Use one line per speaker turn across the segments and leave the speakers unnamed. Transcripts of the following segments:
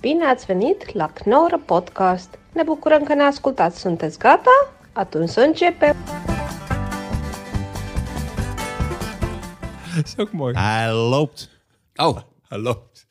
Bine ați venit la Knorr Podcast! Ne bucurăm că ne ascultați. Sunteți gata? Atunci să începem!
Dat is ook mooi. Oké,
Hij loopt.
Ah, Oh,
Hij loopt.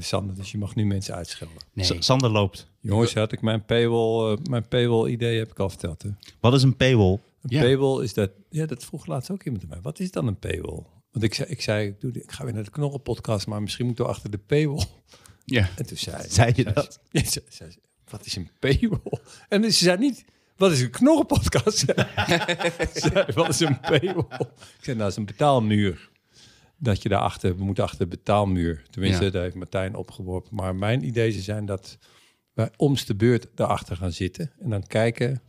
Sander, dus je mag nu mensen uitschelden.
nee.
S- Sander loopt.
Jongens, had ik mijn paywall, eh, mijn paywall idee heb ik al verteld. Hè?
Wat is een paywall?
Een
Ja.
paywall is dat, ja, dat vroeg laatst ook iemand aan mij. Wat is dan een paywall? Want ik zei, ik, zei, ik, doe, die- ik ga weer naar de knorrelpodcast, maar misschien moet ik door achter de paywall.
ja.
En toen zei,
Zei je
zei
dat?
ze- Ja, ze- zei ze, wat is een paywall? En ze zei niet, wat is een knorrenpodcast? ze zei, wat is een paywall? Ik zei, nou, het is een betaalmuur. Dat je daarachter, we moeten achter de betaalmuur. Tenminste,
Ja.
daar heeft Martijn opgeworpen. Maar mijn ideeën zijn dat wij omste de beurt daarachter gaan zitten. En dan kijken,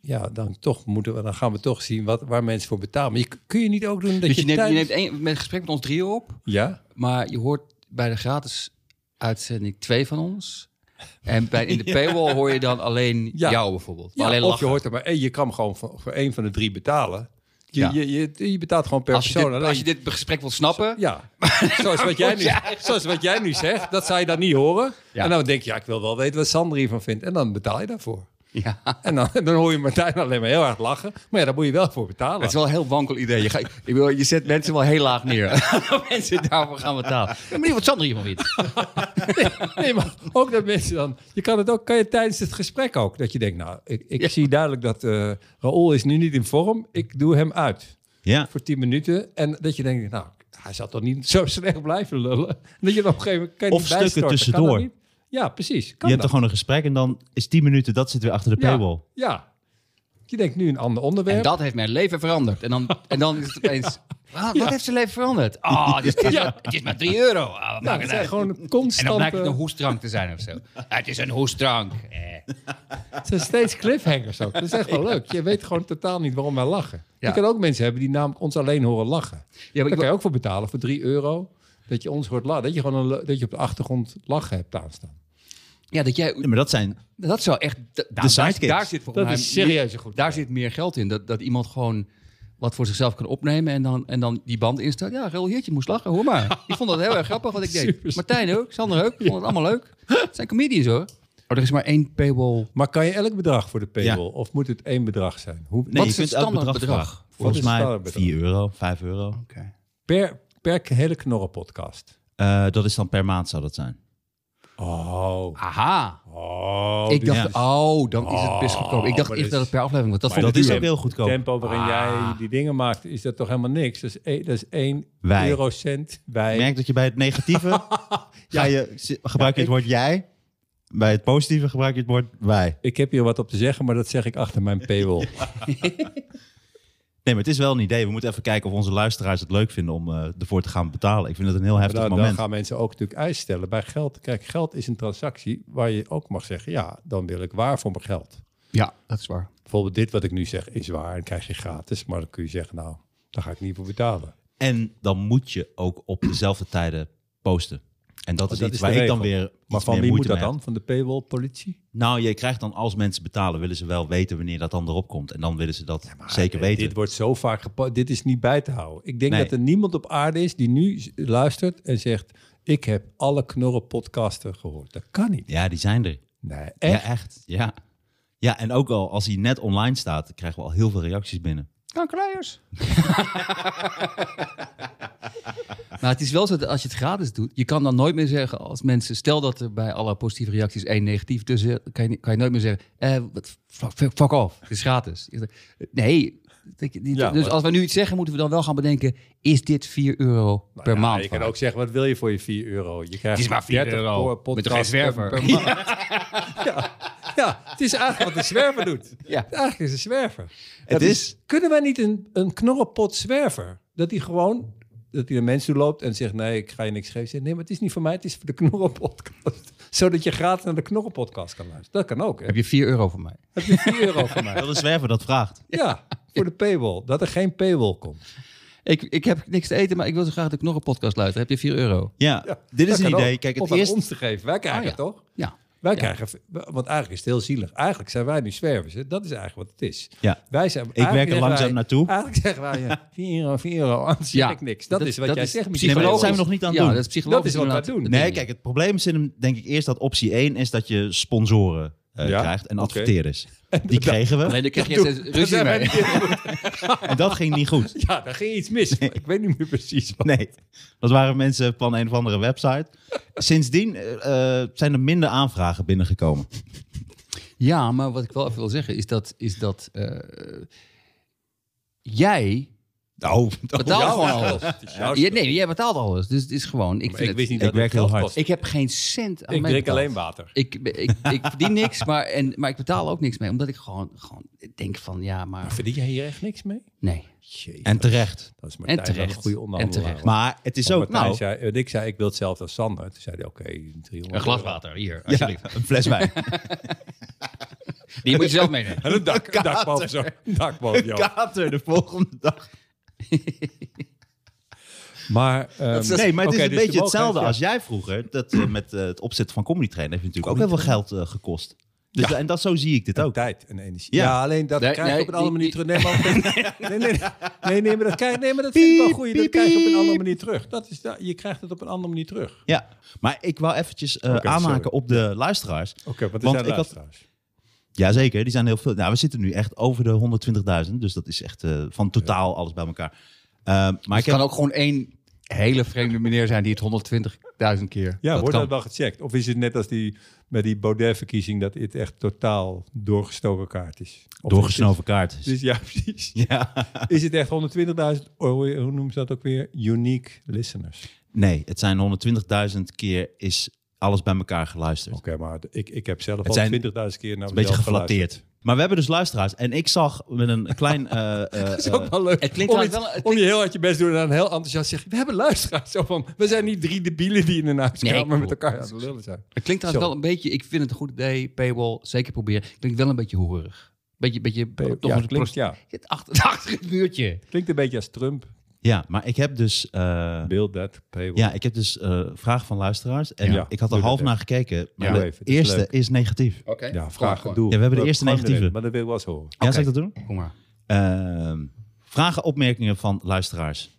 ja, dan, toch moeten we, dan gaan we toch zien wat, waar mensen voor betalen. Maar je, kun je niet ook doen dat
Dus je neemt, je
tijdens-
neemt één, met een gesprek met ons drieën op,
Ja?
maar je hoort bij de gratis uitzending twee van ons. En bij, in de paywall hoor je dan alleen
Ja.
jou bijvoorbeeld.
Ja,
alleen
of
lachen.
je hoort er maar één. Je kan gewoon voor, voor één van de drie betalen. Je,
Ja.
je, je, je betaalt gewoon per
als, je
persoon.
dit,
Alleen-
als je dit gesprek wilt snappen,
Ja, zoals wat, jij nu, zoals wat jij nu zegt, dat zou je dan niet horen.
Ja.
En dan denk je, ja, ik wil wel weten wat Sander hiervan vindt. En dan betaal je daarvoor.
ja.
En dan, dan hoor je Martijn alleen maar heel hard lachen. Maar ja, daar moet je wel voor betalen.
Het is wel een heel wankel idee. Je, ga, ik bedoel, je zet mensen wel heel laag neer. mensen daarvoor gaan betalen. Ik ben benieuwd wat Sander hiervan vindt.
Nee, maar ook dat mensen dan... Je kan het ook kan je tijdens het gesprek ook. Dat je denkt, nou, ik, ik zie duidelijk dat eh Raoul is nu niet in vorm. Ik doe hem uit.
Ja.
voor 10 minuten. En dat je denkt, nou, hij zal toch niet zo slecht blijven lullen. En dat je dan op een gegeven moment kan je
Of
niet bijstorten.
stukken
Kan
tussendoor.
dat niet? Ja, precies.
Je
Kan
hebt
dat?
er gewoon een gesprek en dan is 10 minuten, dat zit weer achter de
ja,
paywall.
Ja. Je denkt nu een ander
En
onderwerp.
dat heeft mijn leven veranderd. En dan, en dan is het opeens... "Ah, Wat, wat heeft zijn leven veranderd? Oh, het is, het is, maar, het is maar 3 euro. Ah, wat maakt
nou,
het
het
uit?
zijn gewoon eh,
En dan
constante...
blijkt het een hoestdrank te zijn of zo. het is een hoestdrank. Eh.
Het zijn steeds cliffhangers ook. Dat is echt wel leuk. Je weet gewoon totaal niet waarom wij lachen.
Ja.
Je kan ook mensen hebben die namelijk ons alleen horen lachen.
Ja, maar
Daar
ik
kan
wil-
je ook voor betalen, voor 3 euro. Dat je ons hoort lachen. Dat je gewoon een, le- dat je op de achtergrond lachen hebt aanstaan.
ja, dat jij...
Ja, maar dat zijn...
Dat zou echt... da- daar- daar,
sidekicks.
daar zit volgens
Dat
mij
is serieus een goed
Daar zit meer geld in. Dat, dat iemand gewoon wat voor zichzelf kan opnemen en dan, en dan die band instaat. Ja, Raoul Heertje moest lachen, hoor maar. Ik vond dat heel erg grappig wat ik deed.
Super.
Martijn ook, Sander ook. Ik vond het allemaal leuk. Het zijn comedians hoor. Oh, er is maar één paywall.
Maar kan je elk bedrag voor de paywall?
Ja.
Of moet het één bedrag zijn? Hoe,
Nee,
is
je kunt
het
elk
standaard
bedrag
bedrag?
vragen.
Wat
Volgens
is het
mij
standaard bedrag?
4 euro, 5 euro.
Per, per hele knorrenpodcast.
Eh, dat is dan per maand zou dat zijn.
Oh.
Aha.
Oh.
ik dacht,
dus-
oh, dan is het best goedkoop. Ik dacht
maar dat
eerst dat het per aflevering was. Dat
Maar
vond
dat
ik
is
duur.
ook heel goedkoop.
tempo waarin
Ah.
jij die dingen maakt, is dat toch helemaal niks? Dat is, één- dat is één
Wij.
eurocent bij...
Ik merk dat je bij het negatieve ga je, zi- gebruik je het
ik-
woord jij. Bij het positieve gebruik je het woord wij.
Ik heb hier wat op te zeggen, maar dat zeg ik achter mijn paywall.
Nee, maar het is wel een idee. We moeten even kijken of onze luisteraars het leuk vinden om eh, ervoor te gaan betalen. Ik vind het een heel
Maar
heftig
Nou, dan, dan
moment.
gaan mensen ook natuurlijk eisen stellen bij geld. Kijk, geld is een transactie waar je ook mag zeggen, ja, dan wil ik waar voor mijn geld.
Ja, dat is waar.
Bijvoorbeeld dit wat ik nu zeg is waar en krijg je gratis, maar dan kun je zeggen, nou, daar ga ik niet voor betalen.
En dan moet je ook op dezelfde tijden posten. En dat is
Oh, dat
iets
is de
waar ik dan
regel.
weer.
Maar
iets
van
meer
wie moet
moeite
dat
mee heb.
dan? Van de paywall-politie?
Nou, je krijgt dan als mensen betalen, willen ze wel weten wanneer dat dan erop komt. En dan willen ze dat zeker
Nee,
weten.
Dit wordt zo vaak gepast. Dit is niet bij te houden. Ik denk
Nee.
dat er niemand op aarde is die nu z- luistert en zegt: Ik heb alle knorren podcasten gehoord. Dat kan niet.
Ja, die zijn er.
Nee,
Ja,
echt?
echt. Ja. ja, en ook al als hij net online staat, dan krijgen we al heel veel reacties binnen.
Kankerlijers. maar het is wel zo dat als je het gratis doet, je kan dan nooit meer zeggen als mensen, stel dat er bij alle positieve reacties één negatief tussen, zit, kan je, kan je nooit meer zeggen, eh, wat- fuck, fuck off, het is gratis. Nee, dat je- die-
Ja,
dus
maar-
als we nu iets zeggen, moeten we dan wel gaan bedenken, is dit 4 euro per
Nou Ja,
maand?
Je kan
waard?
ook zeggen: Wat wil je voor je 4 euro? Je krijgt
Het is maar 4
30
euro.
po-
Met toch geen
podcasts per-
zwerver?
per maand. ja. ja, het is eigenlijk wat een zwerver doet.
Ja.
Eigenlijk is een zwerver.
Het is.
Kunnen wij niet een, een knorrelpot zwerver? Dat hij gewoon, dat hij naar mensen toe loopt en zegt... nee, ik ga je niks geven. Zegt, nee, maar het is niet voor mij, het is voor de knorrelpodcast. Zodat je gratis naar de knorrelpodcast kan luisteren. Dat kan ook, hè?
Heb je 4 euro voor mij?
Heb je 4 euro voor mij?
Wel een zwerver dat vraagt.
Ja, voor de paywall. Dat er geen paywall komt.
Ik, ik heb niks te eten, maar ik wil zo graag dat ik nog een podcast luisteren. Heb je 4 euro?
Ja, dit is
Dat
een
kan
idee.
ook.
Kijk,
Of
het Oh,
aan
eerste,
ons te geven. Wij krijgen
Ah, ja.
het, toch?
Ja.
Wij krijgen, want eigenlijk is het heel zielig. Eigenlijk zijn wij nu zwervers. Hè? Dat is eigenlijk wat het is.
Ja.
Wij zijn,
werk er
eigenlijk zeggen
langzaam
wij-
naartoe.
Eigenlijk zeggen wij, ja, 4 euro, 4 euro, anders
Ja.
zeg ik niks. Dat,
Dat-
is wat
dat
jij
is
zegt.
Nee, maar dat zijn we nog niet aan het
Ja,
doen.
dat is psychologisch.
Dat is wat wij
inderdaad.
doen.
Dat
Nee,
ding.
kijk, het probleem zit hem denk ik eerst dat optie 1 is dat je sponsoren eh,
Ja,
krijgt en
oké.
adverteerders. Die kregen we.
Alleen daar krijg je steeds ruzie mee.
En dat ging niet goed.
Ja, daar ging iets mis. maar Ik weet niet meer precies wat.
Nee, dat waren mensen van een of andere website. Sindsdien eh, eh, zijn er minder aanvragen binnengekomen.
Ja, maar wat ik wel even wil zeggen is dat, is dat eh, jij
Nou,
betaalt
jouw
gewoon
schuld.
alles.
Het is jouw
Ja, nee, jij betaalt alles. Dus het is gewoon. Ik,
Maar
vind
ik wist
het,
niet
Ik
dat het
werk heel
geld
hard.
kost.
ik heb geen cent aan
Ik
mij
drink
betaald.
alleen water.
Ik, ik, ik verdien niks, maar, en, maar ik betaal ook niks mee. Omdat ik gewoon, gewoon denk van, ja, maar
Verdien jij hier echt niks mee?
nee.
Jeetje.
en terecht.
dat is
En
Martijn wel
terecht.
een goede
En terecht.
onderhandelaar.
Maar het is
Want
ook,
Martijn
nou,
zei, eh, ik zei, ik wil hetzelfde als Sander. Toen zei hij, oké, 300 euro.
water, hier,
ja, een fles wijn.
Die moet je zelf meenemen.
En een dak, een dak boven zo. Een dak boven jou.
Kater de volgende dag.
Maar, ehm,
nee, maar het
oké,
is een
dus de
beetje hetzelfde
mogelijkheid-
als jij vroeger. Dat, eh, met eh, het opzetten van Comedy Train heeft natuurlijk ook heel veel geld eh, gekost. Dus, En dat, zo zie ik dit ook.
tijd en energie. Ja,
Ja.
alleen dat
Nee,
krijg je
nee,
op een andere manier
die-
terug. Nee, maar, nee, nee, nee, nee, maar dat krijg, nee, maar dat vind ik wel
Piep,
goed. Dat
piep,
krijg je op een
piep.
andere manier terug. Dat is, da- je krijgt het op een andere manier terug.
Ja, maar ik wou eventjes eh,
Oké,
aanhaken
sorry.
op de luisteraars.
Oké, wat
Want
is
ik had-
luisteraars?
Jazeker, die zijn heel veel. Nou, we zitten nu echt over de 120.000. Dus dat is echt eh, van totaal alles bij elkaar. Eh,
Dus
maar ik
Het
heb,
kan ook gewoon één hele vreemde meneer zijn die het 120.000 keer.
Ja,
dat
wordt
kan.
dat wel gecheckt? Of is het net als die, met die Baudet-verkiezing dat het echt totaal doorgestoken kaart is? Of
doorgesnoven kaart.
is het- Dus, ja, precies.
Ja.
Is het echt 120.000, oh, hoe noemen ze dat ook weer? Unique listeners.
Nee, het zijn 120.000 keer is alles bij elkaar geluisterd.
Oké, maar ik, ik heb zelf
Het
al 20.000
zijn
keer naar mezelf
Een beetje
Oh, geluisterd.
geflatteerd. Maar we hebben dus luisteraars. En ik zag met een klein... eh, eh,
Het is ook wel leuk.
Het klinkt
om,
wel-
iets-
wel- het
om je heel hard je best doen en dan heel enthousiast zeggen... we hebben luisteraars. Zo van, we zijn niet drie debielen die in een huiskamer
Nee,
met elkaar aan het lullen zijn.
Het klinkt trouwens
Zo.
wel een beetje, ik vind het een goed idee, paywall, zeker proberen. Het klinkt wel een beetje hoerig. Beetje, beetje, toch
ja,
een
klinkt, ja,
prost- achter, achter het muurtje.
klinkt een beetje als Trump.
ja, maar ik heb dus... eh,
Build that paywall.
ja, ik heb dus eh vragen van luisteraars. En
Ja,
ik
doe
had er
dat
half
even.
naar gekeken. Maar
Ja.
de
Doe even, het is
eerste
leuk.
is negatief.
Oké.
ja vraag doe.
we hebben de eerste
Gooi hem
negatieve.
erin, Maar dat wil ik wel eens horen.
Ja, zou ik dat doen?
Kom maar.
Ehm, vragen, opmerkingen van luisteraars.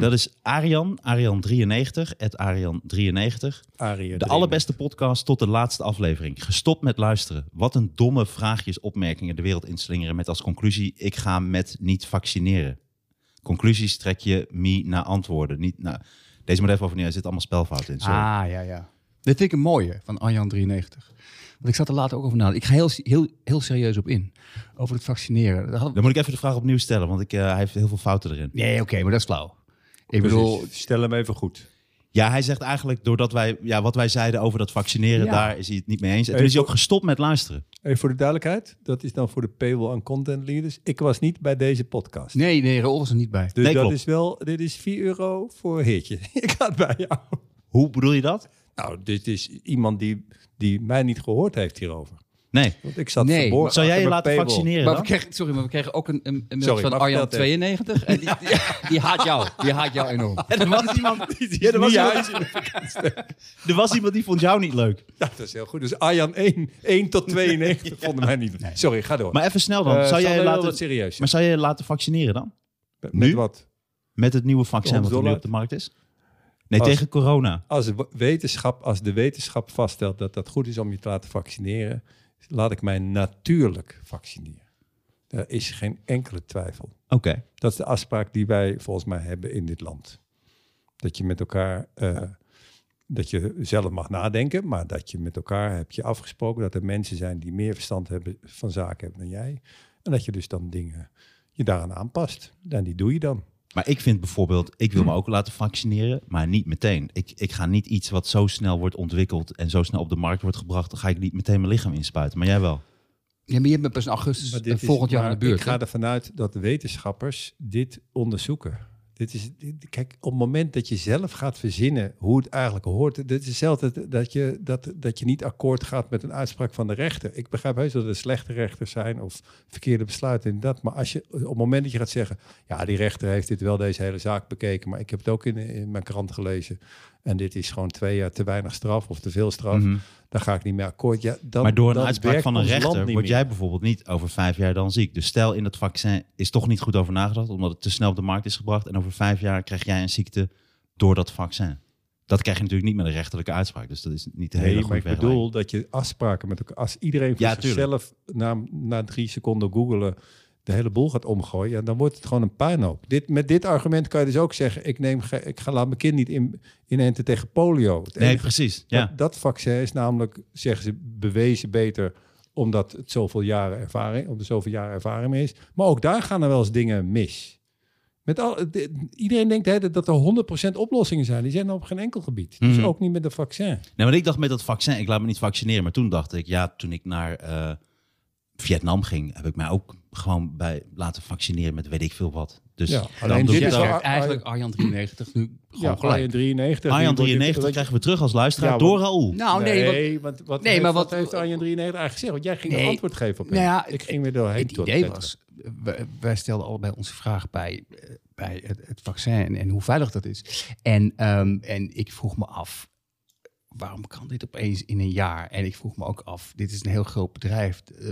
Dat is Arjan, Arjan93, at Arjan93.
Arie,
De allerbeste podcast tot de laatste aflevering. Gestopt met luisteren. Wat een domme vraagjes, opmerkingen de wereld inslingeren met als conclusie... ik ga met niet vaccineren. Conclusies trek je me naar antwoorden. Niet naar... Deze moet even overnieuw, er zit allemaal spelfout in. Sorry.
Ah, ja, ja. Dit vind ik een mooie van Arjan 93. Want ik zat er later ook over na. Ik ga heel, heel, heel serieus op in. Over het vaccineren. Daar hadden we-
Dan moet ik even de vraag opnieuw stellen, want ik, eh, hij heeft heel veel fouten erin.
Nee, oké, maar dat is flauw. Ik bedoel,
Bedoel, stel hem even goed.
Ja, hij zegt eigenlijk, doordat wij, ja, wat wij zeiden over dat vaccineren,
Ja.
daar is hij het niet mee eens. En toen is hij ook gestopt met luisteren.
Even voor de duidelijkheid. Dat is dan voor de paywall en content leaders. Ik was niet bij deze podcast.
nee, nee, Raoul was er niet bij.
Dus
Nee,
dat
klopt.
is wel... Dit is 4 euro voor heertje. ik had bij jou.
Hoe bedoel je dat?
Nou, dit is iemand die, die mij niet gehoord heeft hierover.
Nee.
Want ik zat
Nee,
verborgen.
maar-
Zou jij je
achter
laten
mijn paywall.
vaccineren
Maar we
dan?
kregen, sorry, maar we kregen ook een, een, een
Sorry,
mailtje van
maar
Arjan
vertel
92. En die, die, die haat jou. Die haat jou enorm.
Er was, iemand, ja, er, was
Ja,
iemand, er was iemand die vond jou niet leuk.
ja, dat is heel goed. Dus Arjan 1, 1 tot 92 vonden mij niet. Sorry, ga door.
Maar even snel dan.
Eh,
zou jij je
Sander wil
laten,
dat serieus
maar zou jij je laten vaccineren dan?
Met
nu?
wat?
Met het nieuwe vaccin wat
100
er nu
dollar?
op de markt is? Nee,
Als-
tegen corona.
Als, de wetenschap, als de wetenschap vaststelt dat dat goed is om je te laten vaccineren, laat ik mij natuurlijk vaccineren. Daar is geen enkele twijfel.
Oké.
Dat is de afspraak die wij volgens mij hebben in dit land. Dat je met elkaar, eh, dat je zelf mag nadenken, maar dat je met elkaar hebt je afgesproken dat er mensen zijn die meer verstand hebben van zaken hebben dan jij. En dat je dus dan dingen je daaraan aanpast. En die doe je dan.
Maar ik vind bijvoorbeeld, ik wil me ook laten vaccineren, maar niet meteen. Ik, ik ga niet iets wat zo snel wordt ontwikkeld en zo snel op de markt wordt gebracht, dan ga ik niet meteen mijn lichaam inspuiten. Maar jij wel.
Ja, maar je bent pas in augustus
Maar
eh,
dit is-
volgend jaar
maar
aan de buurt.
Ik ga
hè?
ervan uit dat de wetenschappers dit onderzoeken. Dit is, dit- kijk, op het moment dat je zelf gaat verzinnen hoe het eigenlijk hoort. Dit is hetzelfde dat je, dat, dat je niet akkoord gaat met een uitspraak van de rechter. Ik begrijp heus dat er slechte rechters zijn of verkeerde besluiten en dat. Maar als je, op het moment dat je gaat zeggen. Ja, die rechter heeft dit wel deze hele zaak bekeken. Maar ik heb het ook in, in mijn krant gelezen. en dit is gewoon twee jaar te weinig straf of te veel straf,
Mhm.
dan ga ik niet meer akkoord. Ja, dan,
Maar door een
dan
uitspraak
werkt
van een
ons land
rechter
niet
word
meer.
jij bijvoorbeeld niet over vijf jaar dan ziek. Dus stel in dat vaccin is toch niet goed over nagedacht, omdat het te snel op de markt is gebracht. En over vijf jaar krijg jij een ziekte door dat vaccin. Dat krijg je natuurlijk niet met een rechterlijke uitspraak. Dus dat is niet de hele
Nee, maar
goede
ik
vergelijking.
bedoel dat je afspraken met elkaar... Als iedereen voor
Ja, tuurlijk.
zichzelf na, na drie seconden googelen de hele boel gaat omgooien... Ja, dan wordt het gewoon een puinhoop. Dit, met dit argument kan je dus ook zeggen... ik, neem, ge- ik ga, laat mijn kind niet in, inenten tegen polio. Het
Nee,
enige-
precies. Ja.
dat, dat vaccin is namelijk, zeggen ze, bewezen beter omdat het zoveel jaren ervaring, op de zoveel jaren ervaring mee is. Maar ook daar gaan er wel eens dingen mis. Met al, de- iedereen denkt de hele tijd dat er 100% oplossingen zijn. Die zijn er op geen enkel gebied. Dus
Mhm.
ook niet met een vaccin.
Nee, want ik dacht met dat vaccin, ik laat me niet vaccineren. Maar toen dacht ik, ja, toen ik naar eh, Vietnam ging, heb ik mij ook gewoon bij laten vaccineren met weet ik veel wat. Dus
Ja,
dan
alleen
doe
dit
je
Jij
is
het ook.
wel- Oh,
krijgt eigenlijk Arjan 93 nu gewoon
Ja,
gelijk.
Arjan 93.
Arjan
die wordt-
93 krijgen we terug als luisteraar
Ja, want-
door Raoul.
Nou, nee,
nee,
want
want, wat,
nee,
heeft,
maar
wat,
wat-
heeft Arjan 93 eigenlijk gezegd? Want jij ging
Nee.
er antwoord geven op.
Nou ja,
ik ging weer doorheen.
het
tot-
idee was, eh, wij, wij stelden allebei onze vraag bij, eh, bij het, het vaccin en, en hoe veilig dat is. En, ehm, en ik vroeg me af, waarom kan dit opeens in een jaar? En ik vroeg me ook af, dit is een heel groot bedrijf eh,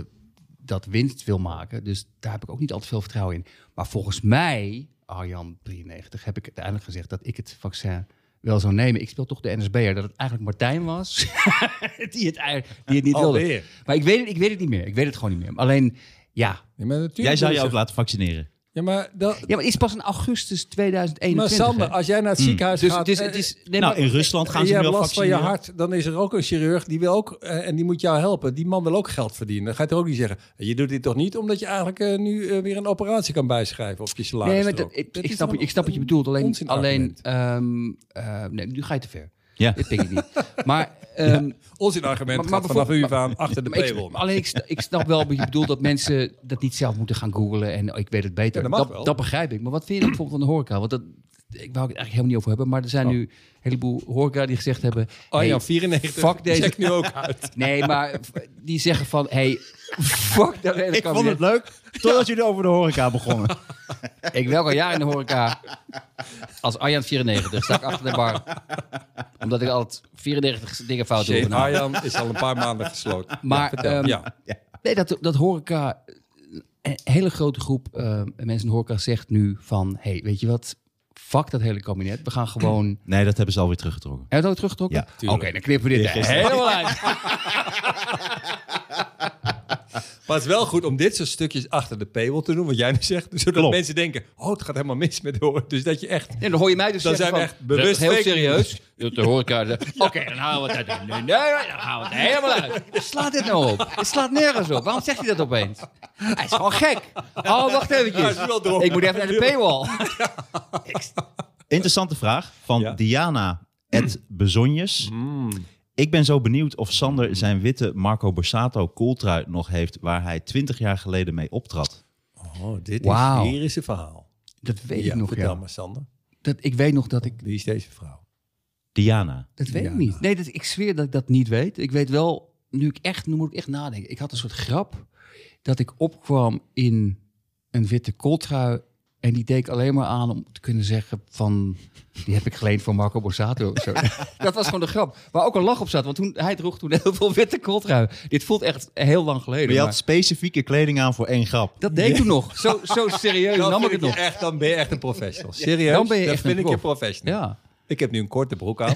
dat winst wil maken. Dus daar heb ik ook niet al te veel vertrouwen in. Maar volgens mij, Arjan 93, heb ik uiteindelijk gezegd dat ik het vaccin wel zou nemen. Ik speel toch de NSB'er, dat het eigenlijk Martijn was die, het, eigenlijk- die
Oh,
het niet wilde.
Alweer.
Maar ik weet, het, ik weet het niet meer. Ik weet het gewoon niet meer. Alleen, ja.
Ja, maar natuurlijk
Jij
wil
zou je ook
zeggen-
laten vaccineren.
Ja, maar, dat,
Ja, maar het is pas in augustus 2021.
maar Sander,
hè?
als jij naar het
Hmm.
ziekenhuis
dus
gaat...
het is...
eh,
Het is nee,
Nou,
maar-
in Rusland gaan
en
ze
je
nu
hebt
al
last van je
vaccineren.
hart, dan is er ook een chirurg die wil ook eh, en die moet jou helpen. Die man wil ook geld verdienen. Dan gaat hij ook niet zeggen: "Eh, je doet dit toch niet omdat je eigenlijk eh, nu eh, weer een operatie kan bijschrijven op je salaris.
nee, maar dat-
strook."
ik,
Dat
ik,
is
snap,
toch
je- ik snap wat je bedoelt. Alleen,
onzin
alleen
argument.
ehm, eh, nee, nu ga je te ver.
Ja.
Dit pik ik niet. Maar, ehm,
onzinargument
Maar- maar
gaat vanaf nu
bijvoorbeeld-
af aan achter de
maar ik,
payroll.
alleen ik, sta- ik snap wel wat je bedoelt dat mensen dat niet zelf moeten gaan googlen en oh, ik weet het beter.
Ja, dat mag wel.
dat, begrijp ik. Maar wat vind je dan bijvoorbeeld van de horeca? Want dat, ik wou het eigenlijk helemaal niet over hebben. Maar er zijn nu een heleboel horeca die gezegd hebben...
Oh ja,
hey,
94.
fuck deze-
Check nu ook uit.
Nee, maar v- die zeggen van, hey, fuck dat hele
Ik vond
kabinet.
het leuk totdat jullie over de horeca begonnen.
Ik werk al jaren in de horeca. Als Arjan 94, sta ik achter de bar. Omdat ik altijd 94 dingen fout doe.
Shane Arjan is al een paar maanden gesloten.
nou. Maar,
vertel.
ehm,
ja.
Nee, dat, dat horeca... Een hele grote groep eh, mensen in de horeca zegt nu van... hey, weet je wat? Fuck dat hele kabinet. We gaan gewoon... Hebben
Nee, dat hebben ze alweer teruggetrokken.
we het ook teruggetrokken?
Ja,
Oké,
tuurlijk.
dan knippen we dit
Dit is-
helemaal uit.
maar het is wel goed om dit soort stukjes achter de paywall te doen, wat jij nu zegt. Dus Zodat
Klopt.
mensen denken, oh, het gaat helemaal mis met horen. Dus dat je echt...
En dan hoor je mij dus
Dan
zeggen
zijn we
van,
echt bewust
heel
fake
serieus. Dat de horeca... zegt, Oké, dan halen we het uit. Nee, nee, nee, dan halen we het helemaal uit. Slaat dit nou op? Het slaat nergens op. Waarom zegt hij dat opeens? Hij is gewoon gek. Oh, wacht
Ja,
eventjes.
is wel dronken.
Ik moet even naar de paywall.
Interessante vraag van
Ja. Mm.
Diana et Bezonjes. Ik ben zo benieuwd of Sander zijn witte Marco Borsato kooltrui nog heeft... waar hij twintig jaar geleden mee optrad.
Oh, dit
Wauw.
is, hier is een verhaal.
Dat weet
Ja,
ik nog,
vertel
ja.
maar, Sander.
Dat, ik weet nog dat ik...
Wie is deze vrouw?
Diana.
Dat weet
Ja.
ik niet. Nee, dat, ik zweer dat ik dat niet weet. Ik weet wel, nu ik echt... Nu moet ik echt nadenken. Ik had een soort grap dat ik opkwam in een witte kooltrui... En die deed ik alleen maar aan om te kunnen zeggen van... Die heb ik geleend van Marco Borsato. of Zo. Dat was gewoon de grap. Waar ook een lach op zat. Want toen, hij droeg toen heel veel witte kooltrui. Dit voelt echt heel lang geleden.
Maar je had
maar
specifieke kleding aan voor één grap.
dat deed ik toen nog. Zo, zo serieus
Dan,
nam ik
vind
het
ik
nog.
je echt, dan ben je echt een professional. Serieus,
Dan ben je
dat
echt
vind
een
ik je
prof.
professional.
Ja.
Ik heb nu een korte broek aan,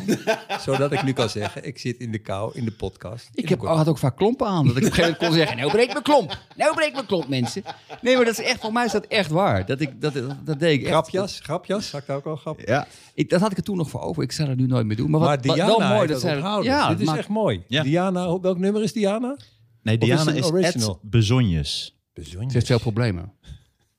zodat ik nu kan zeggen... ik zit in de kou in de podcast.
Ik heb, had ook vaak klompen aan. Dat ik op een gegeven moment kon zeggen, nou breek mijn klomp. Nou breek mijn klomp, mensen. Nee, maar dat is echt, voor mij is dat echt waar. Dat, ik, dat, dat, dat deed ik echt.
Grapjas, grapjas, zag ik daar ook al grap.
Ja.
Ik, dat had ik het toen nog voor over. Ik zou dat nu nooit meer doen. Maar, wat,
maar
wat
Diana
wel mooi dat zij...
onthouden.
Ja,
Dit is
maar-
echt mooi.
Ja.
Diana, op welk nummer is Diana?
Nee,
is
Diana
het
is,
original?
at Bezonjes.
Ze heeft veel problemen.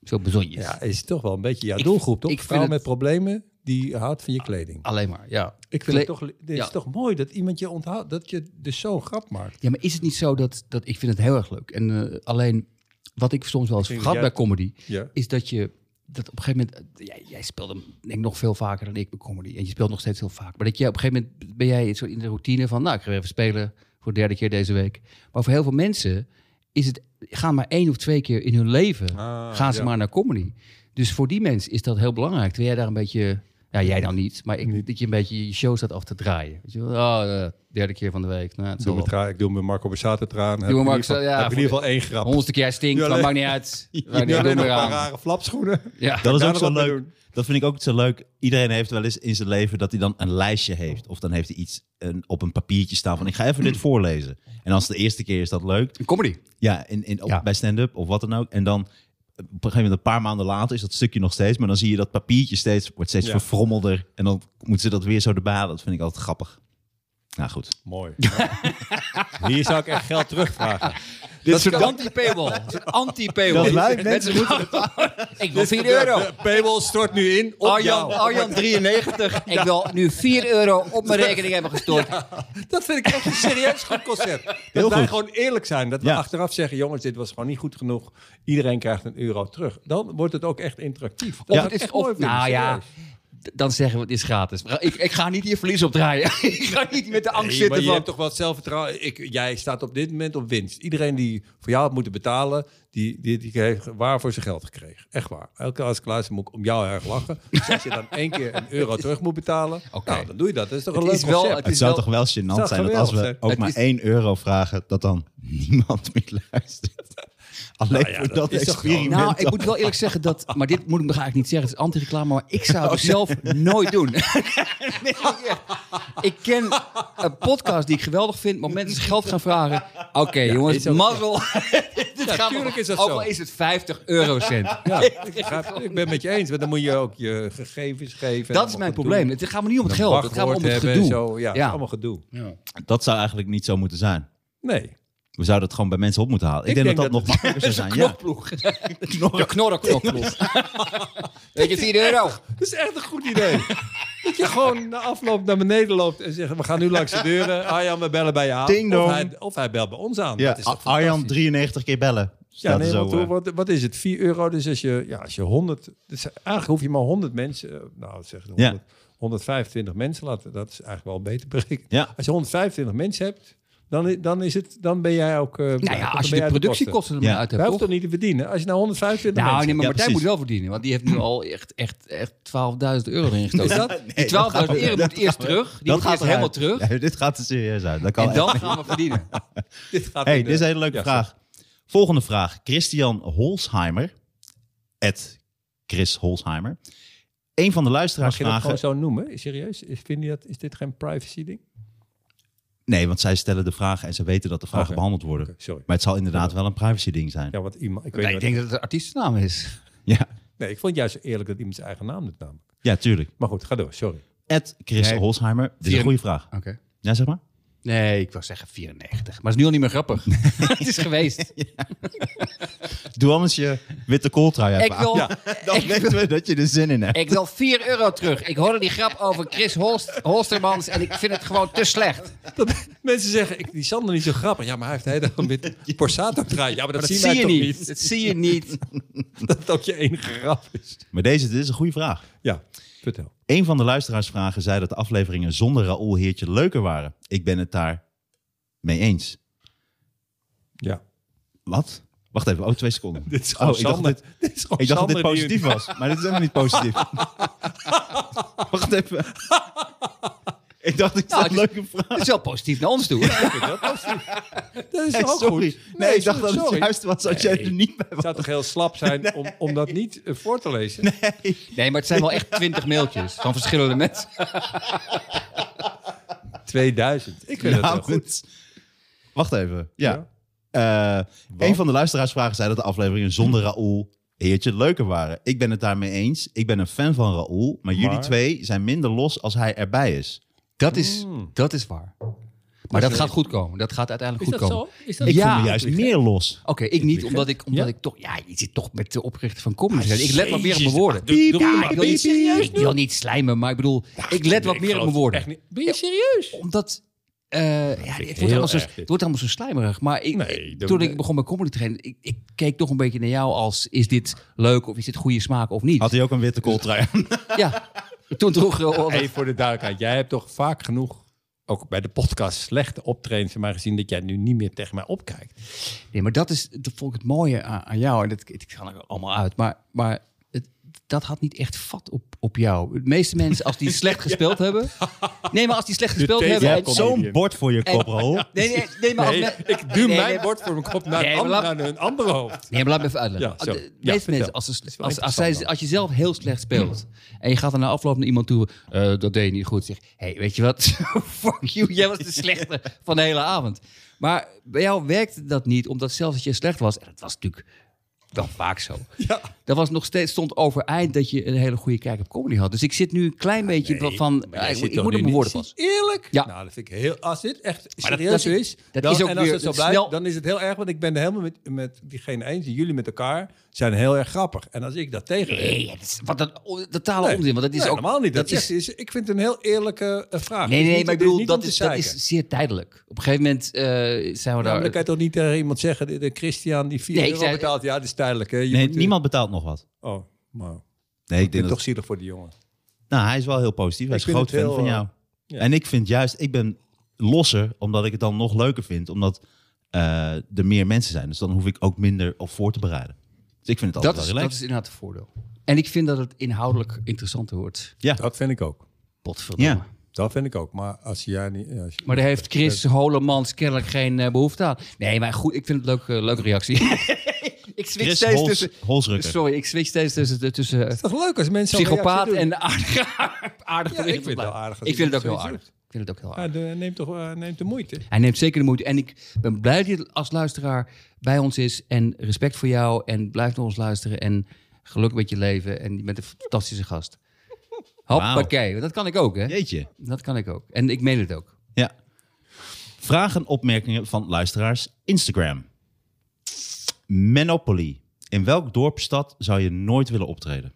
Veel bezonjes.
Ja, is toch wel een beetje jouw
Ik-
doelgroep, toch?
ik vind
Vrouw
het-
met problemen, die houdt van je kleding.
Alleen maar, ja.
Ik vind het
Kle-
toch, dit
ja.
is toch mooi dat iemand je onthoudt, dat je dus zo'n grap maakt.
Ja, maar is het niet zo dat... dat ik vind het heel erg leuk. En eh, alleen, wat ik soms wel eens
vind
vergat
dat
bij
jij-
comedy...
Ja.
is dat je dat op een gegeven moment, eh, jij, jij speelde hem denk ik nog veel vaker dan ik bij comedy. En je speelt nog steeds heel vaak. Maar dat jij op een gegeven moment ben jij zo in de routine van, nou, ik ga weer even spelen voor de derde keer deze week. Maar voor heel veel mensen is het, gaan maar één of twee keer in hun leven,
Ah,
gaan ze
ja.
maar naar comedy. Dus voor die mensen is dat heel belangrijk. Terwijl jij daar een beetje Ja, jij nou niet. Maar ik, dat je een beetje je show staat af te draaien. Weet je wel? Oh, eh, derde keer van de week. Nou, het
Ik doe
zal
mijn
wel.
tra- ik doe mijn Marco Borsato eraan. Heb
Doe
in
maar
ieder geval-
Marco- ja,
heb in
voor
ieder geval één grap.
Honderdste keer stinkt,
Ja,
maar
nee.
maakt niet uit.
Je
Wij
hebt
doen
alleen
we
nog een paar
eraan.
rare flapschoenen.
Ja.
Dat is
Daar
ook
nog wat
zo
mee
leuk.
doen.
Dat vind ik ook zo leuk. Iedereen heeft wel eens in zijn leven dat hij dan een lijstje heeft. Of dan heeft hij iets een, op een papiertje staan van ik ga even dit voorlezen. En als het de eerste keer is dat leuk.
Een comedy.
Ja, in, in, op,
Ja.
bij stand-up of wat dan ook. En dan op een gegeven moment, een paar maanden later, is dat stukje nog steeds. Maar dan zie je dat papiertje steeds, wordt steeds
Ja.
verfrommelder. En dan moeten ze dat weer zo erbij halen. Dat vind ik altijd grappig. Nou goed.
Mooi. Hier zou ik echt geld terugvragen.
Dit is een anti-paywall. Dit is een anti-paywall.
Dat wij
mensen moeten... Ik wil 4 euro.
De Paywall stort nu in op
Arjan,
jou.
Arjan 93. Ik wil nu 4 euro op mijn rekening hebben gestort.
Dat vind ik echt een serieus goed concept. Dat
Heel
wij
goed.
gewoon eerlijk zijn. Dat we
Ja.
achteraf zeggen, jongens, dit was gewoon niet goed genoeg. Iedereen krijgt een euro terug. Dan wordt het ook echt interactief.
Of
Dat
het
is
is,
echt
of,
mooi, Wim,
nou ja,
serieus.
d- dan zeggen we het is gratis. Maar Ik, ik ga niet hier verlies op draaien. ik ga niet met de angst
Nee, maar
zitten
je
van...
hebt toch wel zelfvertrouwen. Ik, jij staat op dit moment op winst. Iedereen die voor jou had moeten betalen, die, die, die heeft waar voor zijn geld gekregen. Echt waar. Elke keer als ik luister moet ik om jou erg lachen. Dus als je dan één keer een euro terug moet betalen,
Oké.
nou, dan doe je dat. Dat is toch
Het
een leuk
is wel-
concept.
Het,
Het is
zou
wel-
toch wel gênant
Het zou
zijn dat als we
geweldig zijn.
ook
Het
maar
is-
1 euro vragen, dat dan niemand meer luistert. Alleen
ja,
voor
dat
dat,
is toch
experiment.
Nou, ik moet wel eerlijk zeggen dat... Maar dit moet ik nog eigenlijk niet zeggen. Het is anti-reclame. Maar ik zou het zelf nooit doen. Nee, echt. ik ken een podcast die ik geweldig vind. Maar mensen geld gaan vragen. Oké, jongens,
is ook-
mazzel. Dit
Ja,
gaat
tuurlijk
wel-
is dat
ook
zo.
al is het 50 eurocent.
Ja, ik, begrijp- ik ben het met je eens, maar dan moet je ook je gegevens geven.
Dat is mijn probleem. Het gaat me niet om het geld. Het gaat me om het gedoe.
Zo, ja, het is
Ja.
allemaal gedoe.
Dat zou eigenlijk niet zo moeten zijn.
Nee.
We zouden het gewoon bij mensen op moeten halen. Ik, denk, dat dat, nog makkelijker zou zijn. Ja.
Knokploeg. De knorrenknokploeg. Weet je, 4 euro.
Dat is echt een goed idee. dat je gewoon na afloop naar beneden loopt en zegt... we gaan nu langs de deuren. Arjan, we bellen bij je aan.
Ding
of,
dong.
hij, of hij belt bij ons aan.
Ja,
Dat is toch
Arjan
fantastisch?
93 keer bellen.
Ja,
Staat er
nee,
zo,
want hoe-
eh,
wat, wat is het? 4 euro, dus als je, ja, als je 100... Dus eigenlijk hoef je maar 100 mensen... eh, Nou, zeg 100,
Ja.
125 mensen laten. Dat is eigenlijk wel beter berekend.
Ja.
Als je 125 mensen hebt, dan, i- dan, is het, dan ben jij ook... eh,
Nou
dan
ja, als
ben
je
jij
de
kosten.
productiekosten er maar
Ja.
uit
Hij
hebt,
hoeft
toch?
toch niet te verdienen? Als je nou 125
Nou, nee,
mensen...
maar
Ja,
Martijn moet
precies.
wel verdienen. Want die heeft nu al echt, echt, echt 12.000 euro erin
Is
gestoken.
dat?
Die 12.000 euro moet eerst terug. Die
dat
moet
gaat eruit.
eerst helemaal terug.
Ja, dit gaat er serieus uit. Dat kan
En
echt
dan
niet.
gaan we verdienen.
Dit gaat
hey,
in de-
dit is een hele leuke
Ja,
vraag. Volgende vraag. Christian Holsheimer. At Chris Holsheimer. Een van de
Mag
luisteraars
je dat
vragen...
gewoon zo noemen? Is Serieus? Is, vind je dat, is dit geen privacy ding?
Nee, want zij stellen de vragen en ze weten dat de vragen
Oké.
behandeld worden.
Oké, sorry.
Maar het zal inderdaad wel een privacy ding zijn. Ja.
Ja, want iemand... Ik, weet
Nee, ik
niet
denk dat het een artiestennaam is.
wat- nee, ik vond juist eerlijk dat iemand zijn eigen naam doet namelijk.
Ja, tuurlijk.
Maar goed, ga door. Sorry.
At Chris
Nee.
Holsheimer. Dit is een
Vier-
goede vraag.
Oké.
Ja, zeg maar.
Nee, ik wou zeggen 94. Maar het is nu al niet meer grappig. het is geweest.
Doe anders je witte kooltrui even
Ik wil-
aan. Ja, dan weten we dat je er zin in hebt.
Ik wil 4 euro terug. Ik hoorde die grap over Chris Holst, Holstermans en ik vind het gewoon te slecht.
Dat, mensen zeggen, ik, die Sander niet zo grappig. Ja, maar hij heeft de hele dag met Borsato draai. Ja, maar dat,
Dat
zien
zie
wij
je
toch
niet.
niet.
Dat zie je niet.
Dat dat je enige grap is.
Maar deze dit is een goede vraag.
Ja, vertel.
Een van de luisteraarsvragen zei dat de afleveringen zonder Raoul Heertje leuker waren. Ik ben het daar mee eens.
Ja.
Wat? Wacht even, oh, twee seconden.
Dit is gewoon
oh, ik dacht,
Sander.
dat
Dit,
dit,
is gewoon
ik dacht dat dit
Sander die-
positief was, maar dit is helemaal niet positief. Wacht even. ik dacht, ik
Nou,
had een
het
leuke vraag.
Dat is wel positief naar ons toe.
Dat is
Hey,
toch ook
sorry. Nee,
goed?
ik dacht dat het
sorry.
juist was als jij
Nee.
er niet bij
Het
was.
zou toch heel slap zijn om, om dat niet eh, voor te lezen?
Nee, maar het zijn wel echt 20 mailtjes van verschillende mensen.
2000. Ik vind het
Nou,
heel goed.
goed. Wacht even. Ja.
Ja.
Eh, een van de luisteraarsvragen zei dat de afleveringen zonder Raoul heertje leuker waren. Ik ben het daarmee eens. Ik ben een fan van Raoul. Maar, jullie
Maar?
twee zijn minder los als hij erbij is.
Dat is,
Hmm.
dat is waar.
Dus
Maar dat gaat goed komen. Dat gaat uiteindelijk goed komen.
zo? Is
Ik
Ja.
voel me juist meer los.
Oké, ik niet, omdat ik, omdat
Ja? Ah,
ik toch... Ja, je zit toch met de oprichter van Comedy. ik let wat meer op mijn woorden.
Doe- doe-
Ja,
maar
ik wil
ben je
niet,
serieus
ik wil niet slijmen, maar ik bedoel, ik let wat meer op mijn woorden.
Ben je serieus?
Omdat... eh, ja, het, wordt
heel
allemaal zo,
erg,
het
dit.
wordt allemaal zo slijmerig. Maar ik,
Nee, dat-
toen ik begon met comedy trainen, ik, ik keek toch een beetje naar jou als... is dit leuk of is dit goede smaak of niet?
Had hij ook een witte kooltrui aan?
Ja, toen droeg... eh,
Even voor de duidelijkheid. Jij hebt toch vaak genoeg, ook bij de podcast, slechte optredens van mij gezien... dat jij nu niet meer tegen mij opkijkt.
Nee, maar dat is dat vond ik het mooie aan, aan jou. En dat, het kan er allemaal uit. Maar, maar het, dat had niet echt vat op, op jou. De meeste mensen, als die slecht gespeeld hebben... Nee, maar als die slecht gespeeld
table
hebben...
Ja,
Jij
en-
hebt zo'n
comedian.
bord voor je kop, Raoul.
Nee, nee, nee, maar als
Nee,
me-
ik duw
Nee,
mijn
nee,
bord voor mijn kop naar,
Nee,
een,
maar
ander,
laat-
naar een ander hoofd.
Nee, maar laat me even uitleggen.
Ja, zo.
Ah, De
Ja,
meeste
vertel.
mensen, als, ze,
Dat is wel
als, als,
interessant Hmm.
zij-
dan.
als je zelf heel slecht speelt en je gaat er na afloop naar iemand toe, eh, dat deed je niet goed. Zeg, hey, weet je wat? Fuck you, jij was de slechte van de hele avond. Maar bij jou werkte dat niet, omdat zelfs als je slecht was, en dat was natuurlijk wel vaak zo.
Ja.
Dat was nog steeds, stond overeind dat je een hele goede kijk op comedy had. Dus ik zit nu een klein beetje van,
Ah, Maar jij
eh, ik,
zit
moet- ik
toch
moet
nu
op mijn
niet-
woorden passen.
Eerlijk?
Ja.
Nou, dat vind ik heel... Als dit echt
Maar dat-
serieus
dat is-
is...
dat
dan,
is ook
en als
weer
het zo
het
blijft,
snel-
dan is het heel erg... Want ik ben er helemaal met, met diegene eens. Jullie met elkaar zijn heel erg grappig. En als ik dat tegen...
Nee, dat is wat een o- totale
Nee.
onzin. Want dat is
Nee,
ook,
helemaal niet. Dat is, is, ik vind het een heel eerlijke eh, vraag.
Nee,
Het is niet-
nee, maar ik
het
bedoel,
niet om
dat
te
is, dat
zeiken. eh,
is zeer tijdelijk. Op een gegeven moment eh, zijn we
Ja, maar
daar...
dan kan je toch niet tegen iemand zeggen, de, de Christian die 4
Nee, ik
euro
zei-
betaalt. Ja, dat is tijdelijk. Hè. Je
Nee,
moet, eh,
niemand betaalt nog wat.
Oh, maar
Nee, ik
ik ben
denk
toch
dat...
zielig voor die jongen.
Nou, hij is wel heel positief. Hij
Ik
is een
vind
groot
het
fan
heel, eh,
van jou.
ja.
En ik vind juist, ik ben losser, omdat ik het dan nog leuker vind. Omdat eh, er meer mensen zijn. Dus dan hoef ik ook minder op voor te bereiden. Dus ik vind het altijd
dat, is,
wel
dat
relaxed.
is inderdaad het voordeel. En ik vind dat het inhoudelijk interessanter wordt.
Dat vind ik ook.
Potverdomme.
Ja.
Dat vind ik ook. Maar als jij niet... Als je-
Maar daar heeft Chris Holemans kennelijk geen eh, behoefte aan. Nee, maar goed, ik vind het leuk, eh, leuke reactie. ik switch
Chris
steeds
Hols-
tussen...
Holsrukker.
Sorry, ik switch steeds tussen, tussen eh,
Het is toch leuk als mensen zo'n
psychopaat
reactie doen?
en aardige, aardige
Ja, ik
berichten
vind het
blijven.
wel aardig als
Ik vind het
iemand
ook heel
zoiets
aardig. Ik vind het ook heel aardig.
Ja, de, neemt toch eh, neemt de moeite.
Hij neemt zeker de moeite. En ik ben blij dat je als luisteraar bij ons is. En respect voor jou. En blijf naar ons luisteren. En geluk met je leven. En je bent een fantastische gast. Hoppakee. Dat kan ik ook, hè?
Jeetje.
Dat kan ik ook. En ik meen het ook.
Ja. Vragen en opmerkingen van luisteraars Instagram. Monopoly. In welk dorp, stad zou je nooit willen optreden?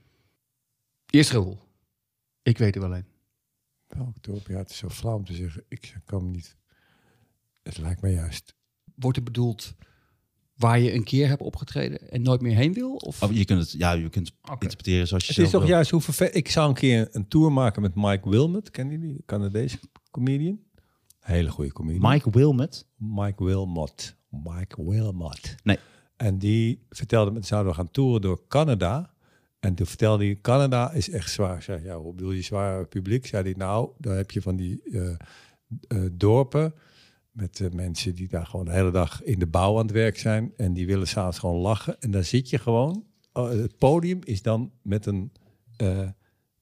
Eerst Raoul. Ik weet er wel een.
Welk dorp? Ja, het is zo flauw om te zeggen. Ik kan niet... Het lijkt me juist.
Wordt er bedoeld waar je een keer hebt opgetreden en nooit meer heen wil? Of...
Oh,
Of Oh, je kunt het, ja, je kunt het interpreteren zoals je
Het
zelf
is toch
wil.
juist hoe verve- Ik zou een keer een tour maken met Mike Wilmot. Kennen jullie? die Canadese comedian. Hele goede comedian.
Mike Wilmot.
Mike Wilmot. Mike Wilmot.
Nee.
En die vertelde me, zouden we gaan toeren door Canada. En toen vertelde hij, Canada is echt zwaar. Ik zei, ja, hoe bedoel je zwaar publiek? Zei hij, nou, daar heb je van die eh, eh, dorpen met eh, mensen die daar gewoon de hele dag in de bouw aan het werk zijn. En die willen s'avonds gewoon lachen. En daar zit je gewoon. Oh, het podium is dan met een... eh,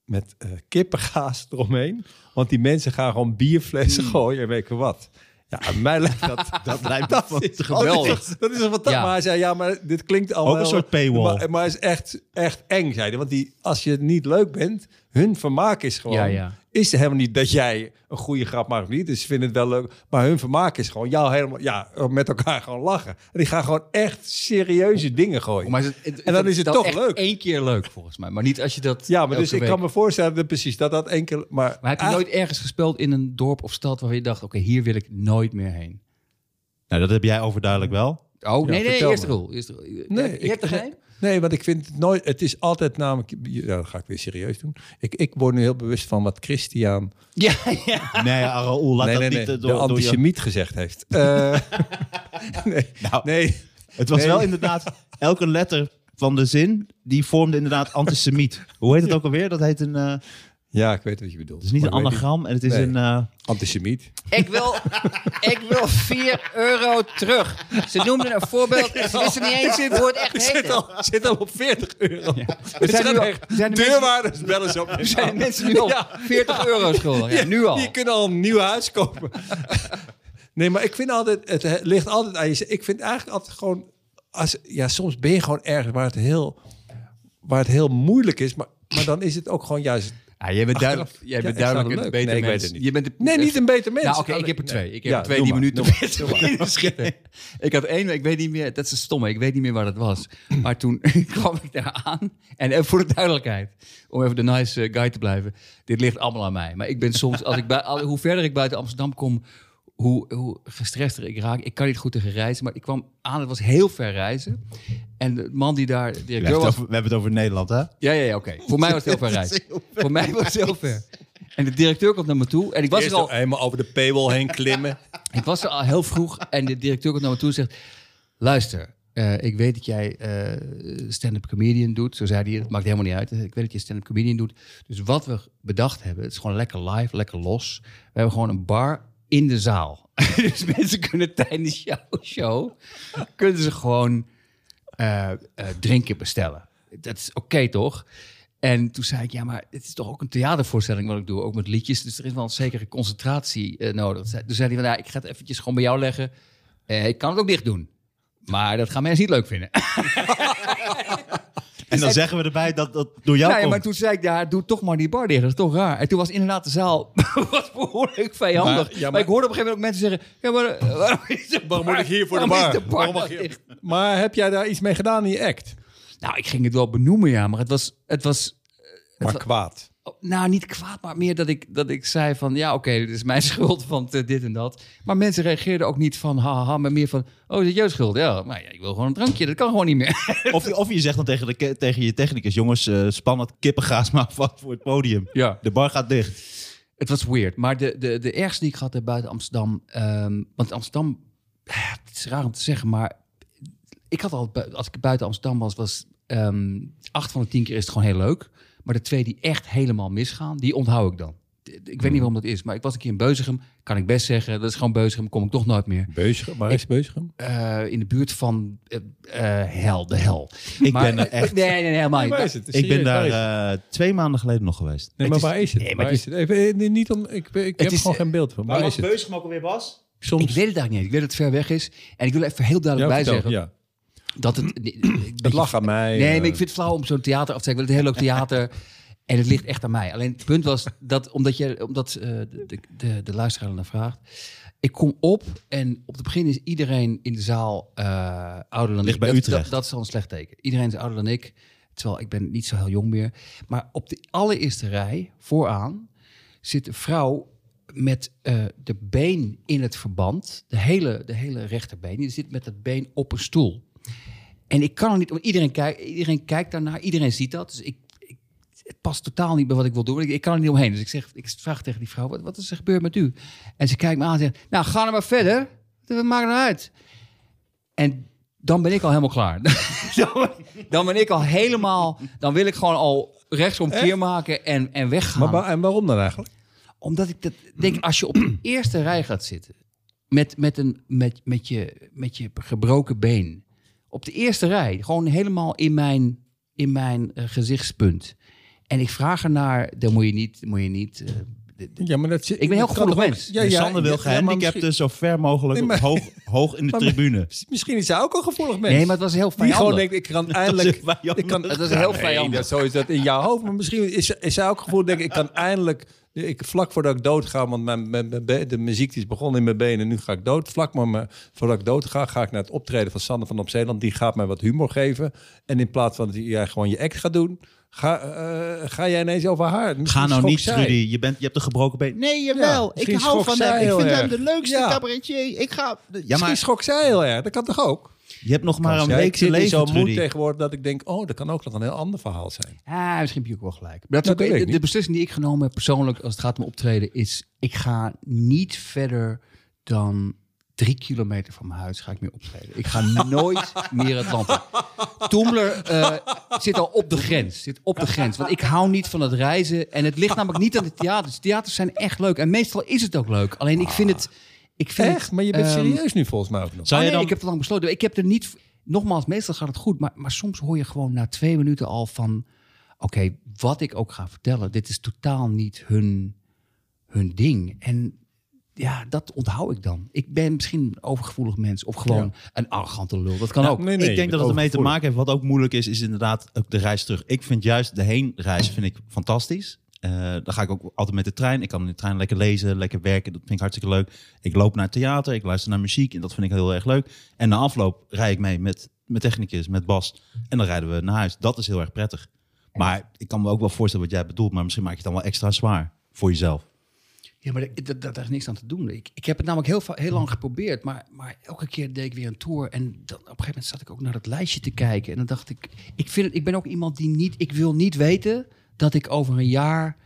met eh, kippengaas eromheen. Want die mensen gaan gewoon bierflessen gooien en weet je wat. Ja, aan mij lijkt dat...
Dat Oh, lijkt me
Dat is
geweldig.
geweldig. Dat is een fantastisch.
Ja.
Maar hij zei, ja, maar dit klinkt al
Ook een
wel-
soort paywall.
Maar, maar het is echt, echt eng, zei hij. Want die, als je niet leuk bent, hun vermaak is gewoon...
Ja, ja.
Is helemaal niet dat jij een goede grap maakt of niet. Dus ze vinden het wel leuk. Maar hun vermaak is gewoon jou helemaal... Ja, met elkaar gewoon lachen. En die gaan gewoon echt serieuze dingen gooien.
Maar is het-
en dan is het toch
echt
leuk.
één keer leuk, volgens mij. Maar niet als je dat
Ja, maar
elke
dus ik
week-
kan me Ah. voorstellen dat precies dat dat enkel... Maar,
Maar heb je nooit ergens gespeeld in een dorp of stad waar je dacht, oké, hier wil ik nooit meer heen?
Nou, dat heb jij overduidelijk wel.
Oh,
Ja,
nee, nee,
vertel
eerst
me.
rol. Eerst rol. Je-
Nee,
je
ik-
hebt er geen?
Nee, want ik vind het nooit. Het is altijd namelijk. Ja, dat ga ik weer serieus doen. Ik, ik word nu heel bewust van wat Christian.
Ja, ja.
Nee, Raoul, laat
nee,
dat
nee,
niet
nee, de
eh, door, door je...
antisemiet gezegd heeft. Eh, nee,
Nou,
nee.
Het was
Nee.
wel inderdaad, elke letter van de zin, die vormde inderdaad antisemiet. Hoe heet het ook alweer? Dat heet een, eh, het
Ja, ik weet wat je bedoelt.
is niet
Maar
een
ik weet
anagram en het is
Nee.
een... eh,
niet- Antisemiet.
Ik wil, ik wil 4 euro terug. Ze noemden een voorbeeld en ze wisten niet eens hoe het echt
Zit
heette.
al, zit al op 40 euro.
We
Het
zijn
gaat
nu al-
echt-
zijn de
Deurwaarders bellen zo.
Er zijn mensen nu al 40 euro schuldig. Ja, nu al.
Je kunt al een nieuw huis kopen. nee, maar ik vind altijd, het eh, ligt altijd aan je. Ik vind eigenlijk altijd gewoon, als, ja, soms ben je gewoon ergens waar het heel, waar het heel moeilijk is, maar, maar dan is het ook gewoon juist.
Ja, jij bent duidelijk,
Achteraf.
jij
Ja,
bent
ik zou
duidelijk
het
een
leuk.
beter
Nee, ik weet
mens.
het niet.
Je bent een-
Nee, niet een beter mens.
Nou, oké,
Alleen-
ik heb er twee. Ik heb
Ja,
er twee
doe
die
maar,
minuten
doe maar,
schieten. Ik had één, maar ik weet niet meer. Dat is een stomme. Ik weet niet meer waar dat was. Maar toen kwam ik daar aan. En even voor de duidelijkheid, om even de nice eh, guy te blijven. Dit ligt allemaal aan mij. Maar ik ben soms, als ik bui- al- hoe verder ik buiten Amsterdam kom, hoe, hoe gestrester ik raak. Ik kan niet goed tegen reizen. Maar ik kwam aan. Het was heel ver reizen. En de man die daar
we,
directeur
hebben het
was,
over, we hebben het over Nederland, hè?
ja, ja, ja oké. Voor mij was het heel ver reis. Voor mij was het heel ver. En de directeur komt naar me toe. En ik was,
Eerst
er al,
helemaal over de paywall heen klimmen.
ik was er al heel vroeg. En de directeur komt naar me toe en zegt... Luister, eh, ik weet dat jij eh, stand-up comedian doet. Zo zei hij, het maakt helemaal niet uit. Ik weet dat je stand-up comedian doet. Dus wat we bedacht hebben, het is gewoon lekker live, lekker los. We hebben gewoon een bar in de zaal. dus mensen kunnen tijdens jouw show, kunnen ze gewoon eh, eh, drinken bestellen. Dat is oké, toch? En toen zei ik, ja, maar het is toch ook een theatervoorstelling wat ik doe, ook met liedjes. Dus er is wel een zekere concentratie eh, nodig. Zei- Toen zei hij, van, nou, ik ga het eventjes gewoon bij jou leggen. Eh, ik kan het ook dicht doen. Maar dat gaan mensen niet leuk vinden.
En dan zeggen we erbij dat dat door jou
Nee,
komt.
maar toen zei ik, ja, doe toch maar die bar dicht. Dat is toch raar. En toen was inderdaad de zaal was behoorlijk vijandig. Maar,
Maar- ja, maar-
ik hoorde op een gegeven moment ook mensen zeggen, ja, maar eh, waarom is de
Waarom
bar-
moet ik hier voor de
waarom
bar?
is bar
Waarom mag
nou
je-
dicht?
Maar heb jij daar iets mee gedaan in je act?
Nou, ik ging het wel benoemen, ja, maar het was, het was
Maar kwaad.
Oh, Nou, niet kwaad, maar meer dat ik, dat ik zei van... ja, oké, dit is mijn schuld, want eh, dit en dat. Maar mensen reageerden ook niet van haha, maar meer van... oh, is het jouw schuld? Ja, maar ja, ik wil gewoon een drankje, dat kan gewoon niet meer.
Of, of je zegt dan tegen, de, ke- tegen je technicus, jongens, eh span het kippengaas maar vast voor het podium.
Ja.
De bar gaat dicht.
Het was weird. Maar de, de, de ergste die ik had heb buiten Amsterdam... ehm, want Amsterdam, eh, het is raar om te zeggen, maar... ik had al, bu- als ik buiten Amsterdam was, was... ehm, acht van de tien keer is het gewoon heel leuk. Maar de twee die echt helemaal misgaan, die onthoud ik dan. Ik weet niet waarom dat is, maar ik was een keer in Beuzigem. Kan ik best zeggen, dat is gewoon Beuzigem, kom ik toch nooit meer.
Beuzigem, waar is Beuzigem?
eh, in de buurt van eh, eh, hel, de hel.
Ik ben er echt-
Nee, nee, nee, helemaal niet.
Waar is het?
Ik ben
Serieus, waar
daar
is het?
eh, twee maanden geleden nog geweest.
Nee,
het
maar
is-
waar is het?
nee, maar
Waar
het
is het? Even, eh, nee, niet om, ik, ik heb
is-
gewoon geen beeld van. Waar is het?
Beuzegem ook alweer was?
Soms,
Ik weet het eigenlijk niet. Ik weet dat het ver weg is. En ik wil even heel
ja,
duidelijk bij
vertel,
zeggen
ja.
dat het...
Mm. Het lag aan mij. eh,
Nee, maar ik vind het flauw om zo'n theater af te zeggen. Ik wil het heel leuk theater. En het ligt echt aan mij. Alleen het punt was dat, omdat, je, omdat eh, de, de, de luisteraar ernaar vraagt. Ik kom op en op het begin is iedereen in de zaal eh, ouder dan
Ligt
ik.
bij
dat,
Utrecht.
Dat, dat is al een slecht teken. Iedereen is ouder dan ik. Terwijl ik ben niet zo heel jong meer. Maar op de allereerste rij, vooraan, zit een vrouw met eh, de been in het verband. De hele, de hele rechterbeen. Die zit met dat been op een stoel. En ik kan er niet, want iedereen kijkt, iedereen kijkt daarnaar, iedereen ziet dat. Dus ik, ik, het past totaal niet bij wat ik wil doen. Ik, ik kan er niet omheen. Dus ik, zeg, ik vraag tegen die vrouw: wat, wat is er gebeurd met u? En ze kijkt me aan en zegt: Nou, ga er maar verder. Dat maakt het uit. En dan ben ik al helemaal klaar. dan, dan ben ik al helemaal. Dan wil ik gewoon al rechtsom keer maken en, en weggaan.
Maar, waar- en waarom dan eigenlijk?
Omdat ik dat denk, als je op de eerste rij gaat zitten met, met, een, met, met, je, met je gebroken been. Op de eerste rij, gewoon helemaal in mijn, in mijn eh, gezichtspunt. En ik vraag ernaar, dan moet je niet, moet je niet. eh, dit- dit-
Ja, maar dat,
ik ben heel gevoelig mens. Dus
Ja,
En
ja,
Sander wil
ja, maar
gehandicapten
misschien-
zo ver mogelijk
Nee, maar-
hoog, hoog in de
Maar-
tribune.
Misschien is hij ook een gevoelig mens.
nee, maar het was heel
Die gewoon
vijandig.
denkt, ik kan
is
eindelijk...
een vijandig
ik kan,
Het was heel vijandig.
dat, zo is dat in jouw hoofd. Maar misschien is, is hij ook het gevoel, denk ik, ik kan eindelijk... Ik, vlak voordat ik dood ga, want mijn, mijn, mijn be- de muziek die is begonnen in mijn benen... nu ga ik dood. Vlak maar me- voordat ik dood ga, ga ik naar het optreden van Sander van Opzeeland. Die gaat mij wat humor geven. En in plaats van dat jij gewoon je act gaat doen... Ga, eh, ga jij ineens over haar.
Ga
Misschien
nou
schrok
niet,
zij.
Rudy. Je, bent, je hebt een gebroken been. Nee,
jawel. Ik misschien hou schrok van zij hem. Ik heel vind hem erg. de leukste Ja.
cabaretier. Ik ga... Ja,
Misschien
maar
schrok zij heel erg. Dat kan toch ook?
je hebt nog maar een
Ja,
week
ik zit
te
in
leven,
zo'n moed
Rudy.
tegenwoordig dat ik denk... oh, dat kan ook nog een heel ander verhaal zijn.
Ah, misschien heb je ook wel gelijk. Maar dat is
Dat
ook-
weet ik
de,
niet.
beslissing die ik genomen heb persoonlijk als het gaat om optreden is... ik ga niet verder dan drie kilometer van mijn huis ga ik meer optreden. Ik ga nooit meer het land in. Toemler eh, zit al op de grens. Zit op de grens. Want ik hou niet van het reizen. En het ligt namelijk niet aan de theaters. Theaters zijn echt leuk. En meestal is het ook leuk. Alleen ik vind het... Ik vind
Echt?
het,
Maar je bent
ehm,
serieus nu volgens mij ook nog.
Zou
Ah,
je
nee,
dan...
ik heb het lang besloten. Ik heb er niet... Nogmaals, meestal gaat het goed. Maar, maar soms hoor je gewoon na twee minuten al van... Oké, wat ik ook ga vertellen. Dit is totaal niet hun, hun ding. En ja, dat onthoud ik dan. Ik ben misschien een overgevoelig mens. Of gewoon een arrogante lul. Dat kan ook.
Nee,
ik denk dat het ermee te maken heeft. Wat ook moeilijk is, is inderdaad ook de reis terug. Ik vind juist de heenreis vind ik fantastisch. Eh dan ga ik ook altijd met de trein. Ik kan in de trein lekker lezen, lekker werken. Dat vind ik hartstikke leuk. Ik loop naar het theater, ik luister naar muziek. En dat vind ik heel erg leuk. En na afloop rij ik mee met mijn technicus, met Bas. En dan rijden we naar huis. Dat is heel erg prettig. Maar ik kan me ook wel voorstellen wat jij bedoelt. Maar misschien maak je het dan wel extra zwaar voor jezelf.
Ja, maar dat- dat- daar is niks aan te doen. Ik, ik heb het namelijk heel, va- heel lang geprobeerd, maar, maar elke keer deed ik weer een tour. En dan, op een gegeven moment zat ik ook naar dat lijstje te kijken. En dan dacht ik, ik, vind het, ik ben ook iemand die niet, ik wil niet weten dat ik over een jaar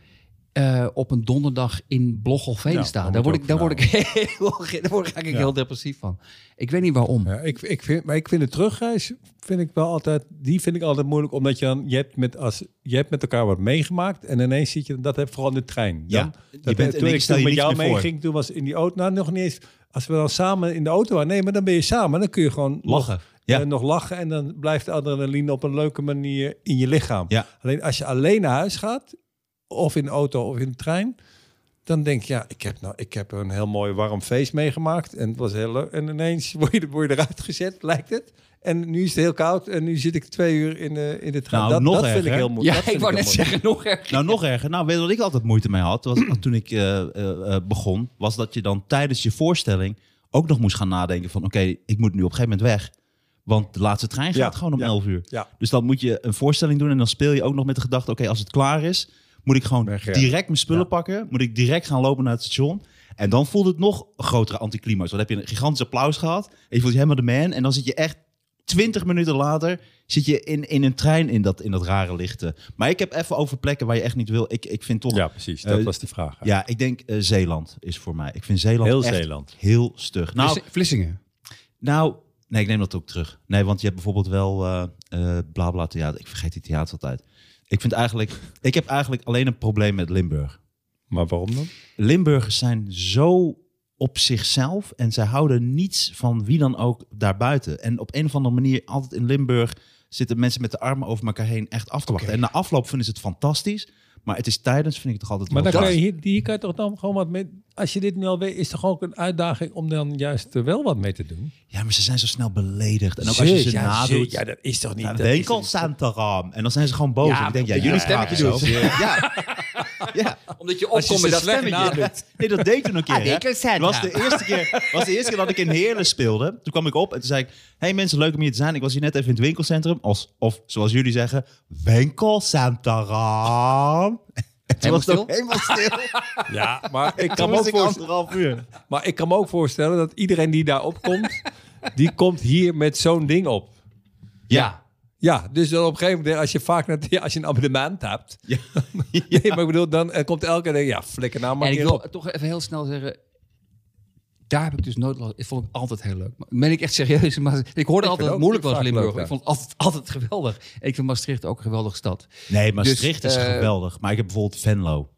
eh, op een donderdag in Blog of
Ja,
sta.
dat
Daar
moet
word ik,
ook
daar word ik heel, daar word ik eigenlijk heel depressief van. Ik weet niet waarom.
Ja, ik, ik vind, maar ik vind de terugreis vind ik wel altijd, die vind ik altijd moeilijk, omdat je dan, je hebt met, als, je hebt met elkaar wat meegemaakt en ineens zit je, dat heb vooral in de trein. Dan,
Ja. Je
dat,
bent- en
toen
ik
ik
stel
toen
je
met jou
niks meer voor.
meeging, toen was in die auto, nou nog niet eens, als we dan samen in de auto waren, nee, maar dan ben je samen, dan kun je gewoon nog-
Lachen. Ja.
eh, nog lachen en dan blijft de adrenaline op een leuke manier in je lichaam.
Ja.
Alleen als je alleen naar huis gaat, of in de auto of in de trein, dan denk je, ja, ik heb, nou, ik heb een heel mooi warm feest meegemaakt. En het was heel leuk. En ineens word je, er- word je eruit gezet, lijkt het. En nu is het heel koud en nu zit ik twee uur in de, in de trein.
Nou,
dat
nog
dat vind
erger,
ik
hè?
heel moeilijk.
Ja,
Dat vind
ik wou
heel
net
moeilijk.
zeggen, nog erg.
Nou, nog erger. Nou, weet je wat ik altijd moeite mee had? Was, toen ik eh, eh, eh, begon, was dat je dan tijdens je voorstelling ook nog moest gaan nadenken van... oké, ik moet nu op een gegeven moment weg. Want de laatste trein gaat
Ja,
gewoon om
ja.
11 uur.
Ja.
Dus dan moet je een voorstelling doen en dan speel je ook nog met de gedachte... oké, als het klaar is, moet ik gewoon
Weg, ja.
direct mijn spullen
Ja.
pakken. Moet ik direct gaan lopen naar het station. En dan voelde het nog een grotere anticlimax. Want dan heb je een gigantisch applaus gehad. En je voelt je helemaal de man. En dan zit je echt 20 minuten later zit je in, in een trein in dat, in dat rare lichte. Maar ik heb even over plekken waar je echt niet wil. Ik, ik vind toch...
Ja, precies. Dat
Eh,
was de vraag. hè.
Ja, ik denk eh, Zeeland is voor mij. Ik vind Zeeland
Heel
echt
Zeeland.
heel stug. Nou,
Vliss- Vlissingen.
nou, nee, ik neem dat ook terug. Nee, want je hebt bijvoorbeeld wel eh eh, bla bla theater. Ik vergeet die theater altijd. Ik vind eigenlijk... Ik heb eigenlijk alleen een probleem met Limburg.
Maar waarom dan?
Limburgers zijn zo op zichzelf en zij houden niets van wie dan ook daarbuiten. En op een of andere manier, altijd in Limburg, zitten mensen met de armen over elkaar heen echt af te wachten. En na afloop vinden ze het fantastisch, maar het is tijdens, vind ik het toch altijd
Maar
wel
dan kan
saai.
je hier, hier kan je toch dan gewoon wat mee... Als je dit nu al weet, is toch ook een uitdaging om dan juist er wel wat mee te doen?
Ja, maar ze zijn zo snel beledigd. En ook als je ze nadoet...
Ja, dat is toch niet...
Ja,
Nou, dat is
Winkel
toch-
Santaram. En dan zijn ze gewoon boos.
Ja,
en ik denk, ja,
omdat
jullie
je een
spraken zo.
stemmetje
Ja. ja.
Omdat je dus.
Als je
opkomt met
ze
dat
slecht
stemmetje.
nadoet.
Nee, dat deed toen een keer.
Ah,
hè.
Winkel Santaram.
was de eerste keer, was de eerste keer dat ik in Heerlen speelde. Toen kwam ik op en toen zei ik... Hey mensen, leuk om hier te zijn. Ik was hier net even in het winkelcentrum. Als, of zoals jullie zeggen, Winkel Santaram. En toen was
Helemaal
het ook
stil?
helemaal stil.
Ja, maar ik
Toen
kan me
was
ook
ik
voorstellen...
anderhalf uur.
Maar ik kan me ook voorstellen dat iedereen die daar opkomt, die komt hier met zo'n ding op.
Ja.
Ja, dus dan op een gegeven moment, als je vaak naar, ja, als je een abonnement hebt,
Ja.
nee, maar ik bedoel, dan eh, komt elke keer, ja, flikker nou maar
En ik
hier
wil
op.
toch even heel snel zeggen... Daar heb ik dus nooit last. Ik vond ik altijd heel leuk. Maar, meen ik echt serieus. Maar ik hoorde altijd dat het
ook
moeilijk
vaak
was in
leuk,
Limburg.
ja.
Ik vond het altijd, altijd geweldig. En ik vind Maastricht ook een geweldige stad.
Nee,
Dus,
Maastricht is
eh,
geweldig. Maar ik heb bijvoorbeeld Venlo.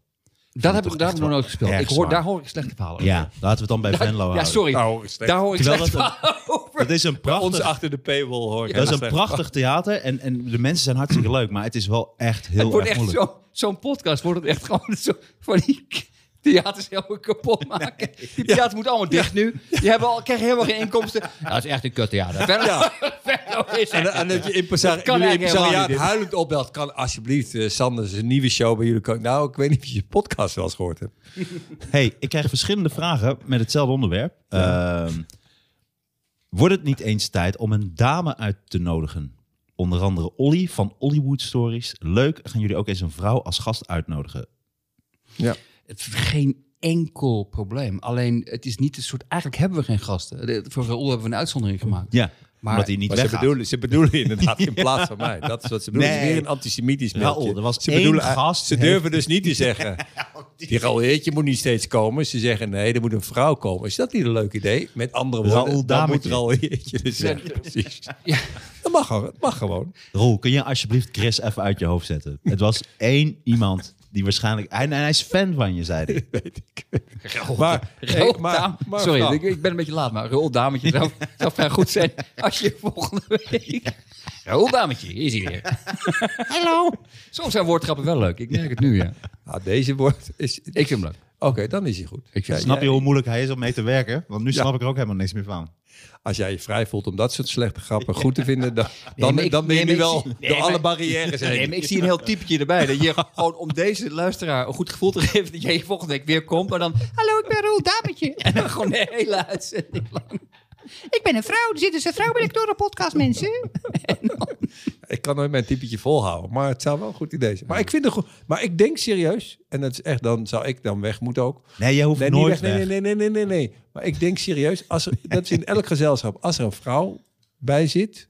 Dat heb
toch
ik daar
echt
nog
wel
nooit gespeeld.
erg
Ik hoor,
zwaar.
daar hoor ik slechte verhalen
Ja, laten we het dan bij Venlo
over.
houden.
Ja, sorry. daar hoor ik
Terwijl
slechte
dat-
verhalen over.
Dat is een
Ons
prachtig
achter de paywall hoor. ik
Dat is
heel
een
slecht.
prachtig theater en, en de mensen zijn hartstikke leuk, maar het is wel echt heel
Het wordt
erg
echt
moeilijk.
zo- zo'n podcast. Wordt het echt gewoon zo van die theaters helemaal kapot maken. Die theater moet allemaal dicht nu. Die hebben al, krijgen helemaal geen inkomsten. Ja, dat is echt een kuttheater. Verder, verder is
En,
het.
en dat je impresario,
Dat kan
jullie
eigenlijk
impresariaat
helemaal
huilend opbelt, kan alsjeblieft eh, Sander zijn nieuwe show bij jullie komen. Nou, ik weet niet of je je podcast wel eens gehoord hebt.
Hey, ik krijg verschillende vragen met hetzelfde onderwerp. Ehm, wordt het niet eens tijd om een dame uit te nodigen? Onder andere Olly van Hollywood Stories. Leuk, gaan jullie ook eens een vrouw als gast uitnodigen?
Het is geen enkel probleem. Alleen, het is niet het soort... Eigenlijk hebben we geen gasten. De- Voor Raoul hebben we een uitzondering gemaakt.
Ja,
Maar-
omdat hij niet
Maar ze
weggaat.
bedoelen, ze bedoelen inderdaad in plaats van mij. Dat is wat ze bedoelen.
Nee.
Het is weer een antisemitisch
Nou,
Raoul,
mailtje.
er was
ze
één
bedoelen-
gast
Ze
heeft-
durven dus niet te zeggen... die Raoulheertje moet niet steeds komen. Ze zeggen, nee, er moet een vrouw komen. Is dat niet een leuk idee? Met andere woorden,
Raoul
dan moet
Dametje.
Raoulheertje dus zeggen. Precies.
Ja.
Dat mag, gewoon, het mag gewoon.
Roel, kun je alsjeblieft Chris even uit je hoofd zetten? Het was één iemand die waarschijnlijk... En, en hij is fan van je, zei hij.
Maar,
Raoul
hey, maar,
Dam-
maar
Sorry,
Frank,
ik, ik ben een beetje laat, maar Raoul Dametje zou, zou vrij goed zijn als je volgende week... Raoul Dametje, hier is hij weer. Hallo. Soms zijn woordgrappen wel leuk. Ik merk het nu, ja.
nou, deze woord is...
Ik vind hem leuk.
Oké, dan is hij goed.
Ik vind-
Ja,
Snap
jij-
je hoe moeilijk hij is om mee te werken? Want nu
Ja.
snap ik er ook helemaal niks meer van.
Als jij je vrij voelt om dat soort slechte grappen goed te vinden... dan, dan,
maar ik-
dan ben je
nee,
nu
maar ik
wel
zie- nee,
door
maar-
alle barrières heen.
Nee, maar ik zie een heel typetje erbij. Dat je gewoon om deze luisteraar een goed gevoel te geven... dat jij volgende week weer komt, maar dan... Hallo, ik ben Roel Dametje. En dan gewoon de hele uitzending lang. Ik ben een vrouw. Er zit dus een vrouw bij de podcast, mensen.
Ik kan nooit mijn typetje volhouden, maar het zou wel een goed idee zijn. Maar ik vind het goed. Maar ik denk serieus, en dat is echt, dan zou ik dan weg moeten ook.
Nee, je hoeft
Nee, niet
nooit
weg, nee,
weg.
nee, nee, nee, nee, nee, nee. Maar ik denk serieus, als er, dat is in elk gezelschap, als er een vrouw bij zit,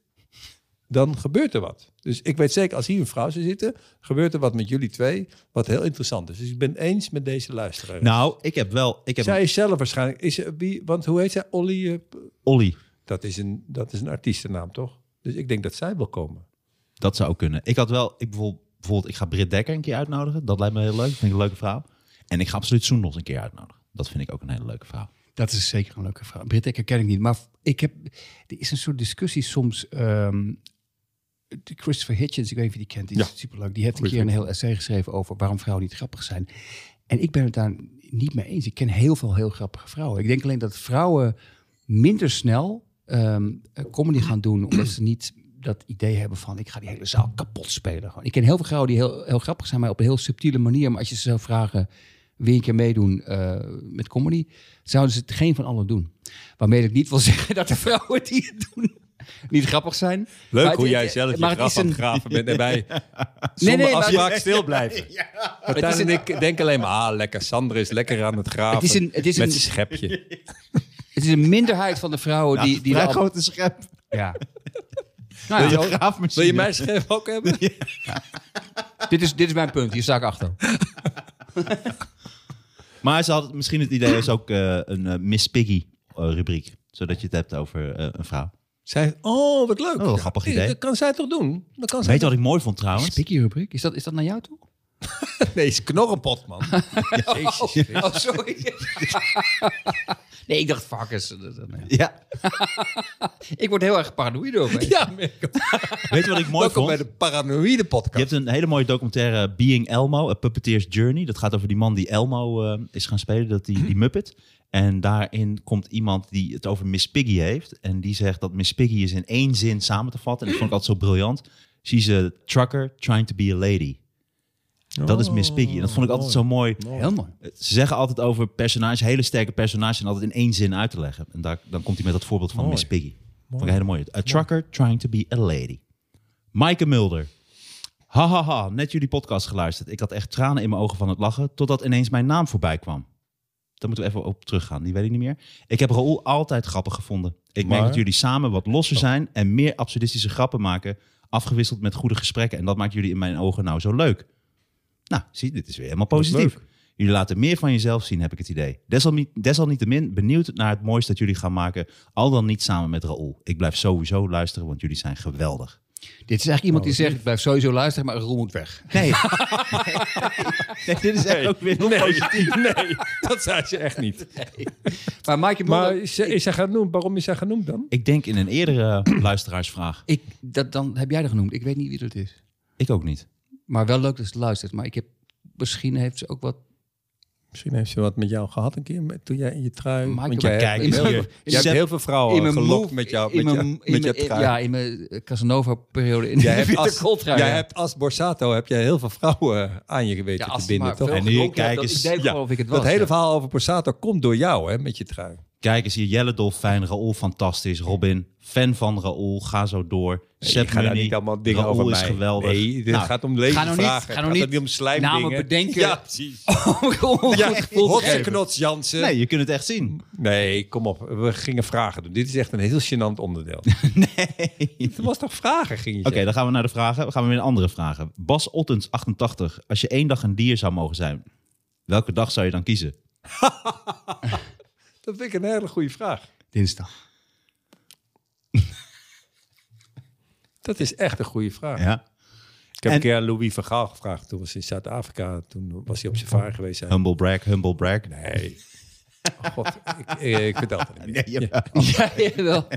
dan gebeurt er wat. Dus ik weet zeker, als hier een vrouw zou zitten, gebeurt er wat met jullie twee, wat heel interessant is. Dus ik ben eens met deze luisteraar.
Nou, ik heb wel... Ik heb
zij is zelf waarschijnlijk, is, eh, wie, want hoe heet zij? Olly, eh, p-
Olly.
dat, is een, dat is een artiestennaam, toch? Dus ik denk dat zij wil komen.
Dat zou ook kunnen. Ik had wel, ik bijvoorbeeld, bijvoorbeeld, ik ga Britt Dekker een keer uitnodigen. Dat lijkt me heel leuk. Vind ik een leuke vrouw. En ik ga absoluut Soendos een keer uitnodigen. Dat vind ik ook een hele leuke vrouw.
Dat is zeker een leuke vraag. Britt Dekker ken ik niet. Maar ik heb, er is een soort discussie soms. ehm, de Christopher Hitchens, ik weet niet of je die kent, die is
Ja.
superleuk. Die heeft een
Goeie
keer een heel essay geschreven over waarom vrouwen niet grappig zijn. En ik ben het daar niet mee eens. Ik ken heel veel heel grappige vrouwen. Ik denk alleen dat vrouwen minder snel ehm, comedy gaan doen, omdat ze niet dat idee hebben van ik ga die hele zaal kapot spelen. Gewoon. Ik ken heel veel vrouwen die heel, heel grappig zijn, maar op een heel subtiele manier. Maar als je ze zou vragen, wil je een keer meedoen eh, met comedy, zouden ze het geen van allen doen. Waarmee ik niet wil zeggen dat de vrouwen die het doen niet grappig zijn.
Leuk
Maar het-
hoe jij
het-
zelf je
maar het
graf
is
aan het
een-
graven bent en wij
Nee,
zonder
nee, maar
afspraak stil blijven. Martijn
is een-
en ik denk alleen maar, ah, lekker, Sander is lekker aan het graven
Het is een- het is
met
een-
zijn schepje.
Het is een minderheid van de vrouwen
Nou,
die... die
Vrij
de-
grote schep.
ja.
Wil
Nou
je een
ja,
graafmachine?
Ah, Wil je mijn schep ook hebben?
dit, is, dit is mijn punt. Hier sta ik achter.
Maar ze had het- misschien het idee is ook eh, een eh, Miss Piggy eh, rubriek. Zodat je het hebt over eh, een vrouw.
Zij, oh, wat leuk.
Oh, wat een grappig
Ja,
idee.
Dat kan zij toch doen? Dat kan zij
Weet je wat ik mooi vond trouwens?
Spikkie rubriek. Is dat, is dat naar jou toe?
toch- Nee, is knorrenpot, man. Jezus.
Oh, sorry. nee, ik dacht varkens. Dat- dat- nee.
Ja.
Ik word heel erg paranoïde over.
Ja, Mirko.
Weet je wat ik mooi
welkom bij
vond?
de Paranoïde
Je
Podcast.
hebt een hele mooie documentaire Being Elmo, A Puppeteer's Journey. Dat gaat over die man die Elmo eh, is gaan spelen, dat die, die Muppet. En daarin komt iemand die het over Miss Piggy heeft. En die zegt dat Miss Piggy is in één zin samen te vatten. En dat vond ik altijd zo briljant. She's a trucker trying to be a lady. Dat is Miss Piggy. En dat vond ik altijd zo mooi. Eh,
Heel mooi.
Ze zeggen altijd over personages, hele sterke personages, en altijd in één zin uit te leggen. En daar, dan komt hij met dat voorbeeld van
Mooi.
Miss Piggy. Vond ik een hele mooie. A trucker trying to be a lady. Maaike Mulder. Hahaha, ha, ha, net jullie podcast geluisterd. Ik had echt tranen in mijn ogen van het lachen, totdat ineens mijn naam voorbij kwam. Daar moeten we even op teruggaan, die weet ik niet meer. Ik heb Raoul altijd grappig gevonden. Ik merk
Maar-
dat jullie samen wat losser zijn en meer absurdistische grappen maken, afgewisseld met goede gesprekken. En dat maakt jullie in mijn ogen nou zo leuk. Nou, zie, dit is weer helemaal positief. Jullie laten meer van jezelf zien, heb ik het idee. Desalmi- Desalniettemin benieuwd naar het moois dat jullie gaan maken. Al dan niet samen met Raoul. Ik blijf sowieso luisteren, want jullie zijn geweldig.
Dit is eigenlijk iemand die zegt, Oh, ik blijf sowieso luisteren, maar Roel moet weg.
Nee. nee, dit is echt ook weer heel positief.
Nee, nee, dat zei ze echt niet.
Maar Mike,
Maar is, zij- is zij gaan noemen? Waarom is zij genoemd dan?
Ik denk in een eerdere luisteraarsvraag.
ik, dat, dan heb jij er genoemd. Ik weet niet wie dat is.
Ik ook niet.
Maar wel leuk dat ze luistert. Maar ik heb, misschien heeft ze ook wat...
Misschien heeft ze wat met jou gehad een keer, met, toen jij in je trui...
Michael,
want jij,
maar
kijk,
hebt
in
heel,
mijn-
veel- jij hebt
Zet-
heel veel vrouwen gelokt met jou,
in
met,
mijn-
jou-
in
met je
mijn-
trui.
Ja, in mijn eh, Casanova-periode in
Jij
de
hebt, als,
Witte Kooltrui.
jij
ja.
hebt als Borsato heb jij heel veel vrouwen eh, aan je geweten
Ja, als
te
ze
binden,
maar
toch?
veel
En nu
gedronken
kijk
had, dat
eens-
Ik deed
Ja,
wel of ik het was.
dat hele
ja.
verhaal over Borsato komt door jou, hè, met je trui.
Kijk eens hier. Jelle Dolfijn, Raoul fantastisch. Robin, fan van Raoul. Ga zo door. Sepp
ik ga daar
Munnie,
niet allemaal dingen
Raoul
over
is
mij.
geweldig.
Nee, dit
Nou,
gaat om levensvragen.
ga nou niet-
vragen.
ga nou
gaat
niet
niet om slijmdingen.
namen bedenken.
Ja, precies.
Oh, Om een
Ja,
goed gevoel te geven.
Hotseknots Jansen.
Nee,
Nee.
je kunt het echt zien.
kom op. We gingen vragen doen. Dit is echt een heel gênant onderdeel.
Oké,
Het was toch vragen ging je
dan gaan we naar de vragen. Dan gaan we weer naar andere vragen. Bas Ottens, 88. Als je één dag een dier zou mogen zijn, welke dag zou je dan kiezen?
zeggen? Dat vind ik een hele goede vraag.
Dinsdag.
Dat is echt een goede vraag.
Ja.
Ik heb
En-
een keer aan Louis van Gaal gevraagd. Toen was hij in Zuid-Afrika. Toen was hij op safari geweest. Hij-
Humble brag, humble brag.
Nee. Oh, God, ik, eh, ik vertel het niet meer.
Ja, jawel.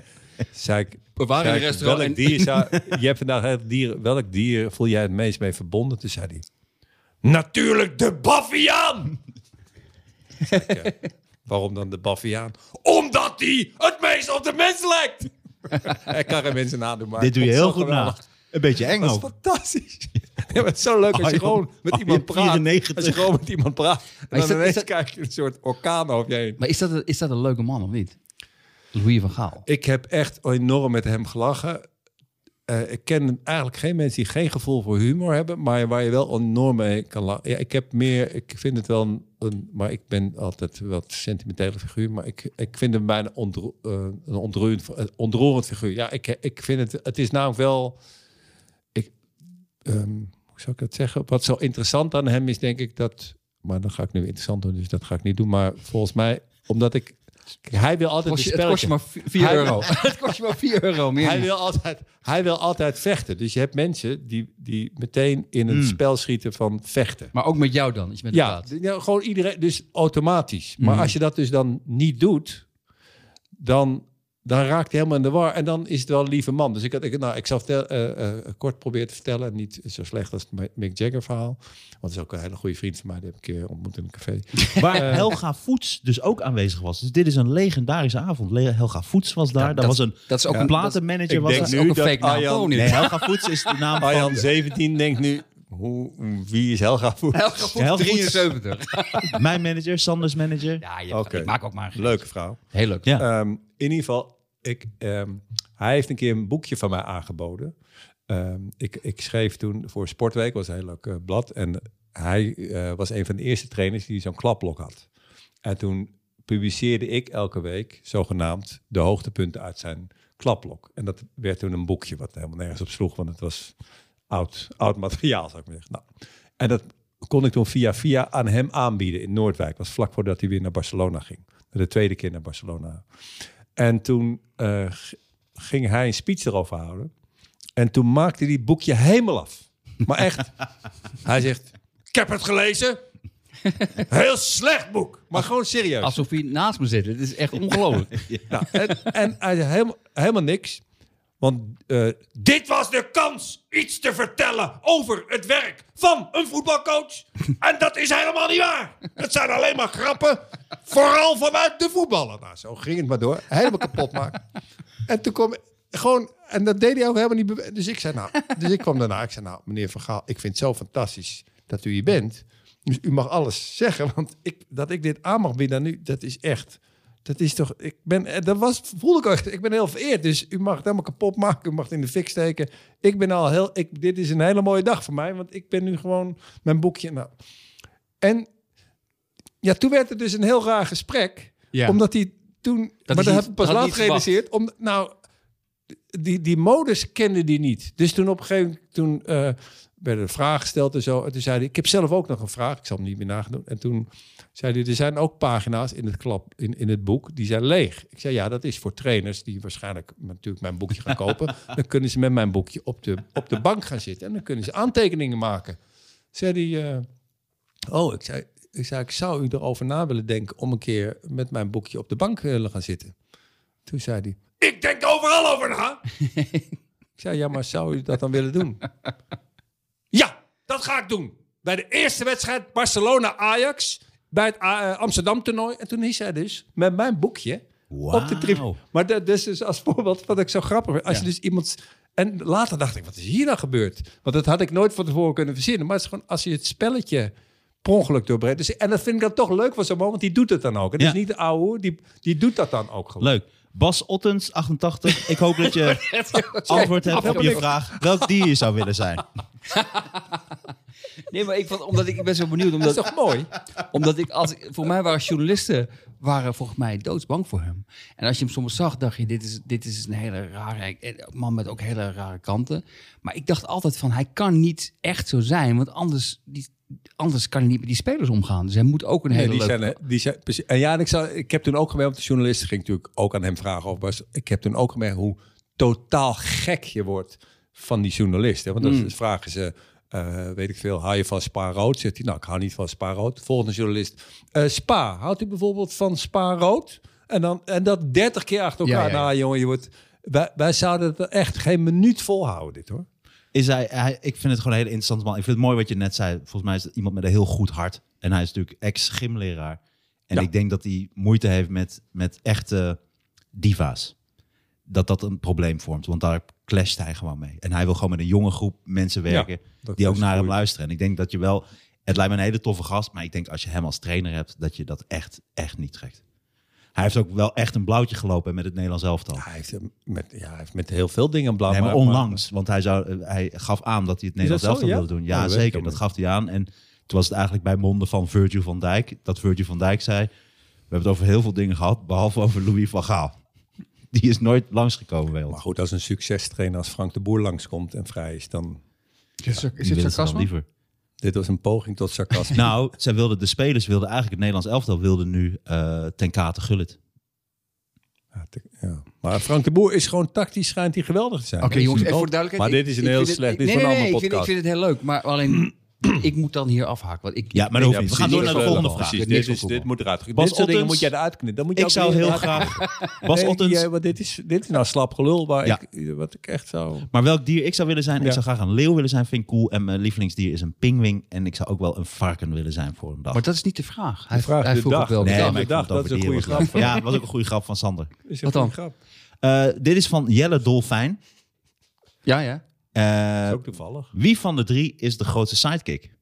Zei ik,
We waren
zei
in een
ik,
restaurant
Welk
en-
dier zou- je hebt vandaag heel veel dieren. Welk dier voel jij het meest mee verbonden? Toen zei hij, natuurlijk de baffiaan. Zei ik, eh, Waarom dan de baffiaan? Omdat die het meest op de mens lijkt. Hij kan geen mensen nadoen, maar
Dit doe je
ik
heel
vond
goed
het zo
na.
geweldig.
Een beetje eng
Dat is
ook.
fantastisch. Ja, maar het is zo leuk als je
Arjan-
gewoon met
Arjan
iemand praat.
94.
Als je gewoon met iemand praat. En
is
dan
dat- is
ineens
dat-
krijg je een soort orkaan over je heen.
Maar is dat, een- is dat een leuke man of niet? Louis van Gaal.
Ik heb echt enorm met hem gelachen. Eh, ik ken eigenlijk geen mensen die geen gevoel voor humor hebben, maar waar je wel enorm mee kan lachen. Ja, ik heb meer, ik vind het wel een een, maar ik ben altijd wat sentimentele figuur. Maar ik, ik vind hem bijna ondro, eh, een ontroerend, eh, ontroerend figuur. Ja, ik, ik vind het. Het is namelijk wel. Ik, ehm, hoe zou ik dat zeggen? Wat zo interessant aan hem is, denk ik dat. Maar dan ga ik nu interessant doen, dus dat ga ik niet doen. Maar volgens mij, omdat ik. Hij wil altijd.
Kost je-
een
het kost
spelletje.
je maar 4
Hij-
euro. het kost je maar 4 euro meer.
Hij wil, altijd, hij wil altijd vechten. Dus je hebt mensen die, die meteen in een
Hmm.
spel schieten van vechten.
Maar ook met jou dan, als je met hem
Ja,
praat.
d- ja, gewoon iedereen, dus automatisch. Maar
Mhm.
als je dat dus dan niet doet, dan, dan raakt hij helemaal in de war. En dan is het wel een lieve man. Dus ik, had, ik, nou, ik zal vertel- eh, eh, kort proberen te vertellen. en Niet zo slecht als het Mick Jagger verhaal. Want dat is ook een hele goede vriend van mij. Die heb ik een keer ontmoet in een café.
Waar
Eh.
Helga Voets dus ook aanwezig was. Dus dit is een legendarische avond. Le- Helga Voets was daar.
Ja,
daar was een
Dat is ook een platen.
platenmanager.
ik
Was
denk
Dat
daar.
is ook een
dat
fake naam.
Arjan-
Gewoon
Nee,
niet. Oh.
Helga Voets is de naam van...
Arjan 17 denkt nu, hoe, wie is Helga Voet?
Helga Voet,
Helga Voet.
73.
Mijn manager, Sanders manager.
Ja, je,
Oké.
ik maak ook maar een
Leuke vrouw.
Heel leuk.
Ja.
Ehm, in ieder geval, ik, ehm, hij heeft een keer een boekje van mij aangeboden. Ehm, ik, ik schreef toen voor Sportweek, was een heel leuk eh, blad. En hij eh, was een van de eerste trainers die zo'n klapblok had. En toen publiceerde ik elke week zogenaamd de hoogtepunten uit zijn klapblok. En dat werd toen een boekje wat helemaal nergens op sloeg, want het was oud, oud materiaal, zou ik maar zeggen. Nou, en dat kon ik toen via via aan hem aanbieden in Noordwijk. Dat was vlak voordat hij weer naar Barcelona ging. De tweede keer naar Barcelona. En toen eh, g- ging hij een speech erover houden. En toen maakte hij het boekje helemaal af. Maar echt. hij zegt, ik heb het gelezen. Heel slecht boek. Maar gewoon serieus.
Alsof hij naast me zit. Het is echt ongelooflijk.
Nou, en, en hij zei helemaal, helemaal niks. Want eh, dit was de kans iets te vertellen over het werk van een voetbalcoach. En dat is helemaal niet waar. Het zijn alleen maar grappen. Vooral vanuit de voetballer. Nou, zo ging het maar door. Helemaal kapot maken. En toen kwam gewoon, en dat deed hij ook helemaal niet. bewe- Dus ik zei, nou, dus ik kwam daarna. Ik zei, nou, meneer Van Gaal, ik vind het zo fantastisch dat u hier bent. Dus u mag alles zeggen, want ik, dat ik dit aan mag bieden aan u, dat is echt. Dat is toch, ik ben, eh, dat was, voelde ik ook echt, ik ben heel vereerd. Dus u mag het helemaal kapot maken, u mag het in de fik steken. Ik ben al heel, ik, dit is een hele mooie dag voor mij, want ik ben nu gewoon mijn boekje. Nou. En ja, toen werd het dus een heel raar gesprek,
Ja.
omdat hij toen
Dat
maar
is
dat
niet-
heb ik pas
dat had
laat
ik niet
gerealiseerd. Om, nou, die, die modus kende die niet. Dus toen op een gegeven moment toen, eh werden er vragen gesteld en zo. En toen zei hij, ik heb zelf ook nog een vraag. Ik zal hem niet meer nagedoen. En toen zei hij, er zijn ook pagina's in het, klap, in, in het boek, die zijn leeg. Ik zei, ja, dat is voor trainers die waarschijnlijk natuurlijk mijn boekje gaan kopen. Dan kunnen ze met mijn boekje op de, op de bank gaan zitten. En dan kunnen ze aantekeningen maken. Zei hij... eh, Oh, ik zei, ik zei, ik zou u erover na willen denken om een keer met mijn boekje op de bank eh, willen gaan zitten. Toen zei hij, ik denk overal over na. ik zei, ja, maar zou u dat dan willen doen? ja, dat ga ik doen. Bij de eerste wedstrijd Barcelona-Ajax, bij het A- eh, Amsterdam-toernooi. En toen is hij dus met mijn boekje op de tribune.
Wauw.
Maar dat dat is dus als voorbeeld wat ik zo grappig vind. Als je dus iemand... En later dacht ik, wat is hier nou gebeurd? Want dat had ik nooit van tevoren kunnen verzinnen. Maar het is gewoon als je het spelletje per ongeluk doorbreekt. Dus, en dat vind ik dan toch leuk van zo'n man, want die doet het dan ook. Het
Ja.
is niet de ouwe hoer, die, die doet dat dan ook gewoon.
Leuk. Bas Ottens, 88. Ik hoop dat je antwoord hebt op je vraag welk dier je zou willen zijn.
Nee, maar ik, vond- omdat ik, ik ben zo benieuwd.
Dat is
Omdat,
toch mooi?
Omdat ik als voor mij waren journalisten waren volgens mij doodsbang voor hem. En als je hem soms zag, dacht je: dit is, dit is een hele rare eh, man met ook hele rare kanten. Maar ik dacht altijd van: hij kan niet echt zo zijn, want anders, die, anders kan hij niet met die spelers omgaan. Dus hij moet ook een
Nee,
hele
die
leuke.
zijn, eh, die zijn, precies. en ja, en ik, zal, ik heb toen ook gemerkt, want de journalist ging natuurlijk ook aan hem vragen over. Bas. Ik heb toen ook gemerkt hoe totaal gek je wordt van die journalist. Hè? Want dan
Mm.
vragen ze, eh, weet ik veel, hou je van spa rood? Zegt hij, nou, ik hou niet van spa rood. Volgende journalist, eh, spa, houdt u bijvoorbeeld van spa rood? En, dan, en dat dertig keer achter
Ja,
elkaar.
ja, ja.
Nou, jongen, je wordt, wij, wij zouden het echt geen minuut volhouden, dit hoor.
Is hij, hij, ik vind het gewoon een hele interessant man. Ik vind het mooi wat je net zei. Volgens mij is het iemand met een heel goed hart. En hij is natuurlijk ex-gymleraar. En
Ja.
ik denk dat hij moeite heeft met, met echte diva's. Dat dat een probleem vormt. Want daar clasht hij gewoon mee. En hij wil gewoon met een jonge groep mensen werken.
dat
die ook
is
naar hem
goed.
luisteren. En ik denk dat je wel... Het lijkt me een hele toffe gast. Maar ik denk als je hem als trainer hebt, dat je dat echt, echt niet trekt. Hij heeft ook wel echt een blauwtje gelopen met het Nederlands elftal.
Hij heeft, eh, met, ja, hij heeft met heel veel dingen blauw.
Nee, maar
maar-
onlangs. Want hij, zou, hij gaf aan dat hij het Nederlands
dat zo,
elftal
ja?
wilde doen.
Oh,
Ja,
dat weet ik
zeker.
helemaal
Dat gaf hij aan. En Toen was het eigenlijk bij monden van Virgil van Dijk. Dat Virgil van Dijk zei, we hebben het over heel veel dingen gehad, behalve over Louis van Gaal. Die is nooit langsgekomen bij ons.
Maar goed, als een succestrainer als Frank de Boer langskomt en vrij is, dan...
Is, er- is
Die willen
dit
ze dan
sarcasme?
liever.
Dit was een poging tot sarcasme.
Nou, zij wilden, de spelers wilden eigenlijk, het Nederlands elftal wilde nu eh ten kate gullet.
Ja, te- ja. Maar Frank de Boer is gewoon tactisch, schijnt hij geweldig te zijn.
Oké,
Dat is
jongens,
een
even voor de
dood-
duidelijkheid.
Maar
ik-
dit is
ik
een heel
vind
slecht,
het,
dit is
nee,
een
nee,
andere
nee, ik vind, ik
podcast.
vind het heel leuk, maar alleen ik moet dan hier afhaken. Want ik,
Ja, maar dat hoeft niet. We
precies.
gaan door
Dit
naar de
is
volgende
wel-
vraag.
precies.
Niks
Dit, is,
van
dit
voetbal.
moet eruit. Dit
Bas
soort dingen
Ottens.
moet jij eruit knippen. Dan moet je
Ik
ook
zou
weer
heel
eruit-
graag... Bas
Nee,
Ottens,
die, eh, want dit, is, dit is nou slap gelul waar
Ja.
ik, eh, wat ik echt zou...
Maar welk dier ik zou willen zijn?
Ja.
Ik zou graag een leeuw willen zijn, vind ik cool. En mijn lievelingsdier is een pingwing. En ik zou ook wel een varken willen zijn voor een dag.
Maar dat is niet de vraag. Hij,
vraag
hij
de
vroeg
dag.
ook wel.
Nee,
Ja,
maar-
ik
dat
vond het
is een
over
goede
dieren
grap.
was leuk. Ja, was ook een goede grap van Sander.
Is
Wat dan?
Grap.
Eh, dit is van Jelle Dolfijn.
ja, ja.
Eh,
is ook toevallig.
wie van de drie is de grootste sidekick?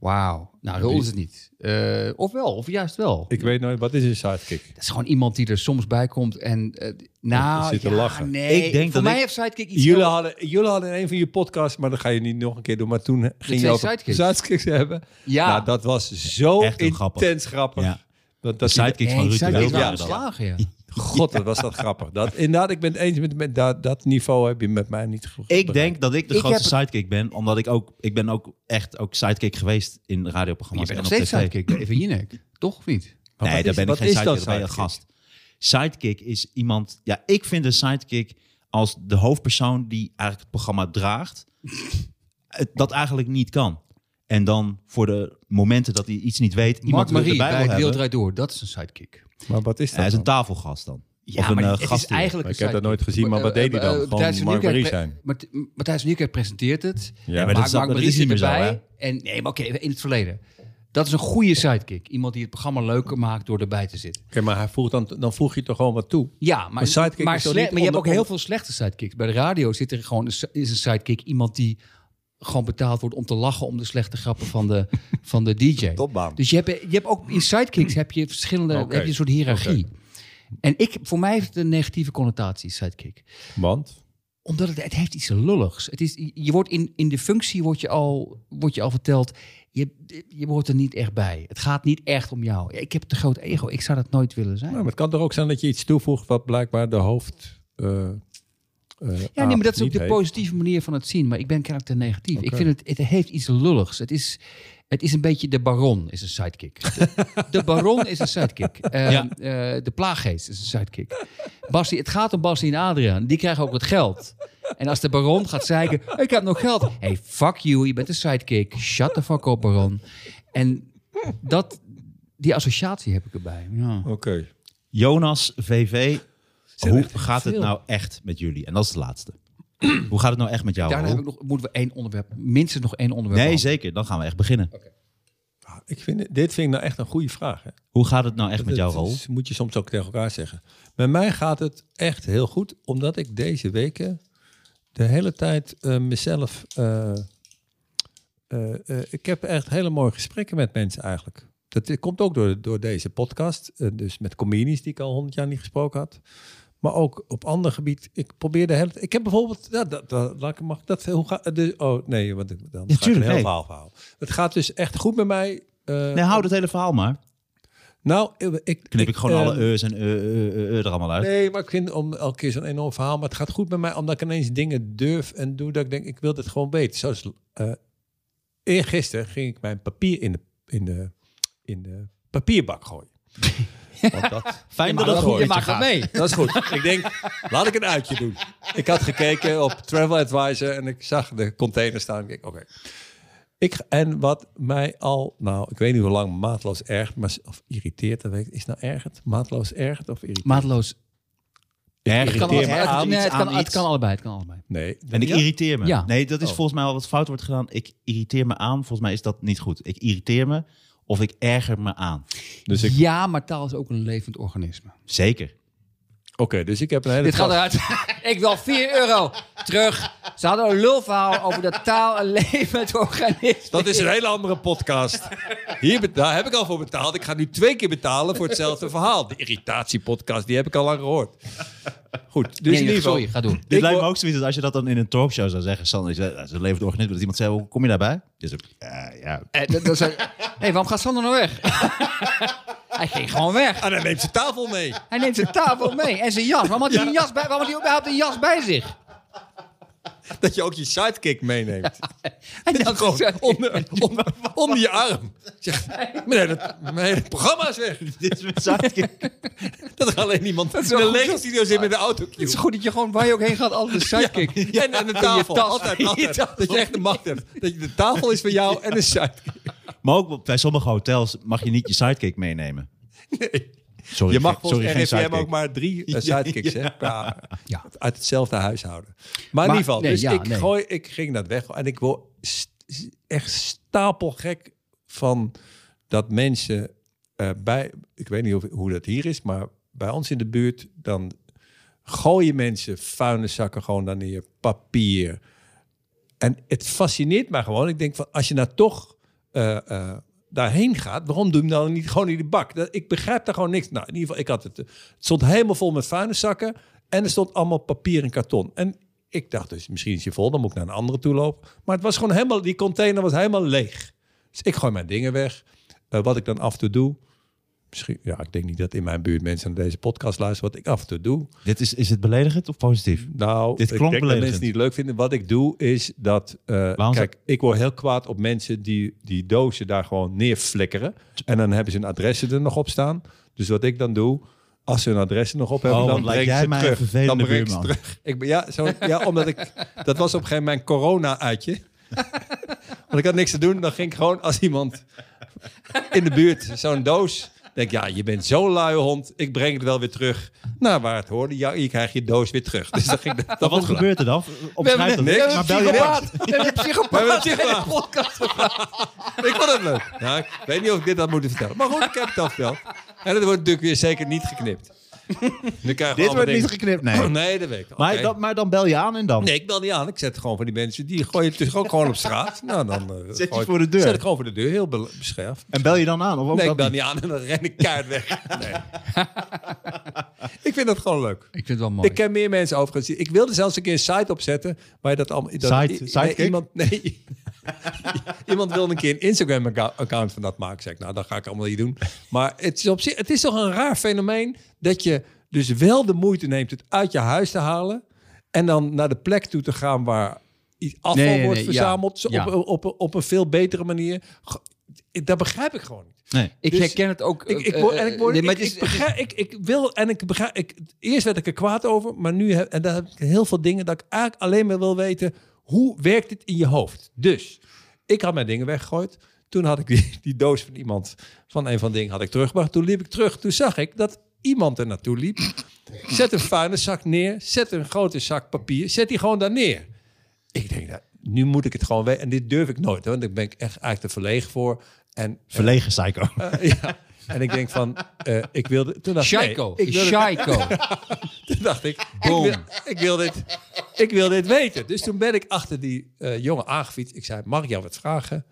Wauw. Nou, Rol is het niet. Eh, of wel, of juist wel.
Ik weet nooit, wat is een sidekick?
Dat is gewoon iemand die er soms bij komt en... eh nou,
zit te
ja,
lachen.
nee.
Ik denk
Voor
dat
mij
ik-
heeft Sidekick iets...
Jullie
heel-
hadden, jullie hadden in een van je podcasts, maar dat ga je niet nog een keer doen. Maar toen ging je
twee
over
sidekicks.
hebben.
Ja.
Nou, dat was zo
Echt heel
intens
grappig.
grappig.
Ja.
Dat, dat
De
die-
sidekick van
Nee,
Ruud de
Sidekick
Wild.
waren
waren
Ja.
dat.
slagen, ja.
God, wat was dat grappig. Dat, inderdaad, ik ben het eens met, met dat, dat niveau heb je met mij niet goed.
Ik denk dat ik de
Ik
grootste
heb
sidekick ben, omdat ik ook, ik ben ook echt ook sidekick geweest in
Je
radioprogramma's
bent
en
nog
op
steeds
tv.
Sidekick bij Even Jinek. Toch of niet?
Maar
nee,
wat is-
daar ben ik
dus wat
geen
is
sidekick,
dan
daar ben je een
sidekick?
gast. Sidekick is iemand... Ja, ik vind een sidekick als de hoofdpersoon die eigenlijk het programma draagt... het- dat eigenlijk niet kan. En dan voor de momenten dat hij iets niet weet...
Mark
iemand
Marie
erbij wil
bij het
hebben.
Wereld Draait Door. Dat is een Sidekick.
Maar wat is dat?
Hij is een
dan?
tafelgast dan.
Ja,
of een
maar
eh,
het is
gastheer.
eigenlijk
Ik
een
heb dat
sidekick.
nooit gezien, maar wat deed hij
eh,
dan?
eh,
Gewoon
Matthijs van
Mark
Nieuwkerk
Marie
pre-
zijn.
Mart- M- Matthijs van Nieuwkerk presenteert het.
Ja,
En
maar dat
Mark-
is- dat
Mark
is
Marie zit
niet meer zo,
erbij. En, nee, maar oké, even in het verleden. Dat is een goede sidekick. Iemand die het programma leuker maakt door erbij te zitten.
Oké, maar hij vroeg dan, dan voeg je toch gewoon wat toe?
Ja, maar,
Een sidekick
maar,
is toch
sle-
niet
maar je hebt ook
onder-
heel veel slechte sidekicks. Bij de radio zit er gewoon een, si- is een sidekick iemand die gewoon betaald wordt om te lachen om de slechte grappen van de, van de DJ.
Topbaan.
Dus je hebt, je hebt ook in sidekicks heb je verschillende
Oké.
heb je een soort hiërarchie. En ik, voor mij heeft het een negatieve connotatie, sidekick.
Want?
Omdat het, het heeft iets lulligs. Het is, je wordt in, in de functie word je al, word je al verteld. Je, je hoort er niet echt bij. Het gaat niet echt om jou. Ik heb te groot ego. Ik zou dat nooit willen zijn.
Nou, maar het kan toch ook zijn dat je iets toevoegt wat blijkbaar de hoofd... eh, eh,
Ja, nee,
aap
maar dat is ook
niet
de
heeft.
positieve manier van het zien. Maar ik ben karakter negatief. Ik
Oké.
vind het, het heeft iets lulligs. Het is, het is een beetje de baron is een sidekick. De, de baron is een sidekick. Eh,
Ja.
eh, de plaaggeest is een sidekick. Bassie, het gaat om Bassie en Adriaan. Die krijgen ook het geld. En als de baron gaat zeiken, ik heb nog geld. Hey, fuck you, je bent een sidekick. Shut the fuck up, baron. En dat, die associatie heb ik erbij.
Nou.
Ja.
Oké.
Jonas VV, hoe gaat het
veel.
nou echt met jullie? En dat is de laatste. hoe gaat het nou echt met jou?
Daarna
Roel?
heb ik nog, moeten we één onderwerp, minstens nog één onderwerp.
Nee,
behandelen.
zeker. Dan gaan we echt beginnen.
Ah, Ik vind, het- dit vind ik nou echt een goede vraag. Hè?
Hoe gaat het nou echt met jouw
Dat
rol?
is- moet je soms ook tegen elkaar zeggen. Bij mij gaat het echt heel goed, omdat ik deze weken de hele tijd eh, mezelf. eh, eh, eh, ik heb echt hele mooie gesprekken met mensen eigenlijk. Dat eh, komt ook door, door deze podcast. eh, dus met comedians die ik al honderd jaar niet gesproken had. Maar ook op ander gebied. Ik probeer de hele tijd- Ik heb bijvoorbeeld. Ja, dat, dat, laat ik- mag ik dat hoe gaat. Dus, oh nee, want ik- dan ga ik een
tuurlijk,
heel
nee.
verhaal verhaal. Het gaat dus echt goed met mij. eh,
Nee, hou dat hele verhaal maar.
Nou, ik, ik
Knip ik gewoon
eh,
alle e's en eh, eh, eh, eh, er allemaal uit.
Nee, maar ik vind om elke keer zo'n enorm verhaal. Maar het gaat goed met mij, omdat ik ineens dingen durf en doe dat ik denk, ik wil dit gewoon weten. Zoals eh eergisteren ging ik mijn papier in de, in de, in de papierbak gooien. Want dat,
Fijn dat
maar
dat
dat-
goed met je
je maakt dat
gaat.
mee.
dat is goed. Ik denk, laat ik een uitje doen. Ik had gekeken op Travel Advisor en ik zag de container staan. Ik denk, oké. Ik, en wat mij al, nou, ik weet niet hoe lang, maatloos ergert, maar, of irriteert, dat weet ik, is nou ergert? Maatloos ergert of irriteert?
Maatloos
Erger
Het kan,
Irriteer
allebei.
me
Het-
aan
nee,
iets,
het, kan,
aan
het
iets.
kan allebei. Het kan allebei.
Nee.
En ik
Ja?
irriteer me.
Ja.
Nee, dat is
Oh.
volgens mij al wat fout wordt gedaan. Ik irriteer me aan. Volgens mij is dat niet goed. Ik irriteer me of ik erger me aan.
Dus ik,
Ja, maar taal is ook een levend organisme.
Zeker.
Oké, dus ik heb een hele
Dit gaat
tas-
eruit. ik wil 4 euro terug. Ze hadden een lulverhaal over dat taal een levend organisme.
Dat is een hele andere podcast. Hier, bet- daar heb ik al voor betaald. Ik ga nu twee keer betalen voor hetzelfde verhaal. De irritatiepodcast, die heb ik al lang gehoord. goed. Dus in ieder geval,
sorry, ga doen.
Dit
Ik
lijkt me
wil-
ook zoiets als als je dat dan in een talkshow zou zeggen. Sander, eh, ze ze levert organisme. Dat iemand zei, hoe kom je daarbij? Dus ook, ja, ja.
Eh, dat- dat zijn- Hé, waarom gaat Sander nou weg? Hij ging gewoon weg.
Ah, dan neemt ze tafel mee.
Hij neemt zijn tafel mee en zijn jas. Waarom had hij, een jas, bij, waarom had hij überhaupt een jas bij zich?
Dat je ook je sidekick meeneemt.
Hij
Dat je
nam
gewoon
zijn-
onder, onder, onder je arm. Zeg, meneer, dat, mijn hele programma is weg.
Dit is mijn sidekick.
Dat er alleen iemand in
wel
de
goed,
lege studio zit met de auto.
Het is goed dat je gewoon waar je ook heen gaat altijd een sidekick.
En, en de tafel.
tas.
altijd,
In je
altijd.
tas.
Dat je echt de macht hebt. Dat je, de tafel is van jou en de sidekick.
Maar ook bij sommige hotels mag je niet je sidekick meenemen.
Nee.
Sorry,
Je mag
geen-
volgens
sorry, geen
RIVM
sidekick.
ook maar drie eh, sidekicks hè, per-
Ja.
uit hetzelfde huishouden. Maar, in
Maar-
ieder geval,
nee,
dus
ja,
ik,
nee.
gooi, ik ging dat weg. En ik word st- echt stapelgek van dat mensen eh, bij... Ik weet niet of, hoe dat hier is, maar bij ons in de buurt... dan gooien mensen vuilniszakken gewoon dan neer, papier. En het fascineert mij gewoon. Ik denk van, als je nou toch eh, eh, daarheen gaat, waarom doe je hem dan niet gewoon in die bak? Dat, ik begrijp daar gewoon niks. Nou, in ieder geval, ik had het, eh, het stond helemaal vol met vuilniszakken en er stond allemaal papier en karton. En ik dacht dus, misschien is je vol, dan moet ik naar een andere toe lopen. Maar het was gewoon helemaal, die container was helemaal leeg. Dus ik gooi mijn dingen weg. Eh, wat ik dan af en toe doe, misschien, ja, ik denk niet dat in mijn buurt mensen naar deze podcast luisteren, wat ik af en toe doe.
Dit is, is het beledigend of positief?
Nou,
Dit
ik
klonk
denk dat mensen
beledigend.
het niet leuk vinden. Wat ik doe is dat... eh,
Waarom
kijk, ik word heel kwaad op mensen die die dozen daar gewoon neerflikkeren. En dan hebben ze hun adressen er nog op staan. Dus wat ik dan doe, als ze hun adressen nog op hebben,
Oh,
dan
wat
breng
lijkt
ik
jij
ze
mij
terug.
een vervelende
dan breng ik ze
buurman.
terug. Ik ben, ja, zo, ja, omdat ik... Dat was op een gegeven moment mijn corona-uitje. Want ik had niks te doen. Dan ging ik gewoon als iemand in de buurt zo'n doos... Denk ik, ja, je bent zo'n luie hond. Ik breng het wel weer terug naar waar het hoorde. Ja, je krijgt je doos weer terug. Dus dan ging ik dat, dat
Wat
was
gebeurt er dan? Omschrijf dat.
niks.
Maar
We hebben
bel je
psychopaat. We hebben een
pas.
We hebben een psychopaat in de
psychopaat.
podcast
Ik vond het leuk. Nou, ik weet niet of ik dit had moeten vertellen. Maar goed, ik heb het al verteld. En dat wordt natuurlijk weer zeker niet geknipt. Nu krijgen we
Dit
allemaal
wordt niet
dingen.
geknipt, nee.
Nee, dat weet ik.
Maar,
Oké.
dan, maar dan bel je aan en dan.
Nee, ik bel niet aan. Ik zet gewoon van die mensen. Die gooien het dus ook gewoon op straat. Nou, dan, eh,
je
gooi ik-
voor de deur.
Zet ik gewoon voor de deur. Heel be- beschermd.
En bel je dan aan? Of ook
Nee, ik
dat
bel
niet?
niet aan en dan ren ik kaart weg. Nee. ik vind dat gewoon leuk.
Ik vind het wel mooi.
Ik ken meer mensen overigens. die- Ik wilde zelfs een keer een site opzetten. Maar dat allemaal. Dat,
Site-
i- nee,
sidekick?
iemand, nee. iemand wilde een keer een Instagram-account van dat maken. Zeg ik, nou, dat ga ik allemaal niet doen. Maar het is, op zich, het is toch een raar fenomeen. dat je dus wel de moeite neemt het uit je huis te halen. en dan naar de plek toe te gaan waar i- afval
Nee, nee,
wordt
nee, ja.
verzameld. zo
Ja.
Op, op, op een veel betere manier. Go- Dat begrijp ik gewoon niet.
Nee.
Ik
Dus-
herken het ook.
Ik, ik,
eh,
word-
eh,
en ik, word,
nee,
ik,
maar het is-
ik begrijp, ik, ik wil en ik begrijp, ik, eerst werd ik er kwaad over, maar nu heb, en daar heb ik heel veel dingen dat ik eigenlijk alleen maar wil weten, hoe werkt het in je hoofd? Dus, ik had mijn dingen weggegooid, toen had ik die, die doos van iemand, van een van de dingen had ik teruggebracht, toen liep ik terug, toen zag ik dat iemand er naartoe liep, zet een vuilniszak neer, zet een grote zak papier, zet die gewoon daar neer. Ik denk, nou, nu moet ik het gewoon weten en dit durf ik nooit, hoor, want daar ben ik echt eigenlijk te verlegen voor. En,
Verlegen psycho.
eh, ja. En ik denk van, eh, ik wilde... Toen dacht, ik, nee,
Shaiko.
ik wilde,
Shaiko.
toen dacht ik, ik
Boom.
wil, ik, wil dit, ik wil dit weten. Dus toen ben ik achter die eh, jongen aangefietst. Ik zei, mag ik jou wat vragen?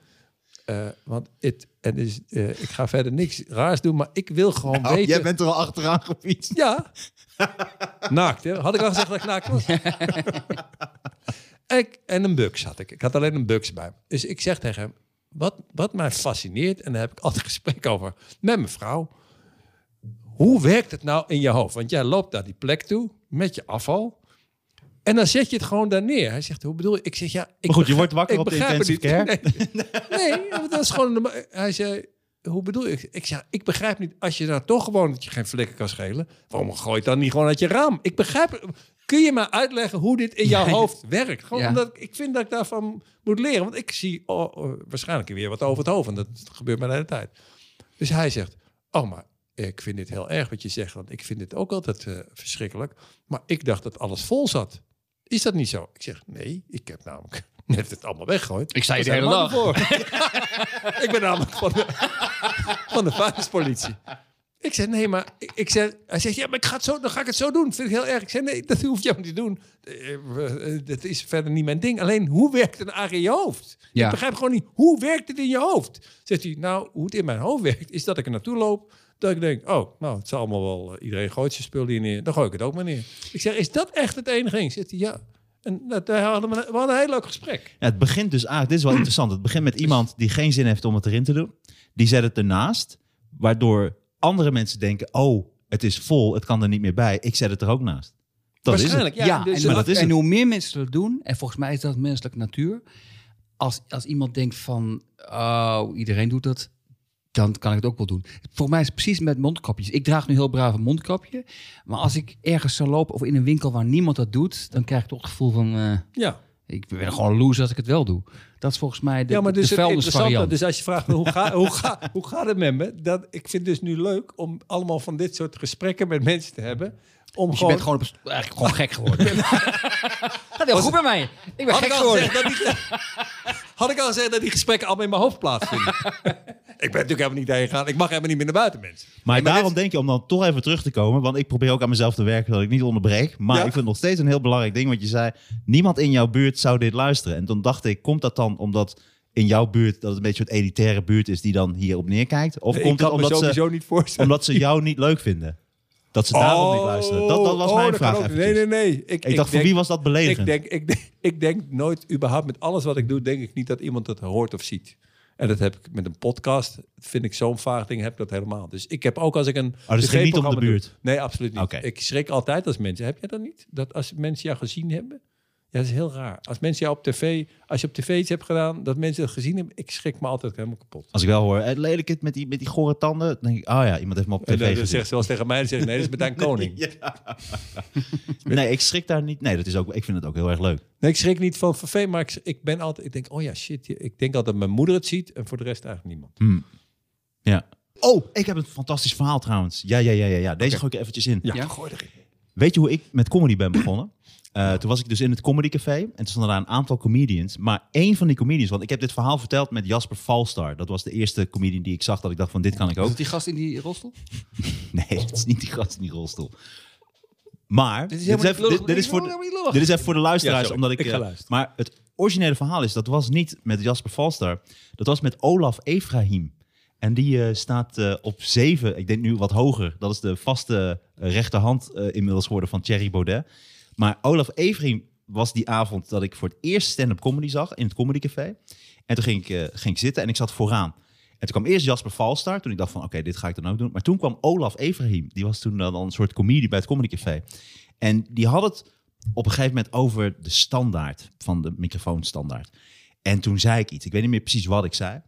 Eh, want het, en dus, eh, ik ga verder niks raars doen, maar ik wil gewoon
Oh,
weten...
jij bent er al achteraan gefietst.
Ja. naakt, hè? Had ik al gezegd dat ik naakt was? en, ik- en een buks had ik. Ik had alleen een buks bij me. Dus ik zeg tegen hem, wat, wat mij fascineert... en daar heb ik altijd gesprek over met mijn vrouw... hoe werkt het nou in je hoofd? Want jij loopt naar die plek toe met je afval... En dan zet je het gewoon daar neer. Hij zegt, hoe bedoel je? Ik zeg, ja... Ik
Maar goed, je
begrijp-
wordt wakker
ik
op de
begrijp het
intensive
niet. Nee, nee, want dat is gewoon... een norma- Hij zei, hoe bedoel je? Ik zei, ja, ik begrijp niet. Als je nou toch gewoon dat je geen flikker kan schelen... waarom gooi je het dan niet gewoon uit je raam? Ik begrijp... het. Kun je me uitleggen hoe dit in jouw hoofd werkt? Gewoon
Ja.
omdat ik- ik vind dat ik daarvan moet leren. Want ik zie oh, oh, waarschijnlijk weer wat over het hoofd. En dat gebeurt mij de hele tijd. Dus hij zegt, oh, maar ik vind dit heel erg wat je zegt. Want ik vind dit ook altijd eh, verschrikkelijk. Maar ik dacht dat alles vol zat. Is dat niet zo? Ik zeg, nee, ik heb namelijk net het allemaal weggegooid.
Ik zei
Dat
de hele
helemaal
dag.
ervoor. ik ben namelijk van de, van de vuilnispolitie. Ik zeg, nee, maar ik, ik zeg, hij zegt, ja, maar ik ga het zo, dan ga ik het zo doen. Vind ik heel erg. Ik zeg, nee, dat hoef je niet te doen. Eh, eh, eh, Dat is verder niet mijn ding. Alleen, hoe werkt het eigenlijk in je hoofd?
Ja.
Ik begrijp gewoon niet, hoe werkt het in je hoofd? Zegt hij, nou, hoe het in mijn hoofd werkt, is dat ik er naartoe loop. Dat ik denk, oh, nou, het zal allemaal wel... eh, iedereen gooit zijn spul hier neer. Dan gooi ik het ook maar neer. Ik zeg, is dat echt het enige ding? Zit hij, ja. En dat, we, hadden, we hadden een heel leuk gesprek.
Ja, het begint dus eigenlijk, dit is wel interessant. Het begint met iemand die geen zin heeft om het erin te doen. Die zet het ernaast, waardoor andere mensen denken: oh, het is vol, het kan er niet meer bij. Ik zet het er ook naast. Dat is het.
Waarschijnlijk,
Ja,
ja. dus
en,
dat-
dat is
en
het.
hoe meer mensen dat doen, en volgens mij is dat menselijke natuur. Als, als iemand denkt van, oh, iedereen doet dat, dan kan ik het ook wel doen. Volgens mij is het precies met mondkapjes. Ik draag nu heel braaf een mondkapje. Maar als ik ergens zou lopen of in een winkel waar niemand dat doet, dan krijg ik toch het gevoel van, eh,
ja.
ik ben gewoon loose als ik het wel doe. Dat is volgens mij de,
ja, maar
de
dus het interessante,
vuilnisvariant.
dus als je vraagt hoe, ga, hoe, ga, hoe gaat het met me, dat, ik vind het dus nu leuk om allemaal van dit soort gesprekken met mensen te hebben. Om
Dus je
gewoon,
bent gewoon op- eigenlijk gewoon gek geworden. Gaat heel goed bij mij. Ik ben
had,
gek
ik al
geworden.
gezegd dat die, had ik al gezegd dat die gesprekken allemaal in mijn hoofd plaatsvinden? ik ben natuurlijk helemaal niet heen gegaan. Ik mag helemaal niet meer naar buiten, mensen.
Maar daarom denk je om dan toch even terug te komen, want ik probeer ook aan mezelf te werken dat ik niet onderbreek.
Ja.
Maar ik vind het nog steeds een heel belangrijk ding, want je zei: niemand in jouw buurt zou dit luisteren. En toen dacht ik: komt dat dan omdat in jouw buurt dat het een beetje een soort elitaire buurt is die dan hierop neerkijkt? Of
ik
komt
kan
het
me
omdat ze,
sowieso niet voorstellen.
omdat ze jou niet leuk vinden? Dat ze Dus daarom niet luisteren. Dat, dat was
oh,
mijn
dat
vraag.
kan ook. Nee,
eventjes.
nee, nee. Ik,
Ik, dacht, voor wie was dat
ik
beledigend?
denk, ik, denk, ik denk nooit, überhaupt met alles wat ik doe, denk ik niet dat iemand dat hoort of ziet. En dat heb ik met een podcast, vind ik zo'n vaag ding, heb ik dat helemaal. Dus ik heb ook als ik een.
Oh, dus het ging niet om de
tv-programma doe-
buurt?
Nee, absoluut niet.
Oké.
Ik schrik altijd als mensen. Heb jij dat niet? Dat als mensen jou gezien hebben? Ja, dat is heel raar. Als mensen jou op tv, als je op tv iets hebt gedaan, dat mensen het gezien hebben, ik schrik me altijd helemaal kapot.
Als ik wel hoor, het lelijk kind met die, met die gore tanden. Dan denk ik, oh ja, iemand heeft me op
En
tv
dan, dan
gezien.
zegt ze wel eens tegen mij, dan zeg ik, nee, dat is Martijn Koning.
Nee, ik schrik daar niet. Nee, dat is ook, ik vind het ook heel erg leuk.
Nee, ik schrik niet van vervelend, maar ik, ik ben altijd, ik denk, oh ja, shit. Ik denk altijd dat mijn moeder het ziet en voor de rest eigenlijk niemand.
Ja. Oh, ik heb een fantastisch verhaal trouwens. Ja, ja, ja, ja. ja. Deze gooi ik er eventjes in.
Ja?
gooi erin.
Weet je hoe ik met comedy ben begonnen? Eh, toen was ik dus in het comedycafé en toen stonden daar een aantal comedians. Maar één van die comedians, want ik heb dit verhaal verteld met Jasper Falstar. Dat was de eerste comedian die ik zag dat ik dacht van dit kan ik
Is
ook.
dat die gast in die rolstoel?
Nee, het is niet die gast in die rolstoel. Maar dit is,
helemaal niet
even-
lullig.
dit, dit is
Dit is
voor,
helemaal niet lullig.
dit is even voor de
Ja,
luisteraars.
sorry.
omdat ik,
Ik ga
eh,
luisteren.
maar het originele verhaal is, dat was niet met Jasper Valstar. Dat was met Olaf Efraim. En die eh, staat eh, op zeven, ik denk nu wat hoger. Dat is de vaste eh, rechterhand eh, inmiddels geworden van Thierry Baudet. Maar Olaf Efraim was die avond dat ik voor het eerst stand-up comedy zag in het comedycafé. En toen ging ik, eh, ging ik zitten en ik zat vooraan. En toen kwam eerst Jasper Valstar. Toen ik dacht van, oké, dit ga ik dan ook doen. Maar toen kwam Olaf Efraim. Die was toen dan een soort comedie bij het Comedy Café. En die had het op een gegeven moment over de standaard. Van de microfoonstandaard. En toen zei ik iets. Ik weet niet meer precies wat ik zei.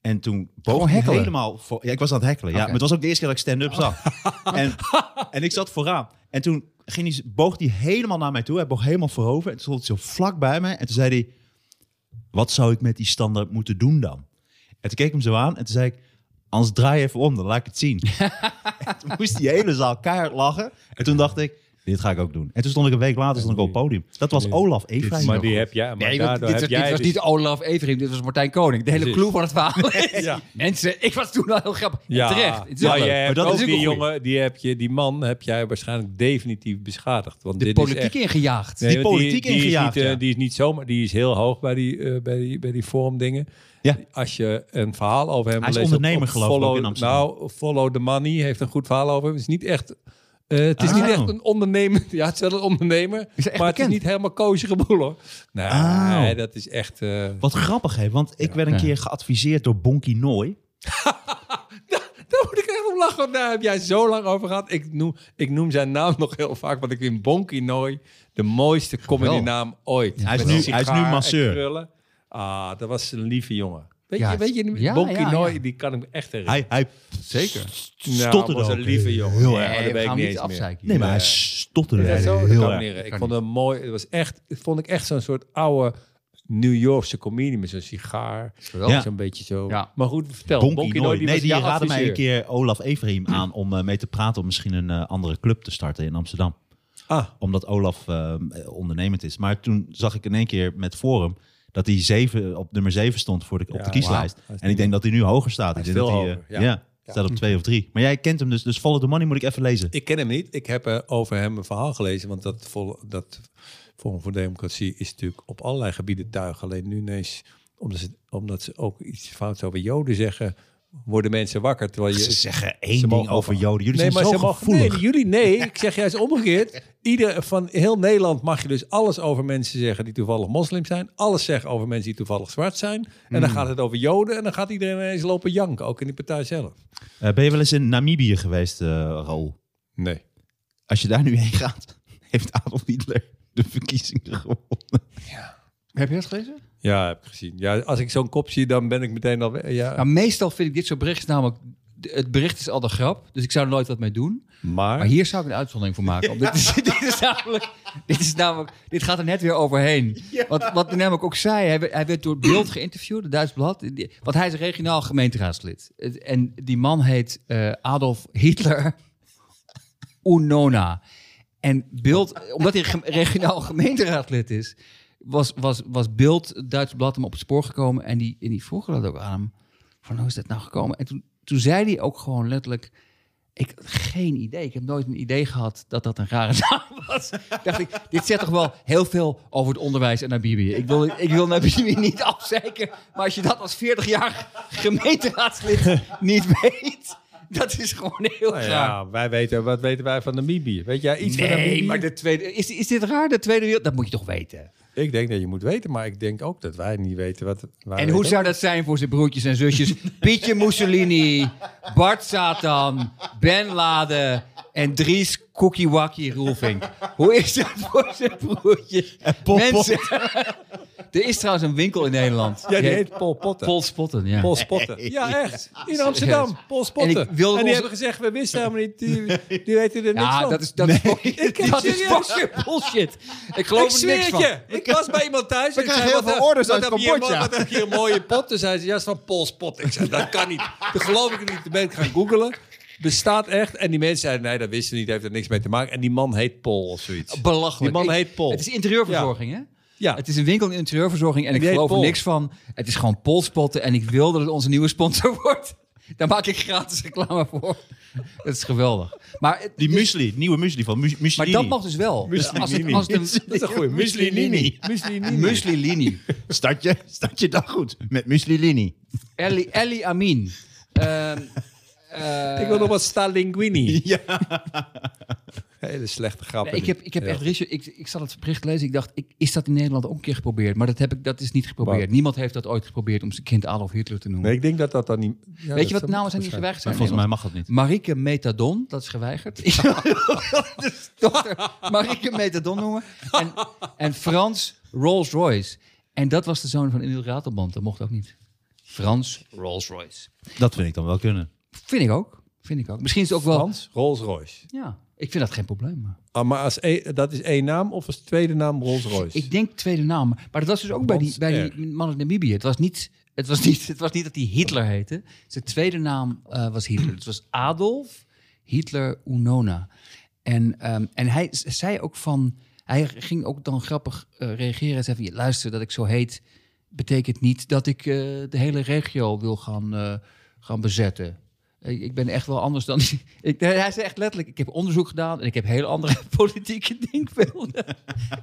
En toen boog
Gewoon
ik
hekkelen.
helemaal... Voor, ja, ik was aan het hekkelen. Ja,
Oké.
maar het was ook de eerste keer dat ik stand-up zag. En, en ik zat vooraan. En toen ging hij, boog hij helemaal naar mij toe. Hij boog helemaal voorover. En toen stond hij zo vlak bij mij. En toen zei hij... Wat zou ik met die standaard moeten doen dan? En toen keek ik hem zo aan en toen zei ik... Anders draai je even om, dan laat ik het zien. en toen moest die hele zaal keihard lachen. En toen dacht ik, dit ga ik ook doen. En toen stond ik een week later stond ik op het podium. Dat was Olaf Efraim.
Maar die heb jij, maar
Nee, want
daardoor
dit, was-
heb
dit
jij
was
dus-
niet Olaf Everim, dit was Martijn Koning. De hele
Precies.
clue van het verhaal is-
Ja.
Mensen, ik was toen al heel grappig.
Ja,
Terecht. Het is wel
maar je
leuk.
hebt
Maar dat
ook
is ook
die
een goeie.
jongen, die, heb je, die man heb jij waarschijnlijk definitief beschadigd. Want
De
dit is
politiek
echt-
ingejaagd.
Nee, want
politiek
die, is
ingejaagd,
niet, eh,
ja.
Die is niet zomaar, die is heel hoog bij die, eh, bij die, bij die forumdingen.
Ja.
Als je een verhaal over hem
Hij is
leest op-
ondernemer,
op
geloof ik, ook
Follow-
in Amsterdam.
Nou, Follow the Money heeft een goed verhaal over hem. Het is niet echt... eh, het is
Ah.
niet echt een ondernemer. Ja, het is wel een ondernemer.
Is hij echt
maar
bekend?
het is niet helemaal koosje boel, hoor. Nee,
Ah.
dat is echt... eh,
Wat grappig, hè? Want ik werd een
Ja.
keer geadviseerd door Bonky Nooi.
Daar moet ik echt om lachen, want daar heb jij zo lang over gehad. Ik noem, ik noem zijn naam nog heel vaak, want ik vind Bonky Nooi de mooiste comedynaam ooit.
Hij is
Met
nu-
een sigaar
hij is nu
en
masseur.
krullen. Ah, dat was een lieve jongen. Weet
Ja,
je, weet je
ja,
Bonky
ja,
Nooi,
ja.
die kan ik me echt herinneren.
Hij, hij
Zeker.
nou,
stotterde
was een
ook
lieve jongen.
Heel
Nee,
erg.
dat
we
weet ik
gaan
niet
hem
eens
niet
meer.
afzeiken.
Nee, maar hij
Nee.
stotterde
Ja, zo, dat
heel
kan
erg.
me herinneren. Ik
Kan
vond hem mooi. Het was echt, vond ik echt zo'n soort oude New Yorkse comedie met zo'n sigaar.
Geweldig.
Zo'n beetje zo.
Ja.
Maar goed, vertel.
Bonky Nooi.
die
Nee,
was
die
jouw
raadde mij een
adviseur.
keer Olaf Efraim aan om eh, mee te praten om misschien een eh, andere club te starten in Amsterdam.
Ah,
Omdat Olaf eh, ondernemend is. Maar toen zag ik in één keer met Forum dat hij zeven, op nummer 7 stond voor de, op
Ja,
de kieslijst.
wauw. Hij is
En ik denk dat hij nu hoger staat.
Hij
ik
is
denk
veel
dat hij,
hoger,
eh,
ja.
ja, staat op twee of drie. Maar jij kent hem dus, dus Follow the Money moet ik even lezen.
Ik ken hem niet. Ik heb eh, over hem een verhaal gelezen. Want dat, vol, dat Forum voor Democratie is natuurlijk op allerlei gebieden tuig. Alleen nu ineens, omdat ze, omdat ze ook iets fouts over Joden zeggen, worden mensen wakker. Terwijl
Ze
je,
zeggen één
ze
ding
mogen
over Joden. Jullie zijn
maar
zo
ze mogen-
gevoelig.
nee, jullie nee. Ik zeg juist omgekeerd. Ieder van heel Nederland mag je dus alles over mensen zeggen die toevallig moslim zijn. Alles zeggen over mensen die toevallig zwart zijn. En
Hmm.
dan gaat het over joden. En dan gaat iedereen ineens lopen janken. Ook in die partij zelf.
Eh, ben je wel eens in Namibië geweest, eh Raoul?
Nee.
Als je daar nu heen gaat, heeft Adolf Hitler de verkiezingen gewonnen.
Heb je dat gelezen?
Ja, heb ik gezien. Ja, als ik zo'n kop zie, dan ben ik meteen al... we- Ja.
Nou, meestal vind ik dit soort berichten namelijk... Het bericht is al de grap, dus ik zou er nooit wat mee doen. Maar
Maar...
hier zou ik een uitzondering voor maken. want Dit, is, dit, is namelijk, dit is namelijk... Dit gaat er net weer overheen. Wat, wat hij namelijk ook zei, hij werd, hij werd door het beeld geïnterviewd, het Duits Blad. die- Want hij is regionaal gemeenteraadslid. Het- En die man heet eh, Adolf Hitler Unona. En beeld, omdat hij gem- regionaal gemeenteraadslid is... Was, was, was Beeld, het Duits Blad, hem op het spoor gekomen. En die, en die vroegen dat ook aan hem. Van, hoe is dat nou gekomen? En toen, toen zei hij ook gewoon letterlijk... Ik geen idee. Ik heb nooit een idee gehad dat dat een rare naam was. Dacht ik, dit zegt toch wel heel veel over het onderwijs en Namibië. Ik wil, ik wil Namibië niet afzeiken. Maar als je dat als 40 jaar gemeenteraadslid niet weet, dat is gewoon heel
Nou
raar.
ja, wij weten, wat weten wij van Namibië? Weet jij iets van
Nee,
Namibië?
maar de tweede, is, is dit raar? De Tweede Wereld, dat moet je toch weten.
Ik denk dat je moet weten, maar ik denk ook dat wij niet weten wat... wij
en hoe
weten.
zou dat zijn voor zijn broertjes en zusjes? Pietje Mussolini, Bart Satan, Ben Laden en Dries Cookie Wacky Roelvink. Hoe is dat voor zijn broertjes?
Pol Pot.
Mensen, er is trouwens een winkel in Nederland.
Ja, die heet Pol Potten.
Pol Spotten, ja.
Paul Spotten. Ja, echt. In Amsterdam. Paul Spotten.
En ik
En,
wilde
die
onze-
hebben gezegd, we wisten helemaal niet. Die, die weten er niks
ja,
van.
dat is, dat is, fucking- dat is
serieus.
fucking bullshit. Ik
ik
geloof er
zweer
niks
het
van.
je. Ik was bij iemand thuis. en ik
krijgen
zei,
heel
wat, eh,
veel orders
wat
uit
heb je hier
Cambodja.
mooi- Wat heb je hier een mooie pot? Toen zei ze, ja, is van Paul Spotten. Ik zei, dat kan niet. Dat geloof ik niet. Toen ben ik gaan googlen. Bestaat echt. En die mensen zeiden, nee, dat wisten we niet. Heeft er niks mee te maken. En die man heet Paul of zoiets.
Belachelijk.
Die man
Ik-
heet Pol.
Het is interieurverzorging, hè?
Ja.
Het is een winkel in interieurverzorging en ik
Die heet
geloof er
Pol.
niks van. Het is gewoon polspotten en ik wil dat het onze nieuwe sponsor wordt. Daar maak ik gratis reclame voor. Dat is geweldig. Maar, het-
Die muesli, nieuwe muesli van Mus-
maar
Mussolini.
dat mag dus wel. Als het, als het
Dat is een goeie.
Mussolini.
Mussolini. Mussolini.
een Muslilini.
Start je, start je dag goed met Mussolini.
Ellie, Ellie Amin. Ehm, eh,
Ik wil nog wat Stalinguini.
Ja.
Hele slechte grap.
Nee, ik heb, ik heb
Ja.
echt Richard, ik, ik zat het bericht lezen. Ik dacht, ik, is dat in Nederland ook een keer geprobeerd? Maar dat, heb ik, dat is niet geprobeerd.
Wat?
Niemand heeft dat ooit geprobeerd om zijn kind Adolf Hitler te noemen.
Nee, ik denk dat dat dan niet... Ja,
Weet
dat
je wat
zou-
namen zijn die
waarschijnlijk.
geweigerd
Maar
zijn?
volgens mij mag dat niet.
Marike Metadon, dat is geweigerd. Ik wil de dochter Marike Metadon noemen. En, en Frans Rolls Royce. En dat was de zoon van Emil Ratelband. Dat mocht ook niet. Frans Rolls Royce.
Dat vind ik dan wel kunnen.
Vind ik ook. Vind ik ook. Misschien is het ook wel...
Frans Rolls Royce.
Ja, ik vind dat geen probleem.
Ah, maar als e- dat is één naam of als tweede naam Rolls Royce?
Ik denk tweede naam. Maar dat was dus ook bij die,
Frans
bij
R.
die man in Namibië. Het was niet, het was niet, het was niet dat hij Hitler heette. Zijn tweede naam eh, was Hitler. Het was Adolf Hitler Unona. En, ehm, en hij z- zei ook van... Hij ging ook dan grappig eh, reageren. Hij zei van, "Ja, luister, dat ik zo heet... betekent niet dat ik eh, de hele regio wil gaan, eh, gaan bezetten. Ik, ik ben echt wel anders dan... Ik, hij zei echt letterlijk, ik heb onderzoek gedaan... en ik heb heel andere politieke denkbeelden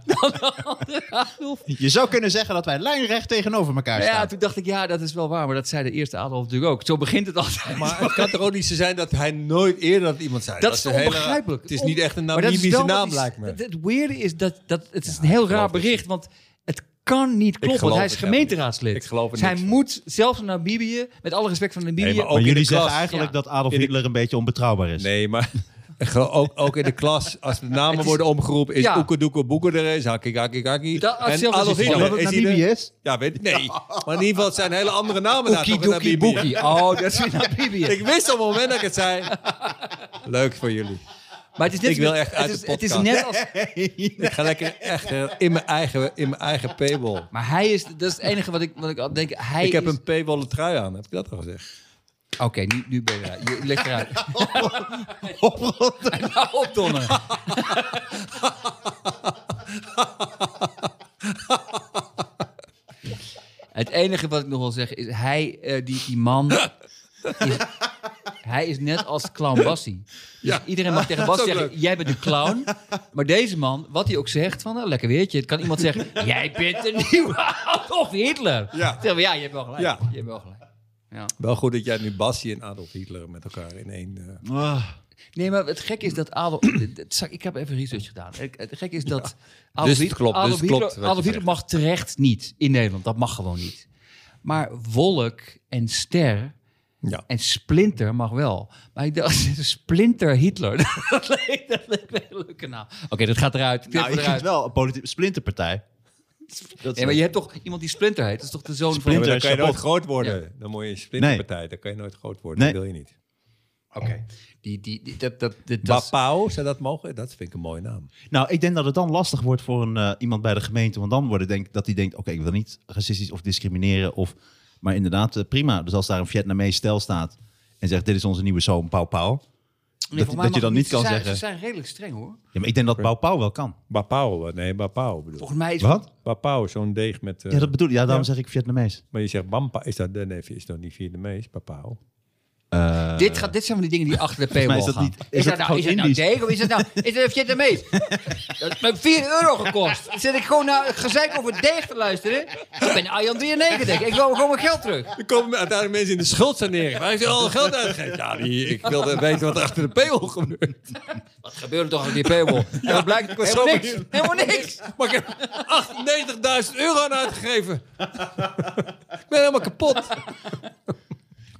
dan de andere Adolf.
Je zou kunnen zeggen dat wij lijnrecht tegenover elkaar
Ja, toen dacht ik, ja, dat is wel waar. Maar dat zei de eerste Adolf natuurlijk ook. Zo begint het altijd.
maar het kan toch ook niet zo zijn dat hij nooit eerder dat iemand zei?
dat, is
een hele-
onbegrijpelijk.
Het is
On-
niet echt een
Maar dat is
Namibische
wel wat
naam,
is-
lijkt me.
Het, het weirde is dat, dat het is een heel raar
geloof het
bericht Want het kan niet kloppen, want
geloof
hij is
het helemaal niet.
gemeenteraadslid.
Ik geloof er
Dus hij
niks van.
moet, zelfs in Namibië, met alle respect van Namibië...
Nee, maar ook-
Maar
in
jullie
de
zeggen
klas.
eigenlijk
Ja.
dat Adolf
In de-
Hitler een beetje onbetrouwbaar is.
Nee, maar ge- ook, ook in de klas, als de namen
Het is-
worden omgeroepen, is
Ja,
ja. Oekedoeke Boeke er is, Hakkie Hakkie Hakkie.
Dat-
En
zelfs als
Adolf
het-
Hitler.
Omdat het
hij er-
Namibië is?
Ja, weet ik. Nee, maar in ieder geval het zijn hele andere namen daar Nou, toch in
Oekie-doekie
Namibië.
boekie. Oh, dat is in Namibië.
Ik wist op het moment dat ik het zei. Leuk voor jullie.
Maar het is net,
Ik wil echt uit
het is,
de
het is
podcast.
net als...
Ik ga lekker echt eh, in mijn eigen, in mijn eigen paywall.
Maar hij is... Dat is het enige wat ik, wat ik al denk. Hij
Ik heb
is-
een paywall trui aan, heb ik dat al gezegd?
Oké, nu, nu ben je eruit. Je ligt eruit. Nou, opdonderen. Het enige wat ik nog wil zeggen is, hij, eh, die, die man, is, hij is net als clown Bassie. Dus iedereen mag tegen Bassie
ook
zeggen, jij bent een clown. Maar deze man, wat hij ook zegt, van, nou, lekker weertje. Het kan iemand zeggen, jij bent een nieuwe Adolf Hitler.
Ja.
Zeg maar, ja, je hebt wel gelijk.
Ja.
Je hebt wel gelijk. Ja.
Wel goed dat jij nu Bassi en Adolf Hitler met elkaar in één... eh,
Ah,
Nee, maar het gek is dat Adolf... het zag- ik heb even research gedaan. Ik- Het gek is dat Adolf,
het
Hitler-
klopt, dus
Adolf
het
Hitler,
klopt wat je
Adolf Hitler
zegt.
mag terecht niet in Nederland. Dat mag gewoon niet. Maar Wolk en Ster
ja.
en Splinter mag wel. Maar ik dacht, Splinter Hitler. dat leek dat leek me een leuke naam. Oké, dat gaat eruit.
nou,
Nou,
ik vind het
eruit.
wel een politieke splinterpartij. Dat
Nee, maar je hebt toch iemand die Splinter heet? Dat is toch de zoon
Ja,
Splinter.
maar dan
van...
kan je nooit
Sabot.
groot worden. Dan moet je een splinterpartij. Dan kan je nooit groot worden.
Nee.
Dat wil je niet.
Oké. Die, die, die, dat, dat, dat, dat-
Bapau, zou dat mogen? Dat vind ik een mooie naam.
Nou, ik denk dat het dan lastig wordt voor een, eh, iemand bij de gemeente. Want dan wordt het denk dat die denkt, oké, ik wil niet racistisch of discrimineren. Of, maar inderdaad, eh, prima. Dus als daar een Vietnamese stel staat en zegt, dit is onze nieuwe zoon, Pau Pau.
Nee,
dat- dat
voor mij
je
mag
dan
het
niet
Ze
kan
zijn-
zeggen-
Ze zijn redelijk streng hoor.
Ja, maar ik denk dat Pau Pau wel kan.
Bapau, nee, Bapau bedoel ik.
Volgens mij is
Wat?
Bapau, zo'n deeg met... eh,
Ja, dat bedoel ik. Ja, daarom
Ja.
zeg ik Vietnamees.
Maar je zegt Bampa, is dat, nee, is dat niet Vietnamees? Bapau.
dit, gaat, dit zijn van die dingen die achter de
mij
paywall
is dat
gaan.
niet- is dat
nou,
gewoon
is dat nou
Indisch?
deeg of is dat nou is dat Vietnamees? dat heeft me 4 euro gekost. Dan zit ik gewoon naar gezeik over deeg te luisteren. Ik ben Arjan 93. Ik wil gewoon mijn geld terug.
Er komen uiteindelijk mensen in de schuld saneren. Hij heeft al geld uitgegeven. Ja, die, ik wilde weten wat er achter de paywall gebeurt.
Wat gebeurde toch met die paywall? Ja, dat blijkt
was
helemaal
zo
niks.
benieuwd.
Helemaal niks.
Maar ik heb 98.000 euro aan uitgegeven. ik ben helemaal kapot.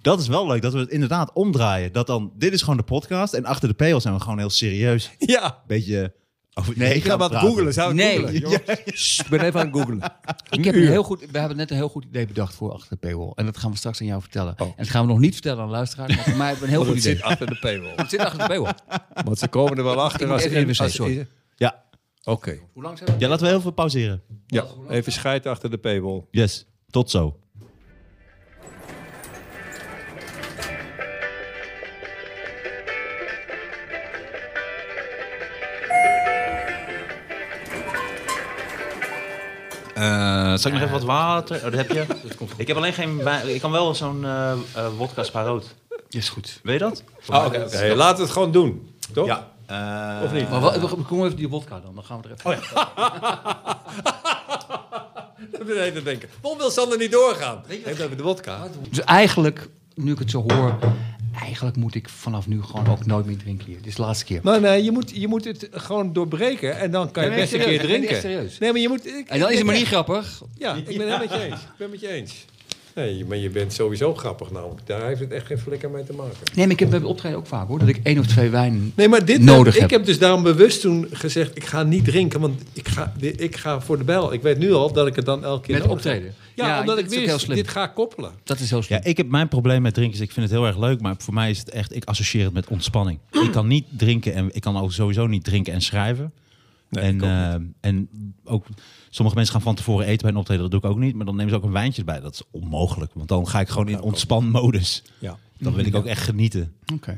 Dat is wel leuk dat we het inderdaad omdraaien. Dat dan, dit is gewoon de podcast. En achter de peel zijn we gewoon heel serieus.
Ja.
Beetje. over- nee,
Ik ga wat
praten.
googelen. Zou ik
Nee.
googelen? jongens? Sst, Ik ben even aan het googelen.
Ik heb een heel goed, we hebben net een heel goed idee bedacht voor achter de paywall. En dat gaan we straks aan jou vertellen. En dat gaan we nog niet vertellen aan de luisteraar. Maar voor mij hebben we een heel
Want
goed
het
idee.
Oh. zit achter de paywall.
Het zit achter de paywall.
Want ze komen er wel achter
Ik
als...
moet even
in-
naar de wc,
als-
sorry.
Ja.
Oké.
Hoe lang zijn we?
ja, laten we heel veel pauzeren.
Ja, even scheid achter de paywall.
Yes, tot zo. zal ik nog even wat water? Oh, dat heb je. Ik heb alleen geen. wijn- Ik kan wel zo'n eh eh, wodka sparoot.
Ja, is goed.
Weet je dat?
Ah,
Hey, laten we het gewoon doen. Toch?
Ja. Eh,
Of niet?
Maar wat, we- kom even die vodka dan. Dan gaan we er even...
Oh, Ik ben even denken. Waarom wil Sander niet doorgaan? Heeft even de wodka.
Dus eigenlijk, nu ik het zo hoor, eigenlijk moet ik vanaf nu gewoon ook nooit meer drinken hier. Dit is de laatste keer.
Maar nee, je moet, je moet het gewoon doorbreken en dan kan je
Nee, nee,
best een
serieus.
keer
Ik ben
drinken.
echt serieus.
Nee, maar je moet... ik-
En dan is het
ik-
maar niet grappig.
Ja, ik ben het met je eens. Ik ben met je eens. Nee, maar je bent sowieso grappig namelijk. Daar heeft het echt geen flikker mee te maken.
Nee, maar ik heb bij het optreden ook vaak hoor, dat ik één of twee wijn...
Nee, maar dit
Nodig
ik
heb.
heb dus daarom bewust toen gezegd: ik ga niet drinken, want ik ga, di- ik ga voor de bel. Ik weet nu al dat ik het dan elke keer
Met
nodig heb.
optreden?
Ja,
Ja,
omdat
dat
ik
is ook
wist,
heel slim.
dit ga ik koppelen.
Dat is heel slim.
Ja, ik heb mijn probleem met drinken is, ik vind het heel erg leuk, maar voor mij is het echt, ik associeer het met ontspanning. Ik kan niet drinken en ik kan ook sowieso niet drinken en schrijven. en, eh, en ook sommige mensen gaan van tevoren eten bij een optreden, dat doe ik ook niet. Maar dan nemen ze ook een wijntje erbij. Dat is onmogelijk, want dan ga ik gewoon in ontspanmodus.
Ja.
Dan wil ik ook echt genieten.
Oké.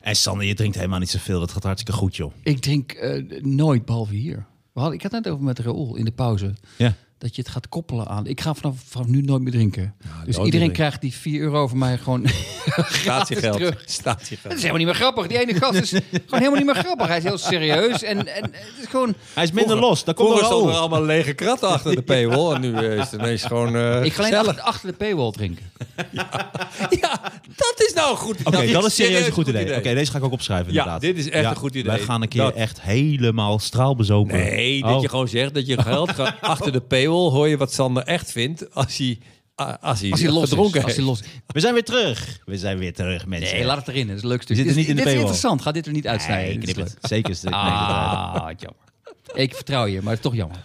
En Sander, je drinkt helemaal niet zoveel. Dat gaat hartstikke goed, joh.
Ik drink eh, nooit, behalve hier. We hadden, ik had het net over met Raoul in de pauze.
Ja.
Dat je het gaat koppelen aan. Ik ga vanaf, vanaf nu nooit meer drinken. dus
Nou, nooit
iedereen
meer
krijgt die 4 euro van mij gewoon.
Statiegeld.
terug.
Statiegeld.
dat is helemaal niet meer grappig. Die ene gast is gewoon helemaal niet meer grappig. Hij is heel serieus. En, en het is gewoon.
Hij is minder los. Daar komt
Vroeger
er
stonden er
al.
allemaal lege kratten achter de paywall. En nu eh, is het ineens gewoon eh
Ik ga alleen
gezellig.
achter, achter de paywall drinken.
Ja, dat is nou een goed idee.
Oké, dat is serieus een goed idee. Oké, deze ga ik ook opschrijven
Ja,
inderdaad.
dit is echt een goed idee.
Wij gaan een keer
Dat-
echt helemaal straalbezopen.
Nee, dat
Oh.
je gewoon zegt dat je geld gaat achter de paywall. Hoor je wat Sander echt vindt als hij, a- als hij,
Als hij los
gedronken
is. Als hij
heeft.
los
We zijn weer terug. We zijn weer terug, mensen.
Nee, laat het erin. Dat is een leuk stuk.
We zitten
Dit is-
niet in de
Dit is
paywall.
interessant. Ga dit er niet uitsnijden.
Nee,
Dit is
knip het.
leuk.
Zeker. is het- nee, dat-
Ah, wat jammer. Ik vertrouw je, maar het is toch jammer.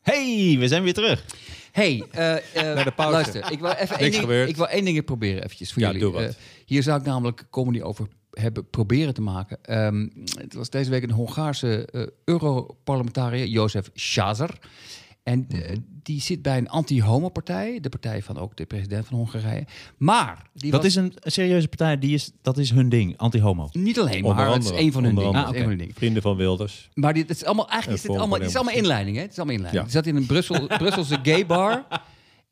Hey, we zijn weer terug.
Hey, eh, eh,
Naar de pauze.
luister, ik wil even één ding,
gebeurd.
ik wil één ding proberen eventjes voor
Ja,
jullie.
doe wat.
Eh, hier zou ik namelijk comedy over hebben proberen te maken. Ehm, het was deze week een Hongaarse eh, Europarlementariër, Jozef Schazer. En eh,
Mhm.
die zit bij een anti-homo-partij, de partij van ook de president van Hongarije. Maar die
Dat
was
is een een serieuze partij. Die is, dat is hun ding. Anti-homo.
niet alleen, maar het is één van hun dingen. Het is één van hun dingen.
Ah, Vrienden van Wilders.
Maar dit, het is allemaal, eigenlijk is
Een
dit
vorm
allemaal, het
van
is allemaal inleiding, hè? Het is allemaal inleiding.
Ja.
Ze zat in een Brussel, Brusselse gay bar.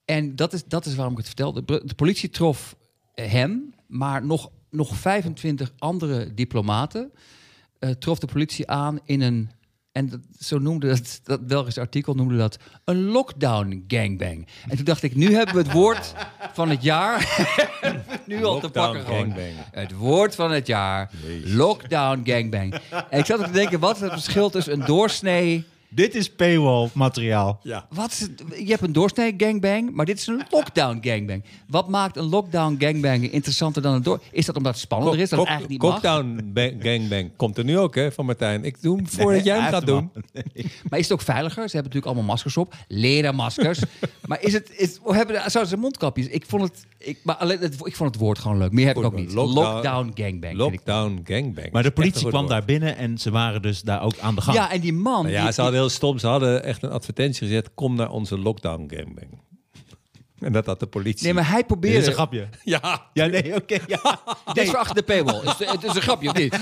En dat is, dat is waarom ik het vertel. De, Bru- de politie trof eh, hem, maar nog, nog 25 andere diplomaten eh, trof de politie aan in een En dat, zo noemde dat, dat Belgisch artikel noemde dat een lockdown gangbang. En toen dacht ik, nu hebben we het woord van het jaar. nu al te
Lockdown
pakken gewoon.
gangbang.
Het woord van het jaar. Lockdown gangbang. En ik zat ook te denken, wat is het verschil tussen een doorsnee...
Dit is paywall materiaal.
Ja.
Wat is het? Je hebt een doorsnee gangbang, maar dit is een lockdown gangbang. Wat maakt een lockdown gangbang interessanter dan een door? Is dat omdat het spannender is, dat het eigenlijk niet mag?
Cockdown ba- gangbang komt er nu ook, hè, van Martijn. Ik doe hem voordat jij hem
Hij
gaat
heeft hem
doen.
Maar is het ook veiliger? Ze hebben natuurlijk allemaal maskers op, lerenmaskers. maar is het, is, of hebben, zouden ze mondkapjes? Ik vond het, ik, maar alleen, het, ik vond het woord gewoon leuk. Meer heb ik
Goed,
ook niet.
lockdown-
Lockdown, gangbang. vind ik.
Lockdown gangbang.
Maar de
Dat is echt
politie
een
kwam
goed
daar binnen en ze waren dus daar ook aan de gang.
Ja, en die man.
woord. Nou
die-
ja, ze hadden heel stom. Ze hadden echt een advertentie gezet. Kom naar onze lockdown gangbang. En dat had de politie.
nee, maar hij
Dit
probeerde.
is een grapje.
Ja,
Ja, nee, oké. ja.
Dit is voor achter de paywall. Is, het is een grapje of niet? Is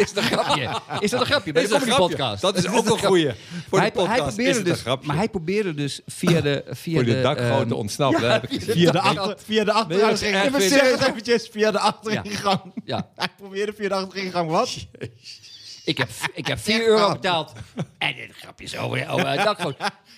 het een grapje? Is dat een grapje? Bij
Is
de
een
comedy
grapje.
podcast.
Dat is
Het
ook een
grapje.
goeie. Voor
Maar
de
hij, hij
podcast is
probeerde
het een
dus,
grapje.
maar hij probeerde dus via de via
voor de dakgoten
ehm,
ontsnappen. daar heb ik gezien.
Via de, achter, via de
Nee, dat is
achteringang.
echt
Even
weer-
zeg het eventjes. Via de achteringang.
Ja.
Hij probeerde via de achteringang wat?
ik heb ik heb 4 euro betaald en dit grapje is over over het dakgoot.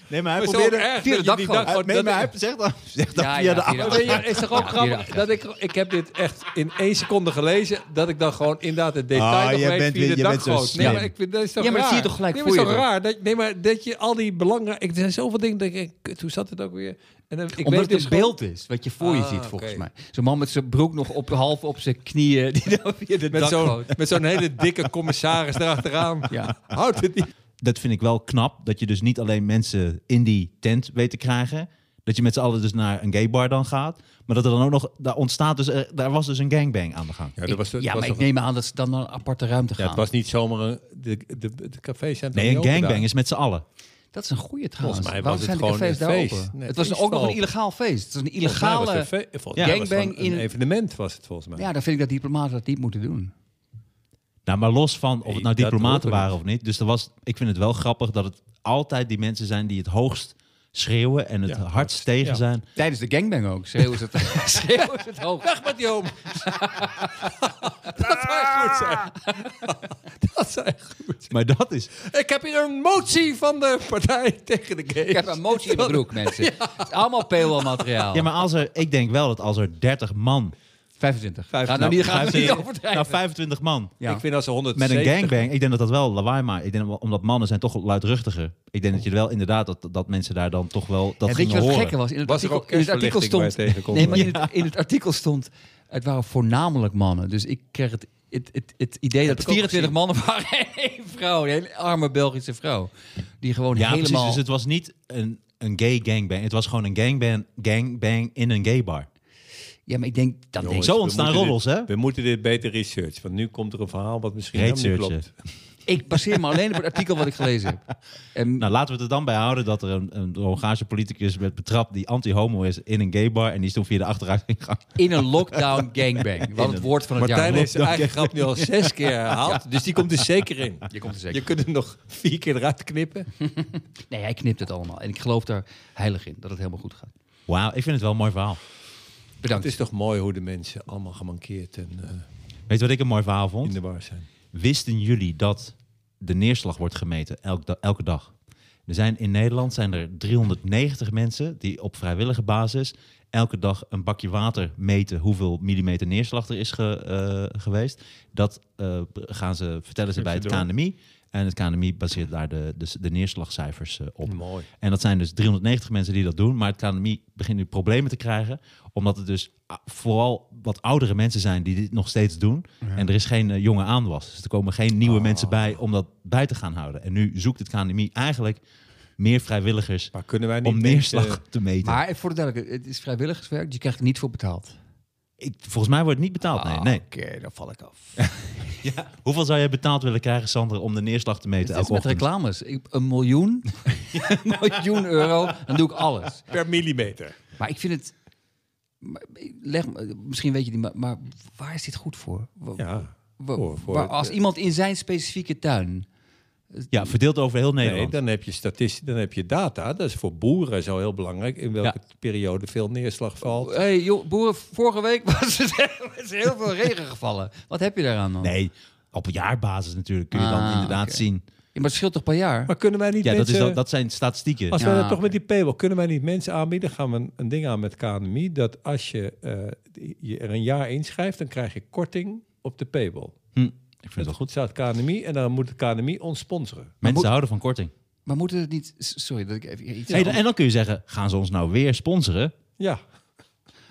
Nee, maar hij
Maar zo
probeerde...
erg
via de
dat je die
dakgoot.
dakgoot-
Hij, nee,
dat-
maar hij zegt dan, zegt dan
Ja,
via
ja,
de
via de
achter.
Nee, ja, is toch ook
Ja,
grappig
die
dat ik, ik heb dit echt in één seconde gelezen, dat ik dan gewoon inderdaad het detail
Ah,
nog
jij
weet
bent
via
weer-
de
je bent zo
dakgoot. Nee,
slim.
maar ik vind dat is toch
Ja, maar dat
raar.
zie je toch gelijk
nee, maar het is
voor
toch
je
raar. Dat, nee, maar dat je al die belangrijke, ik er zijn zoveel dingen, dat ik, denk, kut, hoe zat het ook weer? En dan, ik
Omdat
weet
het
dus
een
gewoon-
beeld is wat je voor je
Ah,
ziet volgens
oké.
mij. Zo'n man met zijn broek nog op, half op zijn knieën die dan via de
met zo'n
dakgoot.
met zo'n hele dikke commissaris erachteraan.
Ja.
Houdt het niet.
Dat vind ik wel knap. Dat je dus niet alleen mensen in die tent weet te krijgen. Dat je met z'n allen dus naar een gay bar dan gaat. Maar dat er dan ook nog... Daar ontstaat dus... er- daar was dus een gangbang aan de gang.
Ja, dat was,
ja, maar ik neem aan dat ze dan naar een aparte ruimte gaan.
het was niet zomaar een, de, de, de cafés zijn
Nee, een gangbang is met z'n allen.
Dat is een goede trouwens.
Volgens mij
Waarom
was
zijn
het
de
gewoon
cafés
een
daar
feest.
open?
Nee,
het was
feest
ook nog een
open.
illegaal feest. Het was een
Illegale
illegale...
Ja,
gangbang
gangbang
in
in-
een evenement was het volgens mij.
Ja, dan vind ik dat diplomaten dat niet moeten doen.
Nou, maar los van of
Nee,
het nou
dat
diplomaten
hoort er
waren of niet. Dus er was, ik vind het wel grappig dat het altijd die mensen zijn die het hoogst schreeuwen en het
Ja,
hardst tegen
ja.
zijn.
Tijdens de gangbang ook. Schreeuwen ze het, schreeuwen ze het hoog.
Weg met die oom. dat zou goed zijn.
Ah.
dat zou echt goed zijn.
Maar dat is.
Oh.
Ik heb hier een motie van de partij tegen de gays.
Ik heb een motie in mijn broek, mensen. Het is allemaal paywall materiaal.
Ja, maar als er, ik denk wel dat als er 30 man.
25. Ga
Vijfentwintig.
nou, niet, gaan we niet
25
overdrijven.
nou, 25 man.
Ja.
Ik vind als ze
Met
170...
een gangbang, ik denk dat dat wel lawaai maakt. Ik denk, wel- omdat mannen zijn toch luidruchtiger. Ik denk dat je wel inderdaad dat, dat mensen daar dan toch wel dat
en weet
gingen
je wat het
horen.
gekke was? In het
Was er
artikel,
ook
in het artikel
kerstverlichting
stond.
waar je tegenkomt?
Nee, maar in, het, in het artikel stond. Het waren voornamelijk mannen. Dus ik kreeg het, het, het, het idee dat
ik ook
24 mannen waren. en één vrouw. Een hele arme Belgische vrouw. Die gewoon
Ja,
helemaal.
precies. Dus het was niet een, een gay gangbang. Het was gewoon een gangbang, gangbang in een gay bar.
Ja, maar ik denk. Dan denk
Jongens,
Zo
we
ontstaan
moeten
roddels,
dit-
hè?
We moeten dit beter researchen. Want nu komt er een verhaal wat misschien helemaal niet
Researchen.
klopt.
Ik baseer me alleen op het artikel wat ik gelezen heb. En
Nou, laten we het er dan bij houden dat er een, een Hongaarse politicus werd betrapt die anti-homo is in een gay bar en die is toen via de achteruit gegaan.
in een lockdown gangbang. Wat het woord van het
Martijn
jaar.
heeft zijn eigen grap nu al zes keer herhaald. Dus die komt er zeker in.
Je komt er zeker.
Je kunt hem nog vier keer eruit knippen.
Nee, hij knipt het allemaal. En ik geloof daar heilig in dat het helemaal goed gaat.
Wauw, ik vind het wel een mooi verhaal.
Het
Bedankt.
is toch mooi hoe de mensen allemaal gemankeerd en eh,
Weet je wat ik een mooi verhaal
in
vond?
de war zijn.
Wisten jullie dat de neerslag wordt gemeten elk da- elke dag? Er zijn in Nederland zijn er 390 mensen die op vrijwillige basis elke dag een bakje water meten hoeveel millimeter neerslag er is ge- eh, geweest. Dat eh, gaan ze, vertellen ze bij het
Door.
KNMI. En het KNMI baseert daar de, de, de neerslagcijfers eh, op.
Mooi.
En dat zijn dus 390 mensen die dat doen. Maar het KNMI begint nu problemen te krijgen. Omdat het dus ah, vooral wat oudere mensen zijn die dit nog steeds doen. En er is geen eh, jonge aanwas. Dus er komen geen
Ah.
nieuwe mensen bij om dat bij te gaan houden. En nu zoekt het KNMI eigenlijk meer vrijwilligers
Maar kunnen wij niet eh,
om
mensen-
neerslag te meten.
Maar even voor de duidelijkheid, het is vrijwilligerswerk. Dus je krijgt er niet voor betaald.
Ik, volgens mij wordt het niet betaald.
Ah.
Nee, nee.
Oké, dan val ik af.
Hoeveel zou jij betaald willen krijgen, Sander, om de neerslag te meten
Het is
elke
met
ochtend?
reclames. Ik- Een miljoen, een miljoen euro, dan doe ik alles.
Per millimeter. Maar
Maar ik vind het... maar Leg, me- misschien weet je die, maar, maar waar is dit goed voor? Wa-
Ja,
wa-
voor- voor
waar-
het-
als iemand in zijn specifieke tuin...
Ja, verdeeld over heel
nee,
Nederland.
dan heb je statistiek, dan heb je data. Dat is voor boeren zo heel belangrijk. In welke periode veel neerslag valt.
Hé, hey, joh, boeren, vorige week was het, was er heel veel regen gevallen. Wat heb je daaraan dan?
Nee, Op jaarbasis natuurlijk kun je dan
Ah,
inderdaad
oké.
zien.
Ja, maar het scheelt toch per jaar?
Maar kunnen wij niet
Ja, dat,
mensen...
is dan, dat zijn statistieken.
eh, Als
Ja,
wij dat
oké.
toch met die paywall, kunnen wij niet mensen aanbieden? Gaan we een, een ding aan met KNMI dat als je, eh, je er een jaar inschrijft, dan krijg je korting op de paywall.
Hm, ik vind het wel goed.
staat KNMI en dan moet de KNMI ons sponsoren.
Mensen
moet-
houden van korting.
Maar moeten het niet... s- Sorry dat ik even iets...
Hey, dan- en dan kun je zeggen, gaan ze ons nou weer sponsoren?
Ja,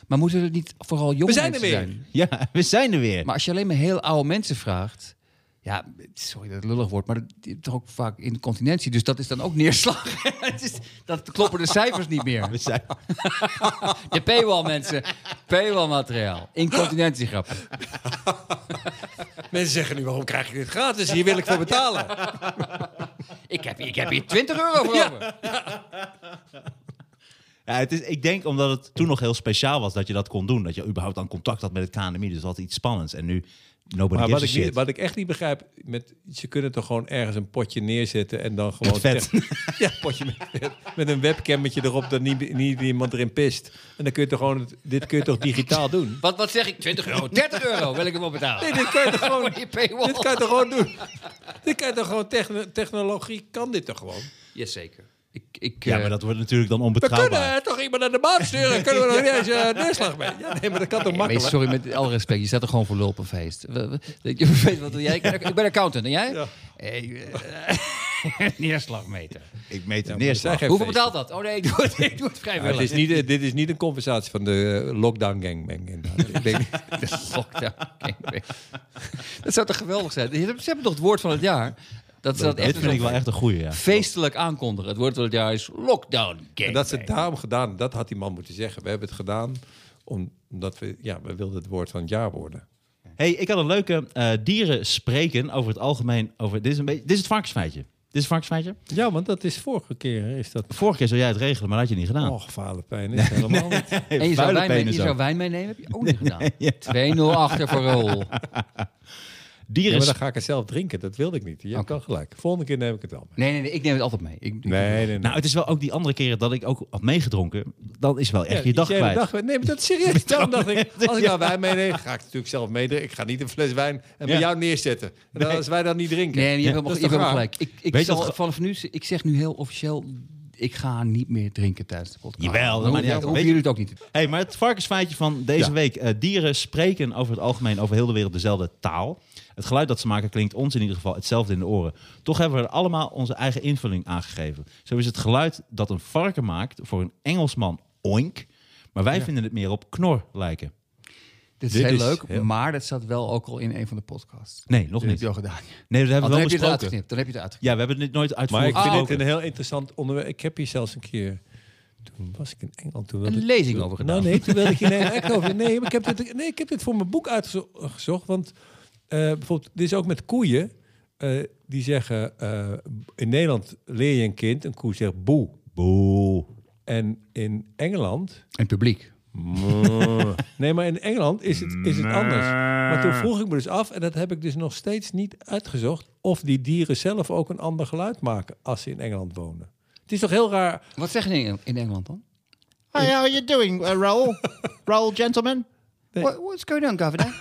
Maar moeten het niet vooral jonge
We zijn er
mensen
weer.
zijn?
Ja, we zijn er weer.
Maar als je alleen maar heel oude mensen vraagt... Ja, sorry dat het lullig wordt, maar dat is toch ook vaak incontinentie. Dus dat is dan ook neerslag. Het is- dat kloppen de cijfers niet meer.
we zijn...
De paywall mensen. Paywall materiaal. Incontinentiegrap.
mensen zeggen nu, waarom krijg je dit gratis? Hier wil ik voor betalen.
Ik heb, hier- ik heb hier 20 euro voor over.
Ja, het is, ik denk omdat het toen nog heel speciaal was dat je dat kon doen. Dat je überhaupt aan contact had met het KNMI. Dus dat had iets spannends. En nu, nobody
Maar
gives
wat
a
ik,
shit.
niet, wat ik echt niet begrijp, met, ze kunnen toch gewoon ergens een potje neerzetten en dan gewoon...
vet.
tech- ja, potje met, vet. met een webcammetje erop dat niet, niet iemand erin pist. En dan kun je toch gewoon, het- dit kun je toch digitaal doen?
Wat, wat zeg ik? 20 euro, 30 euro wil ik hem wel betalen.
Nee, dit kan je toch gewoon,
Voor die paywall.
dit kan je toch gewoon doen? Dit kan je toch gewoon, techno- technologie kan dit toch gewoon?
Jazeker. Ik, ik,
ja,
eh,
maar dat wordt natuurlijk dan
We
onbetrouwbaar.
kunnen eh, toch iemand naar de maan sturen? Kunnen we nog niet eens eh, neerslag mee? Ja, nee, maar dat kan toch
Nee,
makkelijk?
sorry, met alle respect. Je staat er gewoon voor lul op een feest. We- we- Je weet wat doe jij? Ik ben, ik ben accountant. En jij? eh,
Ja.
Hey, eh, neerslagmeter.
Ik meet het
Ja, maar
neer.
er zijn geen
Hoeveel
feesten.
betaalt dat? Oh nee, ik doe het, ik doe het
Ja, het
vrijwillig.
is niet, eh, dit is niet een conversatie van de eh, lockdown gangbang. inderdaad. Ik denk,
De lockdown gangbang. Dat zou toch geweldig zijn? Ze hebben ze hebben toch het woord van het jaar? Dat ze dat
Dit
echt
vind ik wel echt een goeie, ja.
feestelijk aankondigen. Het woord van het jaar is lockdown
En
gangbang.
dat ze het daarom gedaan, dat had die man moeten zeggen. We hebben het gedaan om- omdat we, ja, we wilden het woord van het jaar worden.
Hey, ik had een leuke eh, dieren spreken over het algemeen. Over, dit, is een beetje, dit is het varkensfeitje. Dit is het varkensfeitje.
Ja, want dat is vorige keer, is dat...
Vorige keer zou jij het regelen, maar dat had je niet gedaan.
Oh, gevaarlijkpijn is helemaal niet.
Hey,
En je zou,
vuile
wijn mee,
penis
je
ook.
zou wijn meenemen, heb je ook niet gedaan. 2-0 achter voor Rol.
Ja,
Dieren
maar dan ga ik het zelf drinken, dat wilde ik niet. Je hebt wel gelijk. Volgende keer neem ik het wel mee.
Nee, nee, nee, ik neem het altijd mee. Ik, ik-
Nee, nee,
Nou, het is wel ook die andere keren dat ik ook had meegedronken. Dan is wel echt je dag kwijt.
nee, maar dat is serieus. Daarom dacht ik, als ik nou wijn meeneem, ga ik natuurlijk zelf meedrinken. Ik ga niet een fles wijn en bij
Ja.
jou neerzetten. En dan, als wij dat niet drinken.
Nee, je hebt helemaal,
dat is
je hebt
toch
helemaal
raar?
gelijk. Ik, ik,
Weet je
zal,
wat ge-
vanaf nu, ik zeg nu heel officieel, ik ga niet meer drinken tijdens de podcast.
Jawel, dat
dan
maakt
hoeven
niet uit.
hoeven
Weet je-
jullie het ook niet te doen.
Hey, maar het varkensfeitje van deze
Ja.
week. Eh, dieren spreken over het algemeen over heel de wereld dezelfde taal. Het geluid dat ze maken klinkt ons in ieder geval hetzelfde in de oren. Toch hebben we er allemaal onze eigen invulling aangegeven. Zo is het geluid dat een varken maakt voor een Engelsman oink. Maar wij vinden het meer op knor lijken.
Dit is
Dit
heel
is
leuk,
heel-
maar dat staat wel ook al in een van de podcasts.
Nee, nog
Dat heb
niet.
je al gedaan.
Nee, dat
Oh,
hebben
dan,
we
heb je
wel
het
besproken.
uitgeknipt, dan heb je het uitgeknipt.
Ja, we hebben het nooit
Maar ik
uitvoerig
vind
Ah,
dit
besproken.
een heel interessant onderwerp. Ik heb hier zelfs een keer... Toen was ik in Engeland. Toen wilde
Een
ik-
lezing over gedaan.
Nou, nee, toen wilde ik hier nee, echt over. Nee, maar ik heb dit, nee, ik heb dit voor mijn boek uitgezocht. Want eh, bijvoorbeeld, dit is ook met koeien. Eh, die zeggen, eh, in Nederland leer je een kind, een koe zegt boe.
Boe.
En in Engeland...
En het publiek.
Nee, maar in Engeland is het, is het anders. Maar toen vroeg ik me dus af, en dat heb ik dus nog steeds niet uitgezocht... of die dieren zelf ook een ander geluid maken als ze in Engeland wonen. Het is toch heel raar
Wat zeggen ze in, Engel- in Engeland dan?
Hi, how are you doing, uh, Raoul? Raoul, gentleman?
What, what's going on, governor?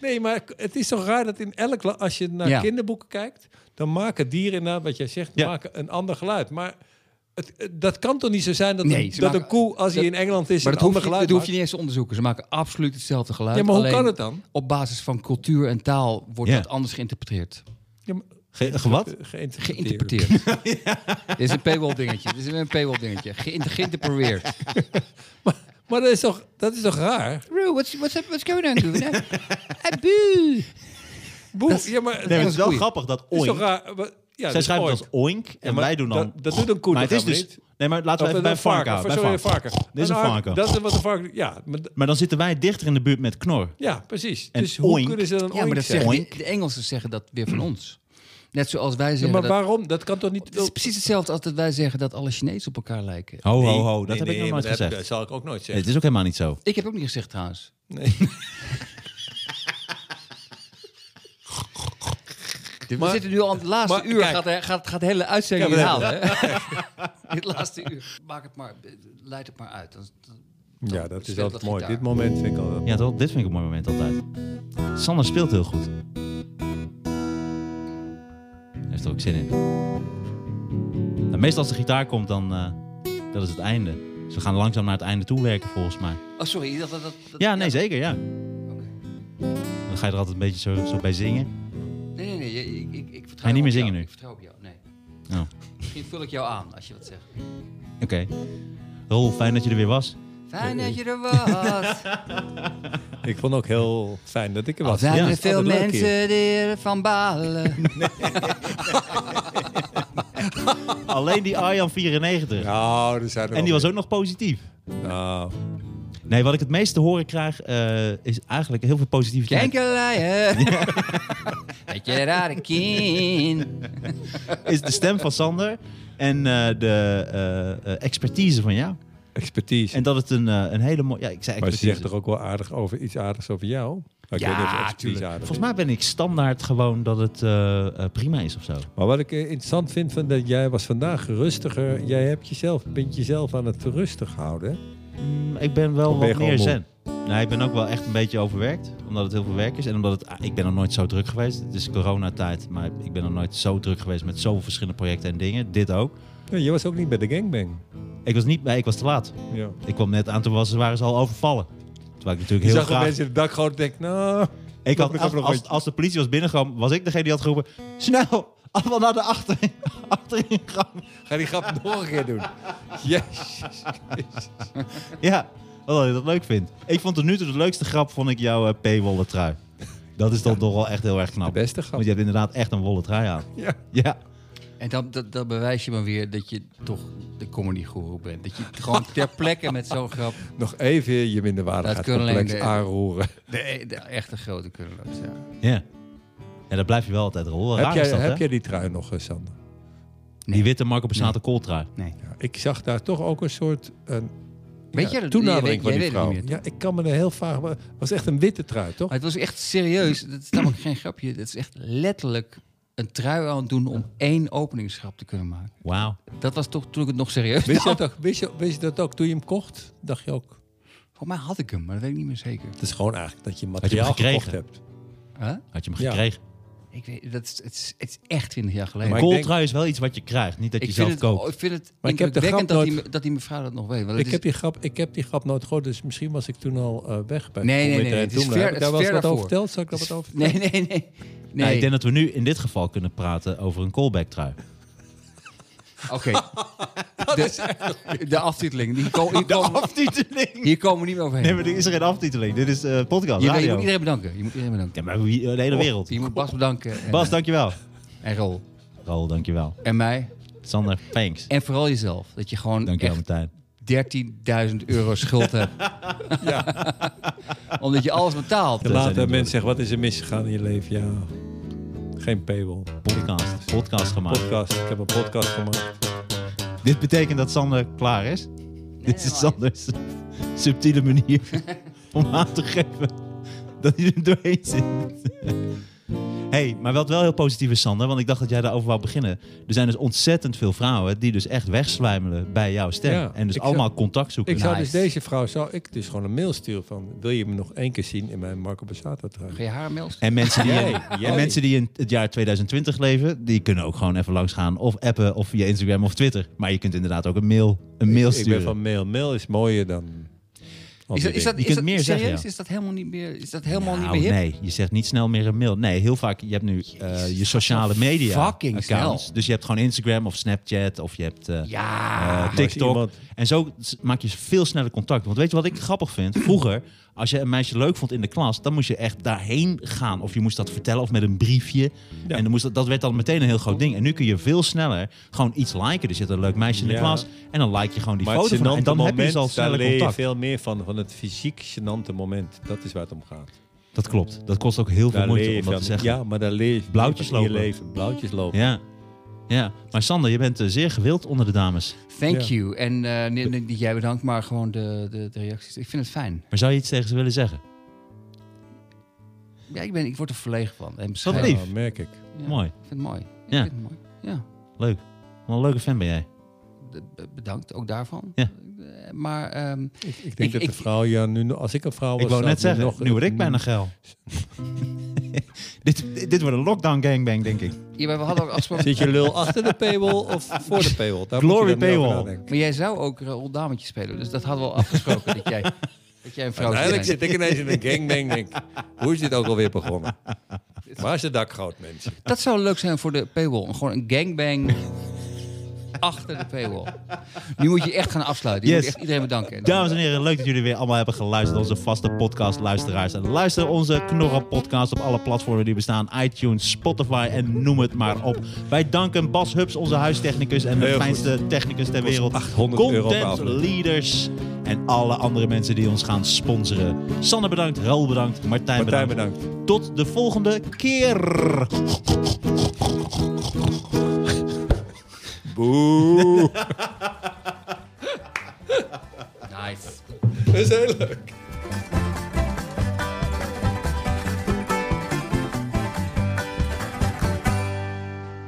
Nee, maar k- het is toch raar dat in elk land, als je naar
Ja.
kinderboeken kijkt, dan maken dieren inderdaad, wat jij zegt,
Ja.
maken een ander geluid. Maar het, het- dat kan toch niet zo zijn dat,
Nee,
een,
ze
dat
maken-
een koe, als hij
dat-
in Engeland is,
maar
een
dat hoef,
ander
je,
geluid
dat hoef je
maakt?
niet eens te onderzoeken. Ze maken absoluut hetzelfde geluid.
Ja, maar hoe
alleen
kan het dan?
Op basis van cultuur en taal wordt
Ja.
dat anders geïnterpreteerd.
Ja, maar- eh,
Ge- ge- wat?
Geïnterpreteerd.
Geïnterpreteerd. Dit is een paywall dingetje. Dit is weer een paywall dingetje. Geïnter- Geïnterpreteerd.
Maar dat is, toch, dat is toch raar?
Roo, what's, what's, up, what's going on, governor? Ah, boe.
Boe, ja, maar,
Nee, maar het
dat
is wel
Oei.
grappig dat
is
oink...
toch raar? Maar- Ja,
Zij
dat
schrijven het
ooit.
als oink en
Ja, maar
wij doen dan...
dat- dat doet een koe
Maar
toch
het is
helemaal
dus... Nee, maar laten
Of
we even bij
een
een varken
Of,
houden.
sorry,
bij
een varken.
Dit is een
ar-
varken.
Dat is wat een varken... Ja, maar, d-
Maar dan zitten wij dichter in de buurt met knor.
ja precies.
En
dus hoe
oink.
kunnen ze dan
Ja, maar dat
zeggen?
zeggen, de, de Engelsen zeggen dat weer van ons. Net zoals wij zeggen
maar
dat...
waarom? Dat kan toch niet...
Het is precies hetzelfde als dat wij zeggen dat alle Chinezen op elkaar lijken.
Ho,
Nee,
ho, ho. Dat
Oh, nee,
heb
nee,
ik
maar
nog nooit
dat heb-
gezegd.
Dat zal ik ook nooit zeggen.
Nee, het is ook helemaal niet zo.
Ik heb ook niet gezegd trouwens. We zitten nu al aan het laatste
maar
uur.
kijk.
gaat, hij- gaat, gaat de hele uitzending
Ja, maar-
herhalen. hè? het laatste uur. Maak het maar, leid het maar uit. Dan- dan-
Ja, dat is
Speelt
altijd
dat
mooi.
gitaar.
Dit moment vind ik al.
Ja, toch? Dit vind ik een mooi moment altijd. Sander speelt heel goed. er ook zin in. Nou, meestal als de gitaar komt, dan eh, dat is het einde. Dus we gaan langzaam naar het einde toe werken volgens mij.
Oh, sorry. Dat, dat, dat-
Ja, nee, zeker, ja. Dan ga je er altijd een beetje zo, zo bij zingen.
Nee, nee, nee. je- Ik, ik, ik vertrouw
Ga je niet meer
op jou.
zingen nu?
Ik vertrouw op jou, nee.
Oh,
Misschien vul ik jou aan als je wat zegt.
Eh, Oké. Rol, fijn dat je er weer was.
Fijn dat je er was.
Ik vond ook heel fijn dat ik er
Al
was.
zijn
Ja,
er
is
veel
altijd leuk
mensen die ervan balen.
Alleen die Arjan 94.
Nou, er zijn er
En die
wel
was ook nog positief.
meer. Nou,
Nee, wat ik het meest te horen krijg eh, is eigenlijk heel veel positiviteit.
Kenkerleier. Met je rare kind.
Is de stem van Sander en eh, de eh, eh, expertise van jou.
expertise.
En dat het een, eh, een hele mooie... Ja, ik zei
maar ze
expertise.
zegt er ook wel aardig over, iets aardigs over jou. Maar ik
Ja,
weet niet of expertise
tuurlijk.
aardig is.
Volgens mij ben ik standaard gewoon dat het eh, eh, prima is of zo.
Maar wat ik eh, interessant vind, van dat jij was vandaag rustiger. Jij hebt jezelf, bent jezelf aan het rustig houden. hè?
Mm, ik ben wel
Of ben je
wat meer
gewoon
zen. Nee, Nou, ik ben ook wel echt een beetje overwerkt. Omdat het heel veel werk is. En omdat het... ah, ik ben nog nooit zo druk geweest. Het is coronatijd, maar ik ben nog nooit zo druk geweest met zoveel verschillende projecten en dingen. Dit ook.
Ja, je was ook niet bij de gangbang.
Ik was niet bij, ik was te laat.
Ja.
Ik kwam net aan te wassen, waren ze al overvallen. Terwijl ik
Je
natuurlijk heel
zag dat
graag...
mensen in het dak gewoon denken, nou...
Ik had,
nog
als,
even een
als,
rondje.
als de politie was binnengekomen, was ik degene die had geroepen... Snel, allemaal naar de achter, achteringang.
Ga die grap nog een keer doen. Jezus.
Ja, wat je dat leuk vindt. Ik vond tot nu toe de leukste grap, vond ik jouw p paywollen trui. Dat is dan toch wel echt heel erg knap.
De beste grap.
Want je hebt inderdaad echt een wollen trui aan.
Ja.
Ja.
En dan, dat, dat bewijs je maar weer dat je toch de comedy guru bent. Dat je gewoon ter plekke met zo'n grap
Nog even je minderwaardigheidscomplex
Dat kunnen alleen de-
aanroeren.
de, de echte grote kunnen lopen. Ja.
Ja. Ja, dat blijf je wel altijd rollen.
Heb
Raar
jij,
is dat,
heb
hè?
jij die trui nog, eh, Sander?
Die witte Marco Passato kooltrui.
Ja, ik zag daar toch ook een soort een,
Weet
ja,
je dat- jij
toenadering
weet-
van
jij
die
weet het
vrouw.
niet meer,
ja, ik kan me er heel vaag... maar Het was echt een witte trui, toch?
Maar het was echt serieus. Dat is namelijk geen grapje. Dat is echt letterlijk een trui aan het doen om één openingsgrap te kunnen maken.
Wauw.
Dat was toch toen ik het nog serieus
Wist je, dat ook, wist, je, wist je dat ook toen je hem kocht? Dacht je ook...
Voor mij had ik hem, maar dat weet ik niet meer zeker.
Het is gewoon eigenlijk dat je
je hem
materiaal
gekregen?
gekocht hebt.
Huh?
Had je hem
Ja.
gekregen.
Ik weet, dat is, het, is, het is echt 20 jaar geleden.
Maar ik
kooltrui
denk-
is wel iets wat je krijgt, niet dat je
ik,
zelf
vind het,
koopt.
ik vind het
Maar ik heb de
indrukwekkend
grap
dat,
nooit-
die, dat die mevrouw dat nog weet. Want
Ik
het
heb,
is,
die grap, ik heb die grap nooit gehoord, dus misschien was ik toen al eh, weg bij
Nee, nee,
Comedy
nee,
en
het is
Doemla.
ver-
Heb ik
het
daar
is
wel eens
ver
wat over
daarvoor.
verteld? Zal ik daar wat over
Nee, nee, nee. nee.
Nou, ik denk dat we nu in dit geval kunnen praten over een callback trui.
Oké. Oh, de, de aftiteling. Die ko- hier, komen,
aftiteling.
hier komen we niet meer overheen.
Nee, maar er is er geen aftiteling. Dit is eh, podcast,
je, je
radio.
moet iedereen bedanken. Je moet
Ja,
iedereen bedanken.
maar wie, de hele
Oh.
wereld.
Je moet Bas bedanken. En,
Bas,
eh,
dankjewel.
En Rol.
Raoul, dankjewel.
En mij.
Sander, thanks.
En vooral jezelf. Dat je gewoon
Dankjewel, Martijn.
echt 13.000 euro schuld hebt. Omdat je alles betaalt.
Ja. zijn
Later
die woorden.
mensen zeggen, wat is er misgegaan in je leven? Ja, geen paywall.
Podcast. Podcast gemaakt.
Podcast, ik heb een podcast gemaakt.
Dit betekent dat Sander klaar is. Dit is
maar-
Sanders subtiele manier om aan te geven dat hij er doorheen zit. hey, maar wat wel heel positief is, Sander, want ik dacht dat jij daarover wou beginnen. Er zijn dus ontzettend veel vrouwen die dus echt wegsluimelen bij jouw stem.
Ja,
en dus
ik zou-
allemaal contact zoeken.
Ik zou
Nice.
dus deze vrouw, zou ik dus gewoon een mail sturen van... wil je me nog één keer zien in mijn Marco Bassato trui?
Ga je haar mails?
En mensen die,
Jij,
in,
jij.
en mensen die in het jaar 2020 leven, die kunnen ook gewoon even langs gaan. Of appen, of via Instagram of Twitter. Maar je kunt inderdaad ook een mail, een mail
Ik ben
sturen.
van mail. Mail is mooier dan... al die
Is dat, is
dingen.
dat,
Je
is
kunt
dat
meer zeggen,
serieus?
ja.
Is dat helemaal niet meer, is dat helemaal niet
Nou,
meer hip?
nee, je zegt niet snel meer een mail. Nee, heel vaak, je hebt nu eh, je sociale media
fucking snel.
accounts. Dus je hebt gewoon Instagram of Snapchat of je hebt eh,
Ja.
eh,
Maar nou, als
TikTok.
iemand-
En zo s- maak je veel sneller contact. Want weet je wat ik grappig vind? Vroeger, als je een meisje leuk vond in de klas, dan moest je echt daarheen gaan. Of je moest dat vertellen of met een briefje. En dan moest dat, dat werd dan meteen een heel groot ding. En nu kun je veel sneller gewoon iets liken. Er zit een leuk meisje in de
Ja.
klas en dan like je gewoon die
Maar
foto
het
van haar. En dan
moment,
heb je ze al
daar
sneller
leer je
contact.
veel meer van. Van het fysiek gênante moment. Dat is waar het om gaat.
Dat klopt. Dat kost ook heel veel
Daar leer
moeite
je
om dat
van.
te zeggen.
Ja, maar daar leer je
Blauwtjes
van in
lopen.
je leven. Blauwtjes lopen.
Ja. ja, maar Sander, je bent eh, zeer gewild onder de dames.
Thank
Ja.
you. En eh, niet, niet- niet jij bedankt, maar gewoon de, de, de reacties. Ik vind het fijn.
Maar zou je iets tegen ze willen zeggen?
Ja, ik, ben, ik word er verlegen van. En
Wat
bescheiden.
lief.
Ja, merk ik.
Ja,
Mooi.
Ik vind het mooi. Ik
Ja.
vind het mooi. Ja.
Leuk. Wat een leuke fan ben jij.
D- b- bedankt ook daarvan.
Ja.
Eh, Maar ehm,
Ik, ik
Ik-
denk dat
ik-
de vrouw, ja, nu, nog- als ik een vrouw was...
Ik wou
zou
net zeggen,
nog-
nu word ik bijna geil. dit, dit- dit wordt een lockdown gangbang, denk ik.
ja, maar we hadden ook afgesproken.
Zit je lul achter de paywall of voor de paywall? Daar
Glory
moet je dan nu over
paywall.
nadenken.
Maar jij zou ook Raoul Dametje spelen, dus dat hadden we al afgesproken dat jij, dat jij een vrouw
Uiteindelijk
bent.
zit ik ineens in een gangbang denk ik, Hoe is dit ook alweer begonnen? Waar is de dakgoud, mensen?
Dat zou leuk zijn voor de paywall. Gewoon een gangbang achter de paywall. Nu moet je echt gaan afsluiten. Je
Yes.
moet echt iedereen bedanken.
Dames en heren, leuk dat jullie weer allemaal hebben geluisterd. Onze vaste podcastluisteraars. En luister onze Knorren podcast op alle platformen die bestaan. iTunes, Spotify en noem het maar op. Wij danken Bas Hubs, onze huistechnicus en de
Heel goed.
fijnste technicus ter
Kost
wereld.
800 euro per
Content
aflevering.
leaders en alle andere mensen die ons gaan sponsoren. Sanne bedankt, Raoul bedankt, Martijn,
Martijn,
bedankt.
bedankt.
Tot de volgende keer.
Boe.
Nice.
Dat is heel leuk.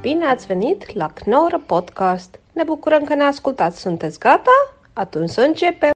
Bine ați venit la Knorr Podcast! Ne bucurăm că ne ascultați! Sunteți gata? Atunci să începem!